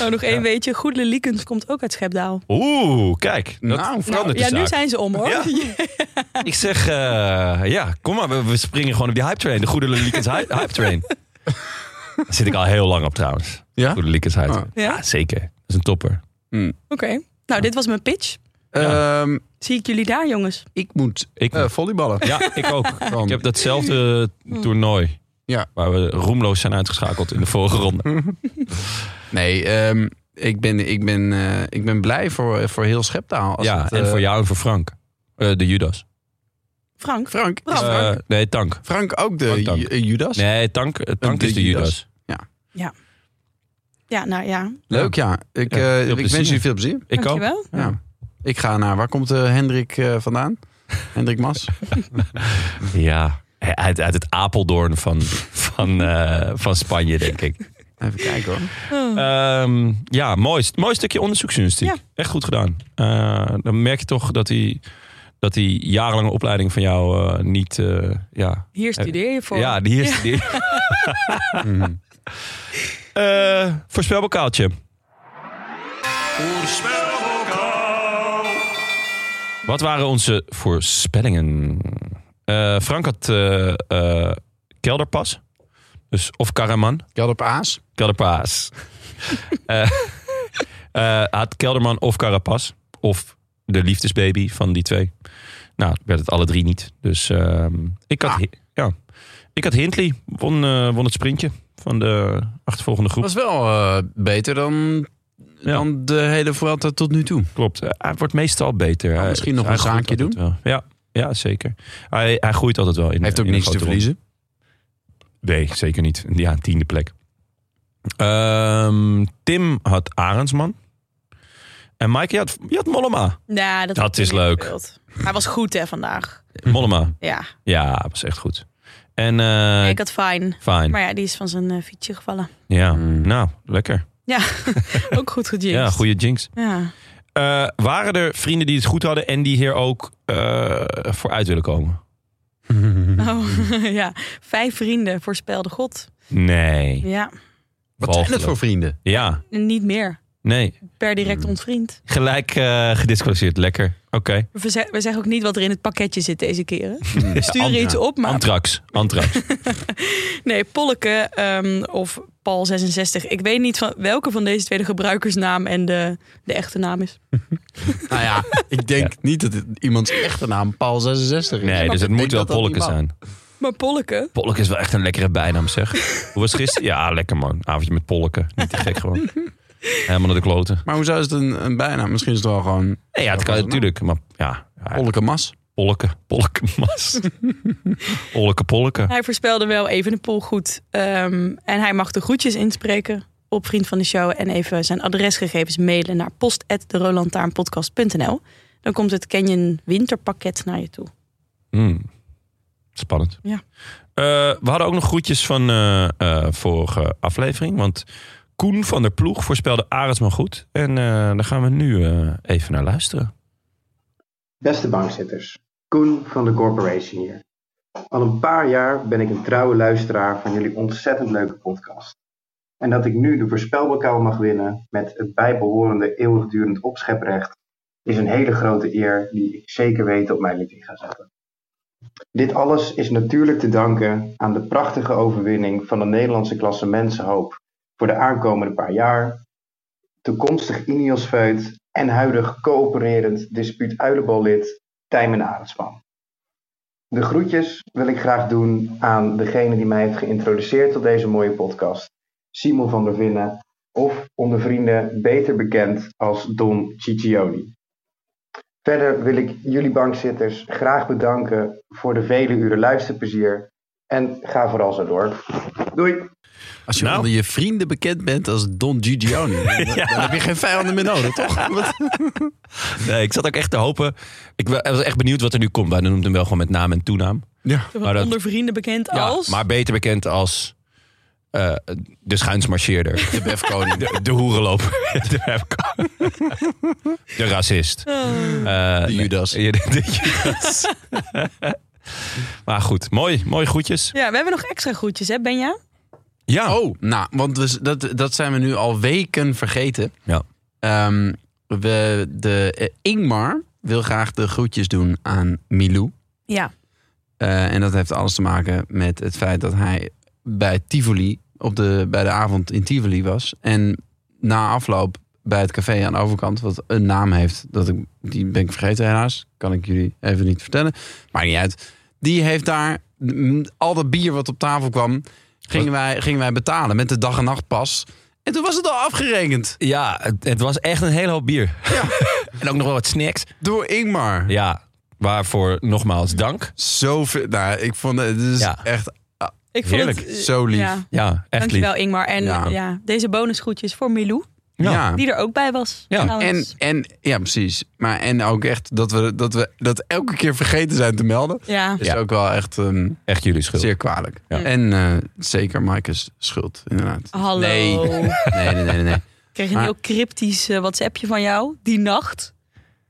C: Oh, nog één weetje. Goed Liekens komt ook uit Schepdaal.
A: Oeh, kijk. Dat
B: Nou,
A: verandert de
C: ja, nu
A: zaak.
C: zijn ze om hoor.
A: Ja. Ik zeg, eh, ja, kom maar. We, we springen gewoon op die hype train. De Goede Liekens hy- hype train. Daar zit ik al heel lang op trouwens.
B: Ja? Ah.
A: Goede Liekens hype train.
C: Ja?
A: Ja, zeker. Dat is een topper.
C: Oké. Nou, dit was mijn pitch.
B: Ehm,
C: Zie ik jullie daar, jongens.
B: ik moet
A: Ik-
B: eh, volleyballen.
A: Ja, ik ook.
B: Dan.
A: Ik heb datzelfde eh, toernooi.
B: Ja.
A: Waar we roemloos zijn uitgeschakeld in de vorige ronde.
B: Nee, ehm, ik, ben, ik, ben, eh, ik ben blij voor, voor heel Scheptaal. Als
A: ja,
B: het,
A: en
B: eh,
A: voor jou en voor Frank. Eh, de Judas.
C: Frank.
B: Frank.
C: Frank.
B: is Nou, Frank,
A: Eh, nee, Tank.
B: Frank ook de
A: Frank Tank.
B: Ju- eh, Judas?
A: Nee, Tank, eh, tank
B: De
A: is de Judas.
B: Judas.
C: Ja, nou ja.
B: Leuk, ja. Ik,
A: Ja,
B: eh,
A: veel
B: ik wens
A: plezier.
B: jullie veel plezier.
A: Ik ook.
C: Dankjewel.
B: Ja. Ik ga naar... Waar komt eh, Hendrik eh, vandaan? Hendrik Mas?
A: Ja, uit, uit het Apeldoorn van, van, eh, van Spanje, denk ik.
B: Even kijken hoor.
A: Ehm, ja, mooi, mooi stukje onderzoeksjournalistiek.
C: Oh. Ja.
A: Echt goed gedaan. Eh, dan merk je toch dat die, dat die jarenlange opleiding van jou eh, niet... eh, ja,
C: Hier studeer je voor.
A: Eh, ja, die is die. Mhm. Eh, voorspelbokaaltje. Wat waren onze voorspellingen? Eh, Frank had eh, eh, kelderpas. Dus, of Karaman.
B: Ik had op Aas.
A: Kelderpaas. Eh, eh, had Kelderman of Carapas. Of de liefdesbaby van die twee. Nou, werd het alle drie niet. Dus ehm, ik, had,
B: Ah.
A: Hi- ja. ik had Hindley. Won, eh, won het sprintje van de achtervolgende groep.
B: was wel eh, beter dan,
A: Ja.
B: dan de hele Vuelta tot nu toe.
A: Klopt. Eh, hij wordt meestal beter. Hij-
B: misschien nog
A: hij
B: een
A: groeit
B: zaakje
A: altijd wel. Ja, ja, zeker. Hij, hij groeit altijd wel. In,
B: Hij heeft ook
A: in een
B: niks te
A: grote ronde.
B: verliezen.
A: Nee, zeker niet. Ja, een tiende plek. Ehm, Tim had Arendsman. En Mike, je had, je had Mollema.
C: Nou, dat,
A: Dat is leuk.
C: gespeeld. Hij was goed hè vandaag.
A: Mollema.
C: Ja,
A: Ja, was echt goed. En eh
C: ik had fijn.
A: fijn.
C: Maar ja, die is van zijn eh, fietsje gevallen.
A: Ja,
B: Mm.
A: nou, lekker.
C: Ook goed gejinxed.
A: Ja, goede jinx.
C: Ja.
A: Eh, waren er vrienden die het goed hadden en die hier ook eh, voor uit willen komen?
C: Oh, ja. Vijf vrienden voorspelde God.
A: Nee.
C: Ja,
B: Wat zijn het
A: Walgelijk.
B: voor vrienden?
A: Ja,
C: niet meer.
A: nee.
C: Per direct ontvriend.
A: Gelijk eh gedisqualificeerd. Lekker. Oké.
C: We, ze- we zeggen ook niet wat er in het pakketje zit deze keren. We sturen
A: Antra.
C: iets op, maar
A: Antrax. Antrax.
C: Nee, Polleke ehm, of Paul66. Ik weet niet van welke van deze twee de gebruikersnaam en de, de echte naam is.
B: nou ja, ik denk niet dat het iemands echte naam Paul 66 is.
A: Nee, dus
B: Ik
A: het
B: denk
A: moet wel
B: dat dat
A: Polleke
B: niet mag.
A: zijn.
C: Maar Polleke?
A: Polleke is wel echt een lekkere bijnaam, zeg. Hoe was het gisteren? Ja, lekker man. Avondje met Polleke. Niet te gek gewoon. Helemaal naar de kloten.
B: Maar hoezo is het een, een bijnaam? Misschien is het wel gewoon
A: Nee, ja, het kan
B: Ja,
A: natuurlijk. Maar ja, ja,
B: Polleke Mas.
A: Polke, polke, mas. polke, polke.
C: Hij voorspelde wel even de poll goed. Ehm, en hij mag de groetjes inspreken op Vriend van de Show. En even zijn adresgegevens mailen naar post.derolantaarnpodcast.nl. Dan komt het Canyon Winterpakket naar je toe.
A: Hmm. Spannend.
C: Ja.
A: Eh, we hadden ook nog groetjes van eh, eh, vorige aflevering. Want Koen van der Ploeg voorspelde Arendsman goed. En eh, daar gaan we nu eh, even naar luisteren.
D: Beste bankzitters, Koen van de Corporation hier. Al een paar jaar ben ik een trouwe luisteraar van jullie ontzettend leuke podcast. En dat ik nu de voorspelbokaal mag winnen met het bijbehorende eeuwigdurend opscheprecht is een hele grote eer die ik zeker weet op mijn lippie ga zetten. Dit alles is natuurlijk te danken aan de prachtige overwinning van de Nederlandse klasse Mensenhoop voor de aankomende paar jaar, toekomstig Ineos Veut en huidig coöpererend dispuut uilenballid Tijmen Arendsman. De groetjes wil ik graag doen aan degene die mij heeft geïntroduceerd tot deze mooie podcast, Simon van der Vinnen, of onder vrienden beter bekend als Don Ciccioni. Verder wil ik jullie bankzitters graag bedanken voor de vele uren luisterplezier en ga vooral zo door. Doei!
B: Als je
A: Nou.
B: onder je vrienden bekend bent als Don Gigioni, dan, dan heb je geen vijanden meer nodig, toch? Wat-
A: Nee, ik zat ook echt te hopen. Ik wa- was echt benieuwd wat er nu komt. Wij noemden hem wel gewoon met naam en toenaam.
B: ja.
A: Maar dat-
C: Onder vrienden bekend als...
A: maar beter bekend als eh, de schuinsmarcheerder. De befkoning. De, de hoerenloper. De befkoning. De racist.
C: Oh.
A: Eh, nee.
B: Judas.
A: Ja, de, de Judas. maar goed, mooi, mooi groetjes.
C: Ja, we hebben nog extra groetjes, hè Benja?
A: Ja.
B: Oh, nou, want we, dat, dat zijn we nu al weken vergeten.
A: Ja.
B: Ehm, we, de, eh, Ingmar wil graag de groetjes doen aan Milou.
C: Ja.
B: Eh, en dat heeft alles te maken met het feit dat hij bij Tivoli, op de, bij de avond in Tivoli was. En na afloop bij het café aan de overkant, wat een naam heeft, dat ik, die ben ik vergeten helaas. Kan ik jullie even niet vertellen. Maakt niet uit. Die heeft daar mm, al dat bier wat op tafel kwam, gingen wij, gingen wij betalen met de dag- en nachtpas. En toen was het al afgerekend
A: Ja, het, het was echt een hele hoop bier. en ook nog wel wat snacks.
B: door Ingmar.
A: Ja, waarvoor nogmaals dank.
B: Zoveel. Nou, ik vond het, het is
A: Ja.
B: echt ah,
C: Ik vond
A: Heerlijk.
C: het, eh,
B: zo lief.
C: Ja.
A: Ja, echt
C: Dankjewel Ingmar. En eh,
B: Ja.
C: ja. deze bonusgroetjes voor Milou,
A: lief.
B: ja.
C: die er ook bij was.
A: Ja.
B: En,
C: trouwens.
B: en ja, precies. Maar en ook echt dat we dat, we dat elke keer vergeten zijn te melden.
C: ja.
B: Is
A: Ja.
B: ook wel echt ehm,
A: Echt jullie schuld.
B: zeer kwalijk.
A: Ja.
B: En eh, zeker Maaike's schuld, inderdaad.
C: Hallo.
B: Nee. Nee, nee, nee, nee, nee.
C: kreeg een
B: Maar-
C: heel cryptisch eh, WhatsAppje van jou die nacht.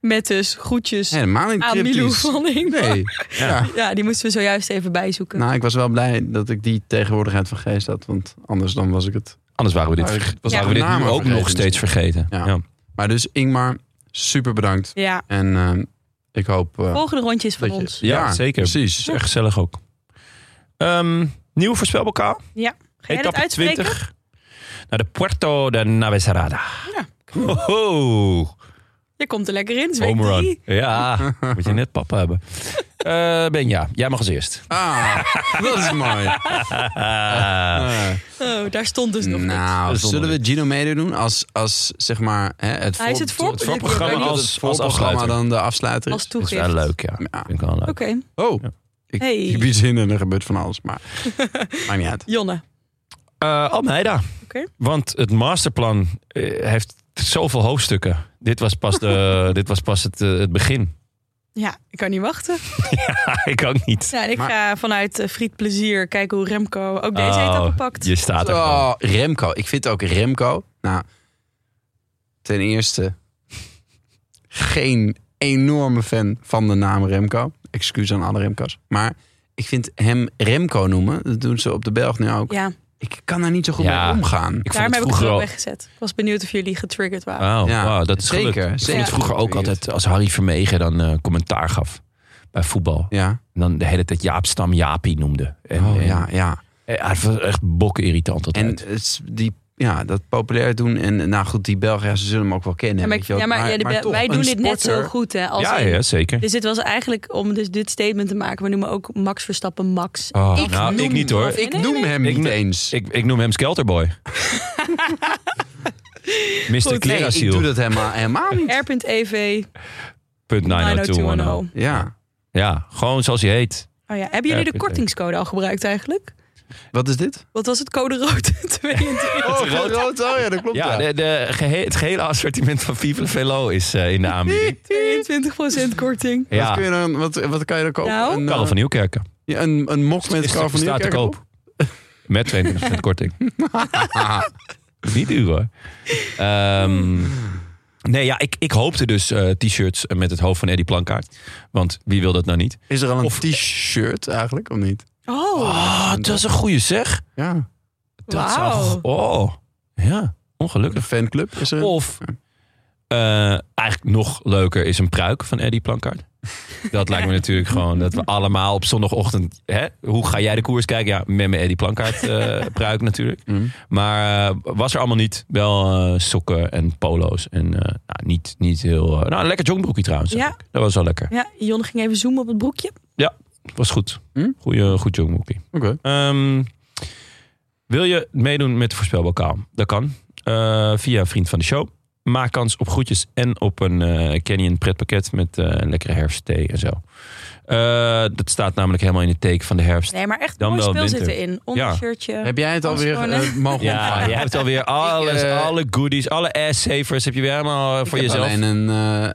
C: Met dus groetjes
B: Helemaal niet
C: aan Milou
B: cryptisch.
C: van Ingmar.
B: Nee. Ja.
C: Ja, die moesten we zojuist even bijzoeken.
B: Nou, ik was wel blij dat ik die tegenwoordigheid van geest had. Want anders dan was ik het.
A: Anders waren we dit,
B: Maar-
A: verge-
B: was
A: waren we dit
B: namen
A: nu ook
B: vergeten
A: nog steeds vergeten.
B: Ja.
A: Ja.
B: Maar dus Ingmar, super bedankt.
C: Ja,
B: En ehm, ik hoop... eh,
C: volgende rondje is van
B: dat je-
C: ons.
A: Ja, zeker.
B: Precies.
A: Is echt gezellig ook. Ehm, nieuw voorspelbokaal.
C: Ga jij dat
A: Etappe
C: uitspreken?
A: 20. Naar de Puerto de Navesarada.
C: Ja.
A: Ho,
C: Je komt er lekker in, is week
A: home run.
C: drie.
A: Ja, moet je net papa hebben. Eh Benja, jij mag als eerst.
B: Ah, dat is mooi. Eh.
C: Oh, daar stond dus nog niet.
B: Nou,
A: niet.
B: zullen we Gino mede doen als, als zeg maar hè, het,
C: Hij is het
B: voor-
C: voorprogramma.
A: voorprogramma
C: Als-
B: dat
A: als,
B: het
A: als
B: voorprogramma
A: afsluiter.
B: dan de afsluiter
C: Als
B: is?
A: is
C: toegift.
A: wel leuk, ja.
B: Ja.
A: Vind ik wel leuk.
C: Oké,
B: Oh,
A: Ja.
B: ik
C: Hey.
B: ik bied zin en er gebeurt van alles, maar maakt niet uit.
C: Jonne.
A: Eh, Almeida.
C: Oké.
A: Want het masterplan eh, heeft zoveel hoofdstukken. Dit was pas, de, dit was pas het, eh, het begin.
C: Ja, ik kan niet wachten.
A: ik ook niet.
C: Ja, Nou, en ik
B: Maar-
C: ga vanuit eh, Friet Plezier kijken hoe Remco ook deze
A: Oh,
C: etappe pakt.
A: Je staat er gewoon.
B: Oh, Remco. Ik vind ook Remco. Nou, ten eerste geen enorme fan van de naam Remco. Excuus aan alle Remco's. Maar ik vind hem Remco noemen. Dat doen ze op de Belg nu ook.
C: Ja,
B: Ik kan daar niet zo goed
A: Ja.
B: mee
A: Ik
B: omgaan.
A: vond
C: daarom
A: het
C: heb ik het
A: vroeger
C: wel
A: al... Ah,
C: weggezet. Ik was benieuwd of jullie getriggerd waren.
A: Wauw,
B: Ja,
A: wauw, dat is
B: zeker,
A: gelukt. Ik vond
B: zeker.
A: het vroeger ook altijd als Harry Vermegen dan eh, commentaar gaf bij voetbal.
B: Ja.
A: En dan de hele tijd Jaap Stam Jaapie noemde. En,
B: Oh
A: en-
B: ja, ja.
A: eh, hij was echt bokken irritant
B: En
A: altijd.
B: het is die, ja, dat populair doen. En nou goed, die Belgen, ja, ze zullen hem ook wel kennen.
C: Ja, maar, ik-
B: weet je wel.
C: ja, maar, ja, de-
B: toch,
C: wij doen
B: een
C: dit net zo
B: sporter-
C: goed. Hè, als
A: ja,
C: in-
A: ja, zeker.
C: Dus dit was eigenlijk om dus dit statement te maken. We noemen ook Max Verstappen Max.
A: Oh,
B: Ik
A: nou,
B: noem-
A: ik niet hoor.
B: Ik
C: Nee,
B: noem
C: nee.
B: hem
A: Ik
B: niet
A: noem-
B: eens.
A: Ik, ik noem hem Skelterboy. Mr.
C: Goed,
B: nee, ik doe dat helemaal, helemaal niet.
C: R.EV
A: Punt
C: 90210.
A: 90210.
B: Ja,
A: Ja, gewoon zoals hij heet.
C: Oh ja, hebben jullie de
A: R.E.V..
C: kortingscode al gebruikt eigenlijk?
B: wat is dit?
A: Oh,
C: Wat was het code rood 22?
B: Oh, rood. rood. Oh ja, dat klopt.
A: Ja,
B: Ja,
A: de, de gehe- het gehele assortiment van Vive Velo is eh, in de aanbieding.
C: 22% korting.
B: Wat, kun
A: Ja,
B: je dan, wat, wat kan je dan kopen?
C: Nou?
B: een, eh,
A: Karel van Nieuwkerken.
B: ja, een, een mok met
A: Is-
B: Karel van
A: staat te
B: Nieuwkerk op?
A: koop. Met 22% korting. Niet duur hoor. Ehm, nee, ja, ik, ik hoopte dus eh, t-shirts met het hoofd van Eddie Plankaart. Want wie wil dat nou niet?
B: Is er al een
A: Of-
B: t-shirt eigenlijk, of niet?
C: Oh,
A: Oh, dat is een goede zeg.
B: Ja,
A: Dat
C: Wauw.
A: zou... Oh, ja,
B: de
A: ongelukkig.
B: fanclub is er.
A: Of eh, eigenlijk nog leuker is een pruik van Eddie Plankaart. Dat lijkt me natuurlijk gewoon dat we allemaal op zondagochtend. Hè, hoe ga jij de koers kijken? Ja, met mijn Eddie Plankaart eh, pruik natuurlijk.
B: Mm.
A: Maar eh, was er allemaal niet. Wel eh, sokken en polo's. En eh, nou, niet, niet heel. eh, nou, een lekker jongbroekje trouwens.
C: Ja.
A: Ja. Dat was wel lekker.
C: ja, Jon ging even zoomen op het broekje.
A: Was goed.
B: Hm?
A: Goeie, goed jongbroekje.
B: Oké.
A: Ehm, wil je meedoen met de voorspelbokaal? Dat kan. Eh, via een vriend van de show. Maak kans op groetjes en op een eh Canyon pretpakket met eh, een lekkere herfstthee en zo. Eh, dat staat namelijk helemaal in het teken van de herfst.
C: Nee, maar echt
A: Dan
C: mooi
A: wel
C: speel
A: winter.
C: zitten in.
A: Ja.
C: Ondershirtje. shirtje.
B: Heb jij het
C: Als
B: alweer
C: gewoon,
B: eh, mogen
A: Ja,
B: ontvangen?
A: je hebt alweer alles,
B: eh,
A: alle goodies, alle ass-savers heb je weer helemaal eh, voor
B: Ik heb
A: jezelf.
B: Alleen een,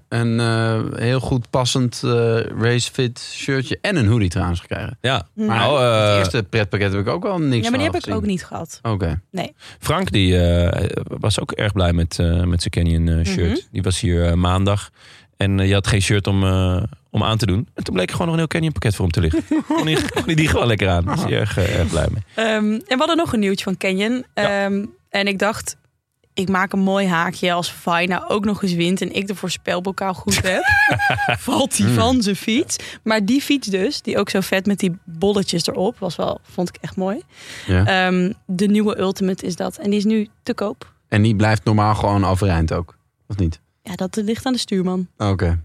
B: eh, een eh, heel goed passend eh, racefit shirtje en een hoodie trouwens gekregen.
A: Ja.
B: Maar
A: Nou, eh,
B: het eerste pretpakket heb ik ook wel niks
C: Hm. Ja, maar die
B: van
C: heb ik ook niet gehad.
B: gezien. Oké.
A: Frank die, eh, was ook erg blij
C: Mhm.
A: met, eh, met zijn Canyon eh, shirt. Die was hier eh, maandag. En eh, je had geen shirt om, eh, om aan te doen. En toen bleek er gewoon nog een heel Canyon pakket voor hem te liggen. kon, hij, kon hij die gewoon lekker aan. Daar was hij erg, eh, erg blij mee.
C: Ehm, en we hadden nog een nieuwtje van Canyon. Ehm, en ik dacht, ik maak een mooi haakje als Vaina ook nog eens wint en ik de voorspelbokaal goed heb. Valt
B: Hmm.
C: die van zijn fiets. Maar die fiets dus, die ook zo vet met die bolletjes erop, was wel, vond ik echt mooi.
B: Ja.
C: Ehm, de nieuwe Ultimate is dat. En die is nu te koop.
B: En die blijft normaal gewoon overeind ook. Of niet?
C: Ja, dat ligt aan de stuurman.
B: Oké.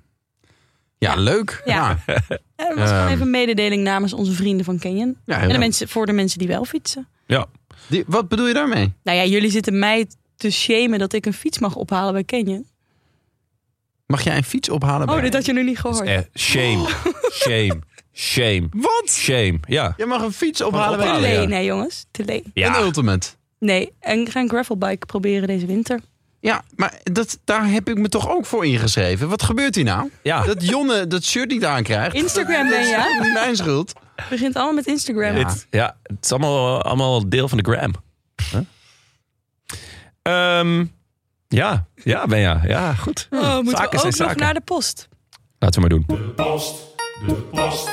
B: Ja, leuk. Nou,
C: Ja.
B: Ja.
C: Eh, Dat was gewoon
B: Ehm.
C: even een mededeling namens onze vrienden van Canyon.
B: Ja, heel
C: en de
B: leuk.
C: mensen, voor de mensen die wel fietsen.
A: Ja,
B: Die- wat bedoel je daarmee?
C: Nou ja, jullie zitten mij te shamen dat ik een fiets mag ophalen bij Canyon.
B: Mag jij een fiets ophalen?
C: Oh,
B: bij-
C: dit had je nog niet gehoord.
A: Eh, shame.
C: Oh.
A: Shame. Shame.
B: Wat?
A: Shame. Ja.
B: Je mag een fiets ophalen
C: Te
B: bij
A: ophalen,
B: Lee.
A: ja.
C: leen, hè jongens. Te leen.
B: Een
A: ja.
B: ultimate.
C: Nee, en ik ga een gravelbike proberen deze winter.
B: Ja, maar dat, daar heb ik me toch ook voor ingeschreven. Wat gebeurt hier nou?
A: Ja.
B: Dat Jonne dat shirt niet aankrijgt.
C: Instagram ben
B: Dat
C: je.
B: is niet mijn schuld.
C: Het begint allemaal met Instagram.
B: Ja.
A: Het, ja, het is allemaal, allemaal deel van de gram. Huh? Ehm, ja, ja, ben ja. Ja, goed.
C: Oh,
A: Hm,
C: moeten
A: zaken
C: we
A: zijn
C: ook nog
A: zaken.
C: naar de post.
A: Laten we maar doen.
E: De past, de past.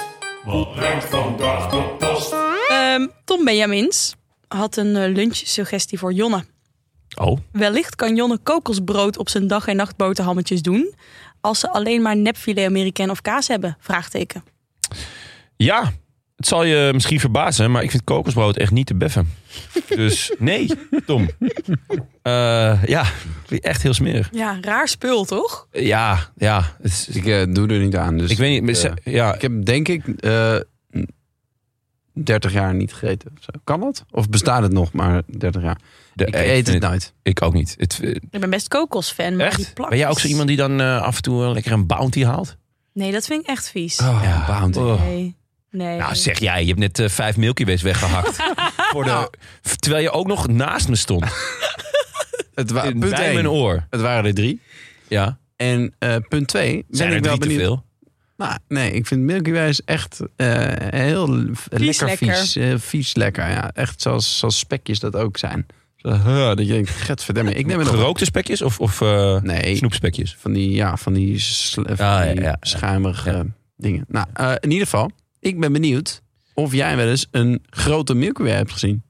E: Wat brengt vandaag de past?
C: Ehm, Tom Benjamins had een eh, lunchsuggestie voor Jonne.
A: Oh,
C: Wellicht kan Jonne kokosbrood op zijn dag- en nachtboterhammetjes doen... als ze alleen maar nepfilet Amerikaan of kaas hebben? Vraagteken.
A: ja. Het zal je misschien verbazen, maar ik vind kokosbrood echt niet te beffen. Dus nee, Tom. Eh, ja, echt heel smerig.
C: Ja, raar spul, toch?
A: Ja, ja. Het is-
B: Ik eh, doe er niet aan. Dus
A: ik weet niet. maar
B: eh,
A: ze- ja,
B: ik heb denk ik eh, 30 jaar niet gegeten. of zo. Kan dat? Of bestaat het nog maar 30 jaar?
A: de-
B: ik
A: ik
B: eet
A: vind
B: het nou.
A: het-
B: nooit.
A: Ik ook niet. Het, eh,
C: Ik ben best kokosfan, maar die
A: Echt?
C: plak
A: Ben jij ook
C: is-
A: zo iemand die dan eh, af en toe wel lekker een bounty haalt?
C: Nee, dat vind ik echt vies.
B: ja, bounty.
A: Oh.
C: Nee, nee.
A: Nou zeg jij, je hebt net eh, vijf Milky Ways weggehakt. voor de,
B: Nou.
A: terwijl je ook nog naast me stond.
B: Het wa-
A: in-
B: punt
A: bij
B: één.
A: mijn oor.
B: Het waren er drie.
A: Ja.
B: En eh, punt twee. Ben
A: Zijn
B: ik
A: er
B: wel
A: drie te
B: benieuwd.
A: veel?
B: Nou, nee, ik vind Milky Way is echt eh, heel l- lekker,
C: lekker.
B: vies. eh, vies lekker, ja. Echt zoals, zoals spekjes dat ook zijn. Zo, huh, dat je denkt, getverdamme. Ik neem er nog
A: Gerookte spekjes of, of eh,
B: Nee.
A: snoepspekjes?
B: Van die, ja, van die, sl- van
A: ja,
B: die
A: ja, ja.
B: schuimerige dingen. Nou, eh, in ieder geval, ik ben benieuwd of jij wel eens een grote Milky Way hebt gezien.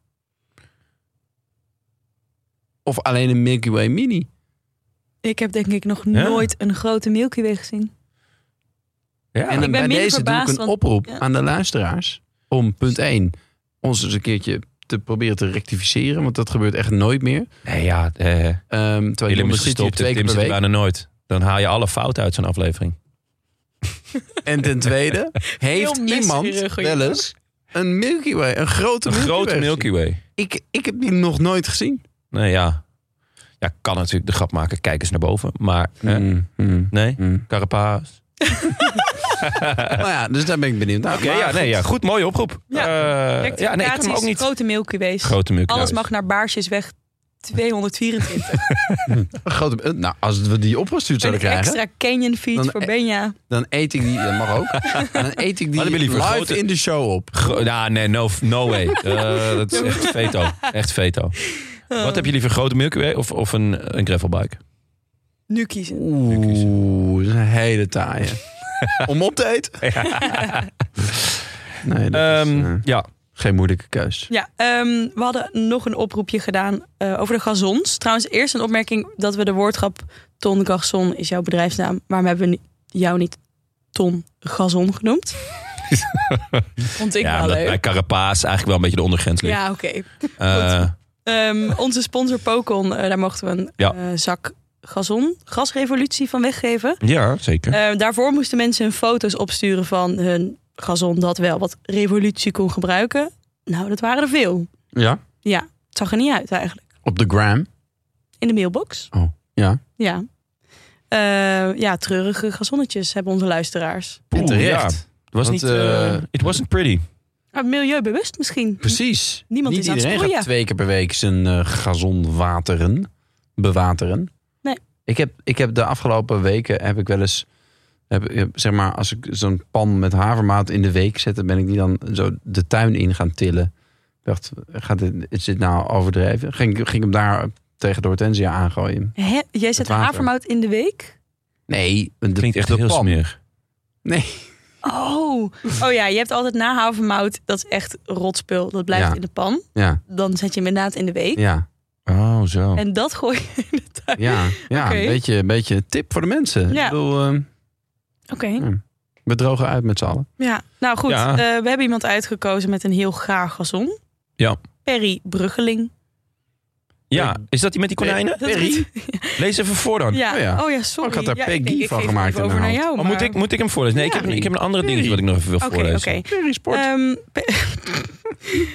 B: Of alleen een Milky Way Mini.
C: Ik heb denk ik nog
A: Ja.
C: nooit een grote Milky Way gezien.
A: Ja.
B: En dan
C: Ik ben
B: bij
C: minder
B: deze
C: verbaasd,
B: doe ik een
C: want-
B: oproep
C: ja.
B: aan de luisteraars. Om punt 1 ons eens een keertje te proberen te rectificeren. Want dat gebeurt echt nooit meer.
A: nee, ja. eh
B: Ehm terwijl
A: Willem
B: Jonne
A: is
B: zit hier
A: gestopt en
B: twee keer
A: Tim
B: per
A: zit er
B: week.
A: bijna nooit. Dan haal je alle fouten uit zo'n aflevering.
B: En ten tweede, heeft
C: Heel
B: iemand
C: messerige
B: wel
C: jongen.
B: eens een Milky Way, een grote
A: Een
B: Milky
A: grote
B: Way
A: Milky
B: gezien?
A: Way.
B: Ik, ik heb die nog nooit gezien.
A: Nee, ja. Ja, kan natuurlijk de grap maken. Kijk eens naar boven. Maar, eh,
B: Mm, mm,
A: nee.
B: mm.
A: Carapaas.
B: Nou ja, dus daar ben ik benieuwd naar.
A: Oké, ja, nee, ja. Goed, mooie oproep.
C: Ja.
A: Eh, ja nee, ik kan hem ook niet.
C: Grote Milky Ways.
A: Grote Milky
C: Alles
A: Ways.
C: mag naar Baarsjesweg 224.
B: Een grote, eh, nou, als we die opgestuurd
C: een
B: zouden krijgen,
C: extra canyon fiets
B: Dan-
A: eh,
C: voor Benja.
B: dan eet ik die, dat mag ook, dan eet ik die
A: hebben jullie voor
B: live
A: grote-
B: in de show op.
A: Gro- ja, nee, no, no way. Eh, dat is echt veto. Echt veto.
C: Oh.
A: Wat heb je liever, grote Milky Way of, of een, een gravelbike?
C: Nu kiezen.
B: Oeh, dat is een hele taaie. Om op te eten? Nee, dat is,
A: Ehm,
B: eh,
A: ja.
B: geen moeilijke keus.
C: Ja, ehm, we hadden nog een oproepje gedaan eh, over de gazons. Trouwens, eerst een opmerking dat we de woordgrap Ton Gazon is jouw bedrijfsnaam. Waarom hebben we ni- jou niet Ton Gazon genoemd? Vond ik
A: ja,
C: wel
A: omdat bij
C: leuk.
A: Carapaas eigenlijk wel een beetje de ondergrens ligt.
C: Ja, oké.
A: Eh,
C: Ehm, onze sponsor Pokon, eh, daar mochten we een
A: Ja.
C: eh, zak gazon, gasrevolutie van weggeven.
A: ja zeker.
C: Eh, daarvoor moesten mensen hun foto's opsturen van hun gazon dat wel wat revolutie kon gebruiken. Nou, dat waren er veel.
B: Ja?
C: Ja, het zag er niet uit eigenlijk.
B: Op de gram.
C: In de mailbox.
B: Oh, ja.
C: Ja. Eh, ja, treurige gazonnetjes hebben onze luisteraars.
B: En terecht.
A: Het was
B: Want,
A: niet... eh,
B: eh,
A: it wasn't pretty.
C: Ah, milieubewust misschien.
B: Precies.
C: Niemand
B: Niet
C: is aan het
B: iedereen gaat
C: sproeien.
B: twee keer per week zijn eh gazon wateren, bewateren.
C: Nee.
B: Ik heb, ik heb de afgelopen weken heb ik wel eens, heb, heb- zeg maar, als ik zo'n pan met havermaat in de week zette, ben ik die dan zo de tuin in gaan tillen. Ik dacht, gaat dit, is dit nou overdreven? Ging, ik- ging hem daar tegen de hortensia aangooien.
C: Hè? Jij zet
B: water.
C: havermout in de week?
B: Nee, de,
A: Klinkt echt
B: de
A: heel
B: pan.
A: smerig.
B: Nee.
C: Oh. oh ja, je hebt altijd na havermout. Dat is echt rotspul. Dat blijft
B: Ja.
C: in de pan.
B: Ja,
C: Dan zet je hem inderdaad in de week.
B: ja,
A: Oh, zo.
C: En dat gooi je in de tuin.
B: ja. ja
C: Oké.
B: een, beetje, een beetje een tip voor de mensen.
C: Ja.
B: Ik bedoel, ehm,
C: Oké.
B: we drogen uit met z'n allen.
C: Ja. Nou goed,
A: Ja.
C: eh, we hebben iemand uitgekozen met een heel gaar gazon.
A: Ja.
C: Perry Bruggeling.
A: Ja, is dat die met die konijnen?
C: Dat is-
A: Lees even voor dan.
C: Ja.
B: Oh ja.
C: Oh ja, sorry.
B: Oh, ik had daar
C: ja,
B: Peggy
C: denk,
B: van
C: geef
B: gemaakt
C: even over naar
B: inderdaad.
C: jou.
A: Oh, moet,
C: maar-
A: ik, moet ik hem voorlezen? Nee,
C: Ja.
A: ik, heb, ik heb een andere dingetje wat ik nog even wil
C: Oké,
A: voorlezen.
C: oké.
B: Perisport.
C: Ehm, pe-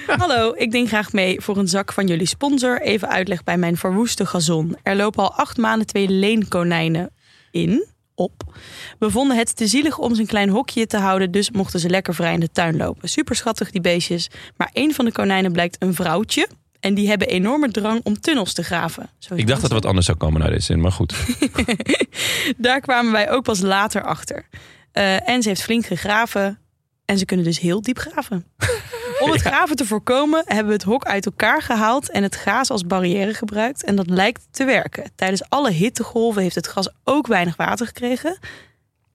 C: Hallo, ik denk graag mee voor een zak van jullie sponsor. Even uitleg bij mijn verwoeste gazon. Er lopen al acht maanden twee leenkonijnen in, op. We vonden het te zielig om ze een klein hokje te houden, dus mochten ze lekker vrij in de tuin lopen. Super schattig die beestjes, maar één van de konijnen blijkt een vrouwtje. En die hebben enorme drang om tunnels te graven. Zo
A: Ik dacht dat er wat anders zou komen naar deze zin, maar
C: Oh,
A: goed.
C: Daar kwamen wij ook pas later achter. Eh, en ze heeft flink gegraven. En ze kunnen dus heel diep graven. Om het graven te voorkomen hebben we het hok uit elkaar gehaald en het gaas als barrière gebruikt. En dat lijkt te werken. Tijdens alle hittegolven heeft het gras ook weinig water gekregen.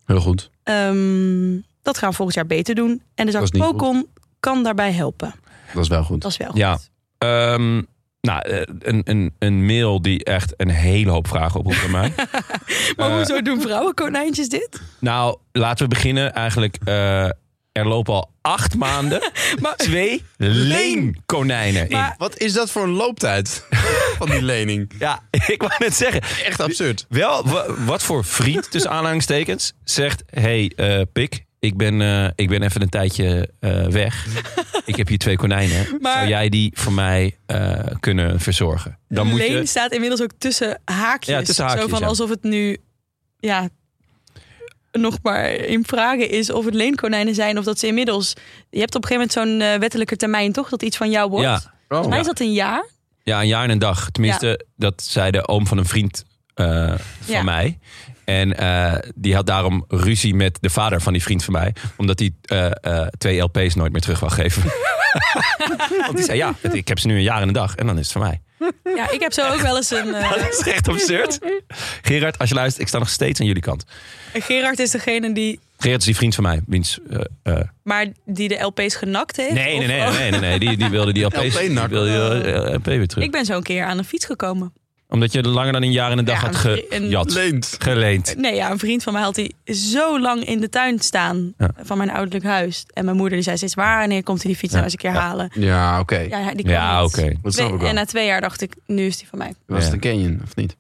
B: Heel goed.
C: Ehm, dat gaan we volgend jaar beter doen. En de
B: Dat
C: zak
B: is niet goed.
C: Pocon kan daarbij helpen.
B: Dat is wel goed.
C: Dat is wel goed.
A: Ja. Ehm, nou, eh, een, een, een mail die echt een hele hoop vragen oproept bij mij.
C: Maar
A: Eh,
C: hoezo doen vrouwenkonijntjes dit?
A: Nou, laten we beginnen eigenlijk. eh, er lopen al acht maanden
C: Maar-
A: twee leenkonijnen in.
C: Maar-
B: Wat is dat voor een looptijd van die lening?
A: Ja, ik wou net zeggen.
B: Echt absurd.
A: Wel, wa- wat voor vriend, tussen aanhalingstekens, zegt... hey, eh, Pik, ik ben, eh, ik ben even een tijdje eh, weg. Ik heb hier twee konijnen.
C: Maar-
A: Zou jij die voor mij eh, kunnen verzorgen? Dan moet
C: Leen
A: je...
C: staat inmiddels ook tussen haakjes.
A: Ja, tussen
C: zo
A: haakjes,
C: van
A: ja.
C: alsof het nu ja, nog maar in vragen is of het leenkonijnen zijn of dat ze inmiddels. Je hebt op een gegeven moment zo'n eh, wettelijke termijn toch dat iets van jou wordt.
A: Ja.
B: Oh.
C: Volgens mij is dat een jaar.
A: Ja, een jaar en een dag. Tenminste, dat zei de oom van een vriend eh, van
C: Ja.
A: mij. En eh, die had daarom ruzie met de vader van die vriend van mij. Omdat hij eh, eh, twee LP's nooit meer terug wil geven. Want die zei, ja, het- ik heb ze nu een jaar en een dag. En dan is het van mij.
C: Ja, ik heb zo ook wel eens een. eh,
A: Dat is echt absurd. Gerard, als je luistert, ik sta nog steeds aan jullie kant.
C: Gerard is degene die.
A: Gerard is die vriend van mij. Wiens, eh, eh,
C: Maar die de LP's genakt heeft.
A: nee, nee,
C: Of-
A: nee,
C: oh,
A: nee, nee, nee. Die, die wilde die LP's, die
B: nak.
A: wilde die, eh, LP weer terug.
C: Ik ben zo een keer aan een fiets gekomen.
A: Omdat je langer dan een jaar en een dag
C: Ja,
A: had
C: een- een-
A: gejat.
B: Leent.
A: Geleend.
C: Nee, ja, een vriend van mij had die zo lang in de tuin staan
A: Ja.
C: van mijn ouderlijk huis. En mijn moeder die zei steeds, wanneer komt hij die fiets
A: Ja,
C: nou eens een keer
A: ja.
C: halen?
B: Ja, oké.
C: Ja, hij- die kwam
A: Ja,
C: niet.
A: oké.
B: Dat snap ik
C: Twee-
B: wel.
C: en na twee jaar dacht ik, nu is die van mij.
B: Was het
A: Ja.
B: een Canyon, of niet?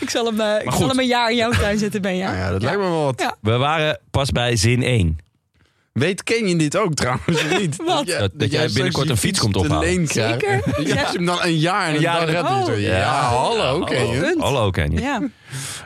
C: Ik zal hem, eh, ik
A: goed.
C: zal hem een jaar in jouw tuin zetten, ben
B: Nou
C: jij.
B: ja, dat lijkt me wel wat.
C: Ja.
A: We waren pas bij zin 1.
B: Weet Canyon dit ook trouwens of niet?
C: Wat?
B: jij-
A: Dat- dat jij
B: straks
A: binnenkort
B: die
A: een fiets komt ophalen.
B: te leen krijgt.
C: Zeker?
B: Dat je
C: Ja.
B: hem dan een jaar en
A: Een
B: een
A: jaar
B: jaar
A: en-
B: redt.
C: Oh.
B: Ja, hallo Canyon.
A: Hallo, hallo Canyon.
C: Ja.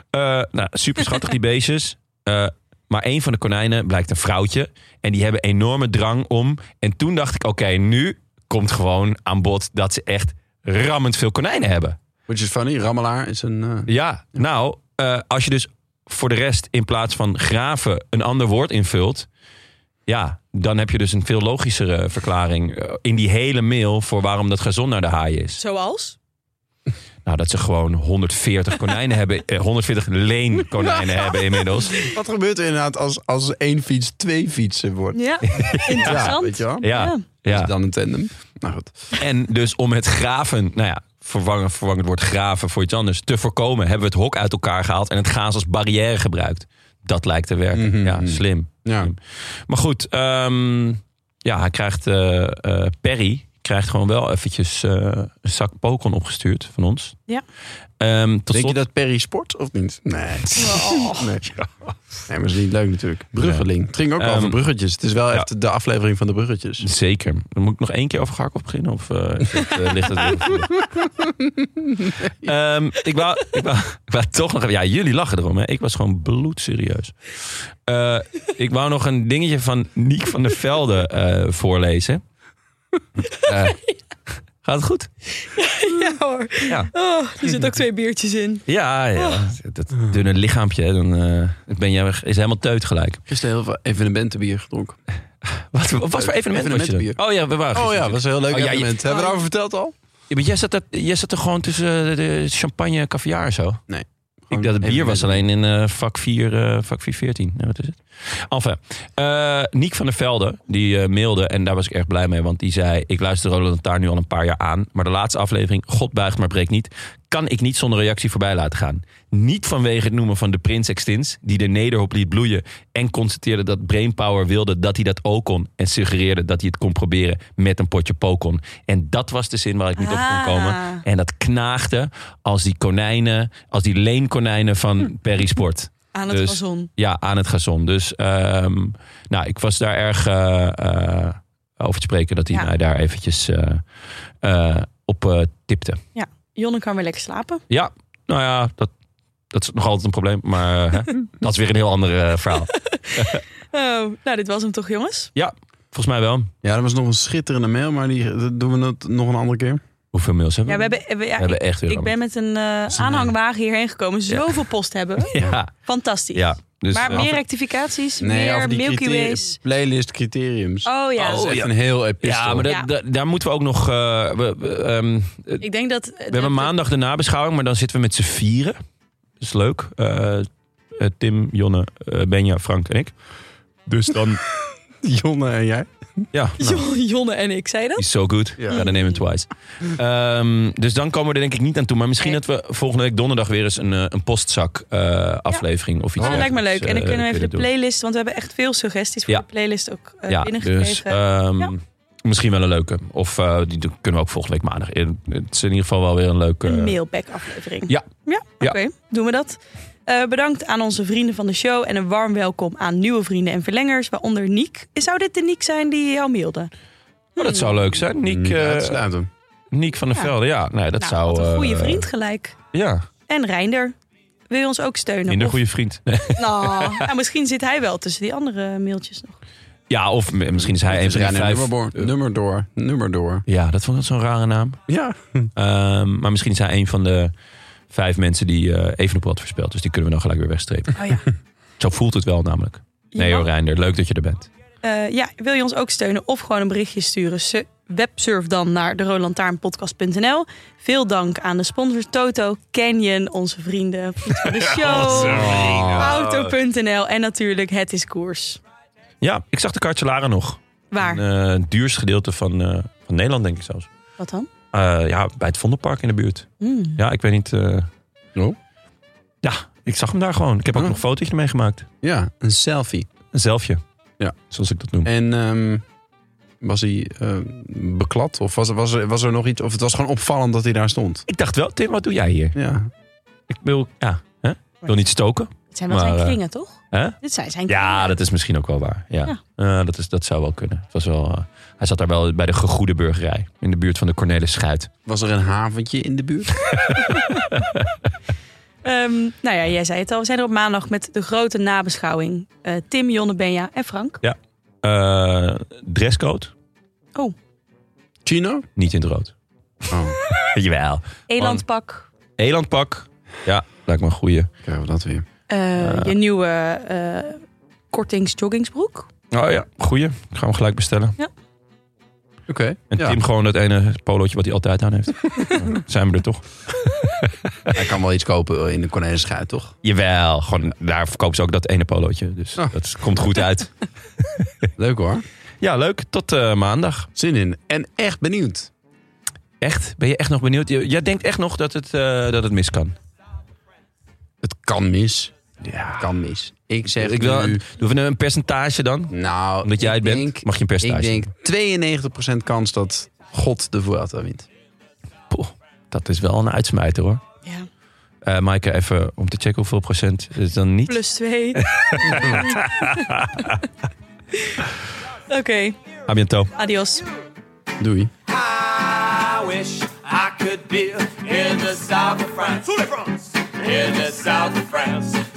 A: Eh, nou, super schattig die beestjes. Eh, maar één van de konijnen blijkt een vrouwtje. En die hebben enorme drang om. En toen dacht ik, oké, nu komt gewoon aan bod dat ze echt rammend veel konijnen hebben.
B: Which is funny, Rammelaar is een... eh,
A: Ja, nou, eh, als je dus voor de rest in plaats van graven een ander woord invult. Ja, dan heb je dus een veel logischere verklaring eh, in die hele mail voor waarom dat gazon naar de haai is.
C: Zoals?
A: Nou, dat ze gewoon 140 konijnen hebben, eh, 140 leenkonijnen hebben inmiddels.
B: Wat gebeurt er inderdaad als, als één fiets twee fietsen wordt?
C: Ja,
B: Ja,
C: interessant.
B: weet je wel?
A: Ja,
C: Ja.
B: Is
A: ja.
B: het dan een tandem? Nou goed.
A: En dus om het graven, nou ja, vervangen, vervangen het woord graven voor iets anders, te voorkomen, hebben we het hok uit elkaar gehaald en het gaas als barrière gebruikt. Dat lijkt te werken.
B: Mhm.
A: Ja, slim.
B: Ja.
A: Maar goed, ehm, ja, hij krijgt, eh, eh, Perry krijgt gewoon wel eventjes eh, een zak pokon opgestuurd van ons.
C: Ja.
A: Ehm, tot
B: Denk je
A: slot-
B: dat Perry sport of niet? Nee.
C: Oh.
B: Nee. nee, maar dat is niet leuk natuurlijk. Bruggeling. Het ging ook
A: Ehm,
B: over bruggetjes. Het is wel
A: ja.
B: echt de aflevering van de bruggetjes.
A: Zeker. Dan moet ik nog één keer over Garkov beginnen? Of eh, is dat, eh, ligt het weer op de vloer? Ehm, ik, wou, ik, wou, ik wou toch nog... even- Ja, jullie lachen erom. Hè. Ik was gewoon bloedserieus. Eh, ik wou nog een dingetje van Niek van der Velde eh, voorlezen. Eh, gaat het goed?
C: Ja hoor.
A: Ja.
C: Oh, er zitten ook twee biertjes in.
A: Ja, ja.
B: Oh.
A: Dat dunne lichaampje. hè, Dan eh, ben jij is helemaal teut gelijk.
B: Gisteren heel veel evenementenbier gedronken.
A: Wat, wat voor evenement was je dan?
B: Eh, Evenementenbier.
A: Oh ja, we waren
B: Oh ja,
A: gisteren
B: dat was een heel leuk
A: Oh ja, je-
B: evenement. Hebben we daarover verteld al?
A: Ja, maar jij zat, er, jij zat er gewoon tussen eh, de champagne en caviar en zo.
B: Nee.
A: Ik dacht, het bier was alleen in eh, vak 4, eh vak 414. Ja, wat is het? Enfin, eh Niek van der Velde, die eh, mailde, en daar was ik erg blij mee, want die zei, ik luister Roland daar nu al een paar jaar aan, maar de laatste aflevering, God buigt maar breekt niet, kan ik niet zonder reactie voorbij laten gaan. Niet vanwege het noemen van de prins Extins, die de nederhop liet bloeien en constateerde dat Brainpower wilde dat hij dat ook kon en suggereerde dat hij het kon proberen met een potje pokon. En dat was de zin waar ik niet op kon komen.
C: Ah.
A: En dat knaagde als die konijnen, als die leenkonijnen van Perry Sport.
C: Aan het
A: Dus-
C: gazon.
A: Ja, aan het gazon. Dus ehm, nou, ik was daar erg eh, eh, over te spreken dat hij
C: Ja.
A: mij daar eventjes eh, eh, op eh, tipte.
C: Jonne kan weer lekker slapen.
A: Ja, nou ja, dat, dat is nog altijd een probleem. Maar eh, hè, dat is weer een heel ander eh, verhaal.
C: Oh, nou, dit was hem toch, jongens?
A: Volgens mij wel.
B: Ja, er was nog een schitterende mail, maar die dat doen we het nog een andere keer.
A: Hoeveel mails
C: Ja,
A: hebben
C: we
A: we?
C: hebben, we- ja,
A: We hebben
C: ik,
A: echt weer
C: ik ben met een eh,
B: is een-
C: aanhangwagen hierheen gekomen. Zoveel post hebben. we.
A: Ja,
C: Fantastisch.
A: ja. Dus,
C: maar
A: eh,
C: meer rectificaties,
B: over
C: meer
B: die
C: Milky
B: criteria-
C: Ways.
B: Playlist criteriums.
C: Oh ja.
B: dat is echt een heel epistel.
A: ja, maar dat-
C: Ja.
A: dat- daar moeten we ook nog... eh, we, we, ehm,
C: Ik denk dat...
A: we hebben maandag de nabeschouwing, maar dan zitten we met z'n vieren. Dat is leuk. Eh, eh, Tim, Jonne, eh, Benja, Frank en ik. Dus dan...
B: Jonne en jij.
A: ja, nou,
C: Jonne en ik, zei je dat?
A: is so good. Ja, dan nemen we het twice. Ehm, dus dan komen we er denk ik niet aan toe. Maar misschien
C: Nee.
A: dat we volgende week donderdag weer eens een, eh, een postzak eh, aflevering of iets
C: Oh, lijkt me leuk.
A: dergelijks,
C: En dan
A: eh,
C: kunnen we even de
A: doen.
C: playlist, want we hebben echt veel suggesties voor
A: Ja.
C: de playlist ook eh
A: Ja, dus
C: binnengekregen.
A: ehm,
C: Ja.
A: misschien wel een leuke. Of eh, die doen- kunnen we ook volgende week maandag. in. Het is in ieder geval wel weer een leuke...
C: een mailback aflevering.
A: Ja.
C: Ja, oké.
A: Ja.
C: Doen we dat. Eh, bedankt aan onze vrienden van de show en een warm welkom aan nieuwe vrienden en verlengers, waaronder Niek. Zou dit de Niek zijn die jou mailde?
A: Oh, dat zou leuk zijn. Niek,
B: Mm, Ja, het
A: eh,
B: sluit hem.
A: Niek van der
C: Ja.
A: Velde. Ja, nee, dat
C: nou,
A: zou...
C: wat een
A: eh,
C: goede vriend gelijk.
A: Ja,
C: En Reinder. Wil je ons ook steunen?
A: minder
C: Of-
A: goede vriend.
C: Nou, nou, misschien zit hij wel tussen die andere mailtjes nog.
A: ja, of m- misschien is hij een
B: Het
A: van de
B: reine
A: vijf...
B: nummerboor- Nummer door. Nummer door.
A: Ja, dat vond ik zo'n rare naam.
B: Ja.
A: Ehm, maar misschien is hij een van de vijf mensen die eh Evenepoel had voorspeld. Dus die kunnen we dan gelijk weer wegstrepen.
C: Oh ja.
A: Zo voelt het wel namelijk. Nee
C: Ja.
A: hoor, Reinder. Leuk dat je er bent.
C: Eh, ja, wil je ons ook steunen of gewoon een berichtje sturen? Su- Websurf dan naar de Veel dank aan de sponsors Toto, Canyon, onze vrienden vriend van de show, Auto.nl en natuurlijk Het is Koers.
A: Ja, ik zag de Cartelaren nog.
C: Waar?
A: Een eh, het duurste gedeelte van, eh, van Nederland, denk ik zelfs.
C: Wat dan?
A: Eh, ja, bij het Vondelpark in de buurt.
C: Hmm.
A: Ja, ik weet niet. eh,
B: Oh.
A: Ja, ik zag hem daar gewoon. Ik heb ook
B: Oh.
A: nog een fotootje mee gemaakt.
B: Ja, een selfie.
A: Een zelfje.
B: Ja.
A: Zoals ik dat noem.
B: En ehm, was hij ehm, beklad? Of was, was, er, was er nog iets? Of het was gewoon opvallend dat hij daar stond?
A: Ik dacht wel, Tim, wat doe jij hier?
B: Ja.
A: Ik wil, ja, hè? Ik wil niet stoken.
C: Het zijn wel
A: Maar,
C: zijn
A: eh,
C: kringen, toch?
A: Hè?
C: Dit zijn zijn kringen.
A: Ja, dat is misschien ook wel waar. Ja.
C: Ja.
A: Eh, dat, is, dat zou wel kunnen. Het was wel, eh, hij zat daar wel bij de gegoede burgerij. In de buurt van de Cornelis Schuit.
B: Was er een haventje in de buurt?
C: Ehm, nou ja, jij zei het al. We zijn er op maandag met de grote nabeschouwing. Eh, Tim, Jonne, Benja en Frank.
A: Eh, dresscode,
C: Oh,
B: Chino?
A: niet in het rood.
B: Oh,
A: Jawel.
C: Elandpak.
A: Elandpak. Ja, lijkt me een goeie.
B: krijgen we dat weer.
C: eh,
A: Eh.
C: Je nieuwe eh kortings-joggingsbroek.
A: Oh ja, goeie. Ik ga hem gelijk bestellen.
B: Oké.
A: En
B: Ja.
A: Tim gewoon dat ene polootje wat hij altijd aan heeft. Ja, Zijn we er toch?
B: Hij kan wel iets kopen eh, in de Cornelischuit, toch?
A: Jawel, gewoon, daar verkopen ze ook dat ene polootje. Dus
B: Oh.
A: dat komt goed uit.
B: Leuk hoor.
A: Ja, leuk. Tot eh, maandag.
B: Zin in. En echt benieuwd.
A: Echt? Ben je echt nog benieuwd? J- Jij denkt echt nog dat het, eh, dat het mis kan?
B: Het kan mis.
A: Ja.
B: Het kan mis. Ik zeg
A: Ik wil,
B: nu...
A: doen we een percentage dan?
B: Nou,
A: Omdat jij
B: ik
A: het bent,
B: denk-
A: mag je een percentage
B: Ik denk 92% kans dat God de Vuelta wint.
A: Poeh, dat is wel een uitsmijter hoor.
C: Ja.
A: Eh Maaike, even om te checken hoeveel procent is dan niet.
C: Plus twee. Oké,
A: A bientôt.
C: adios.
B: Doei.
F: I wish I could be in the south of France. In the south of France.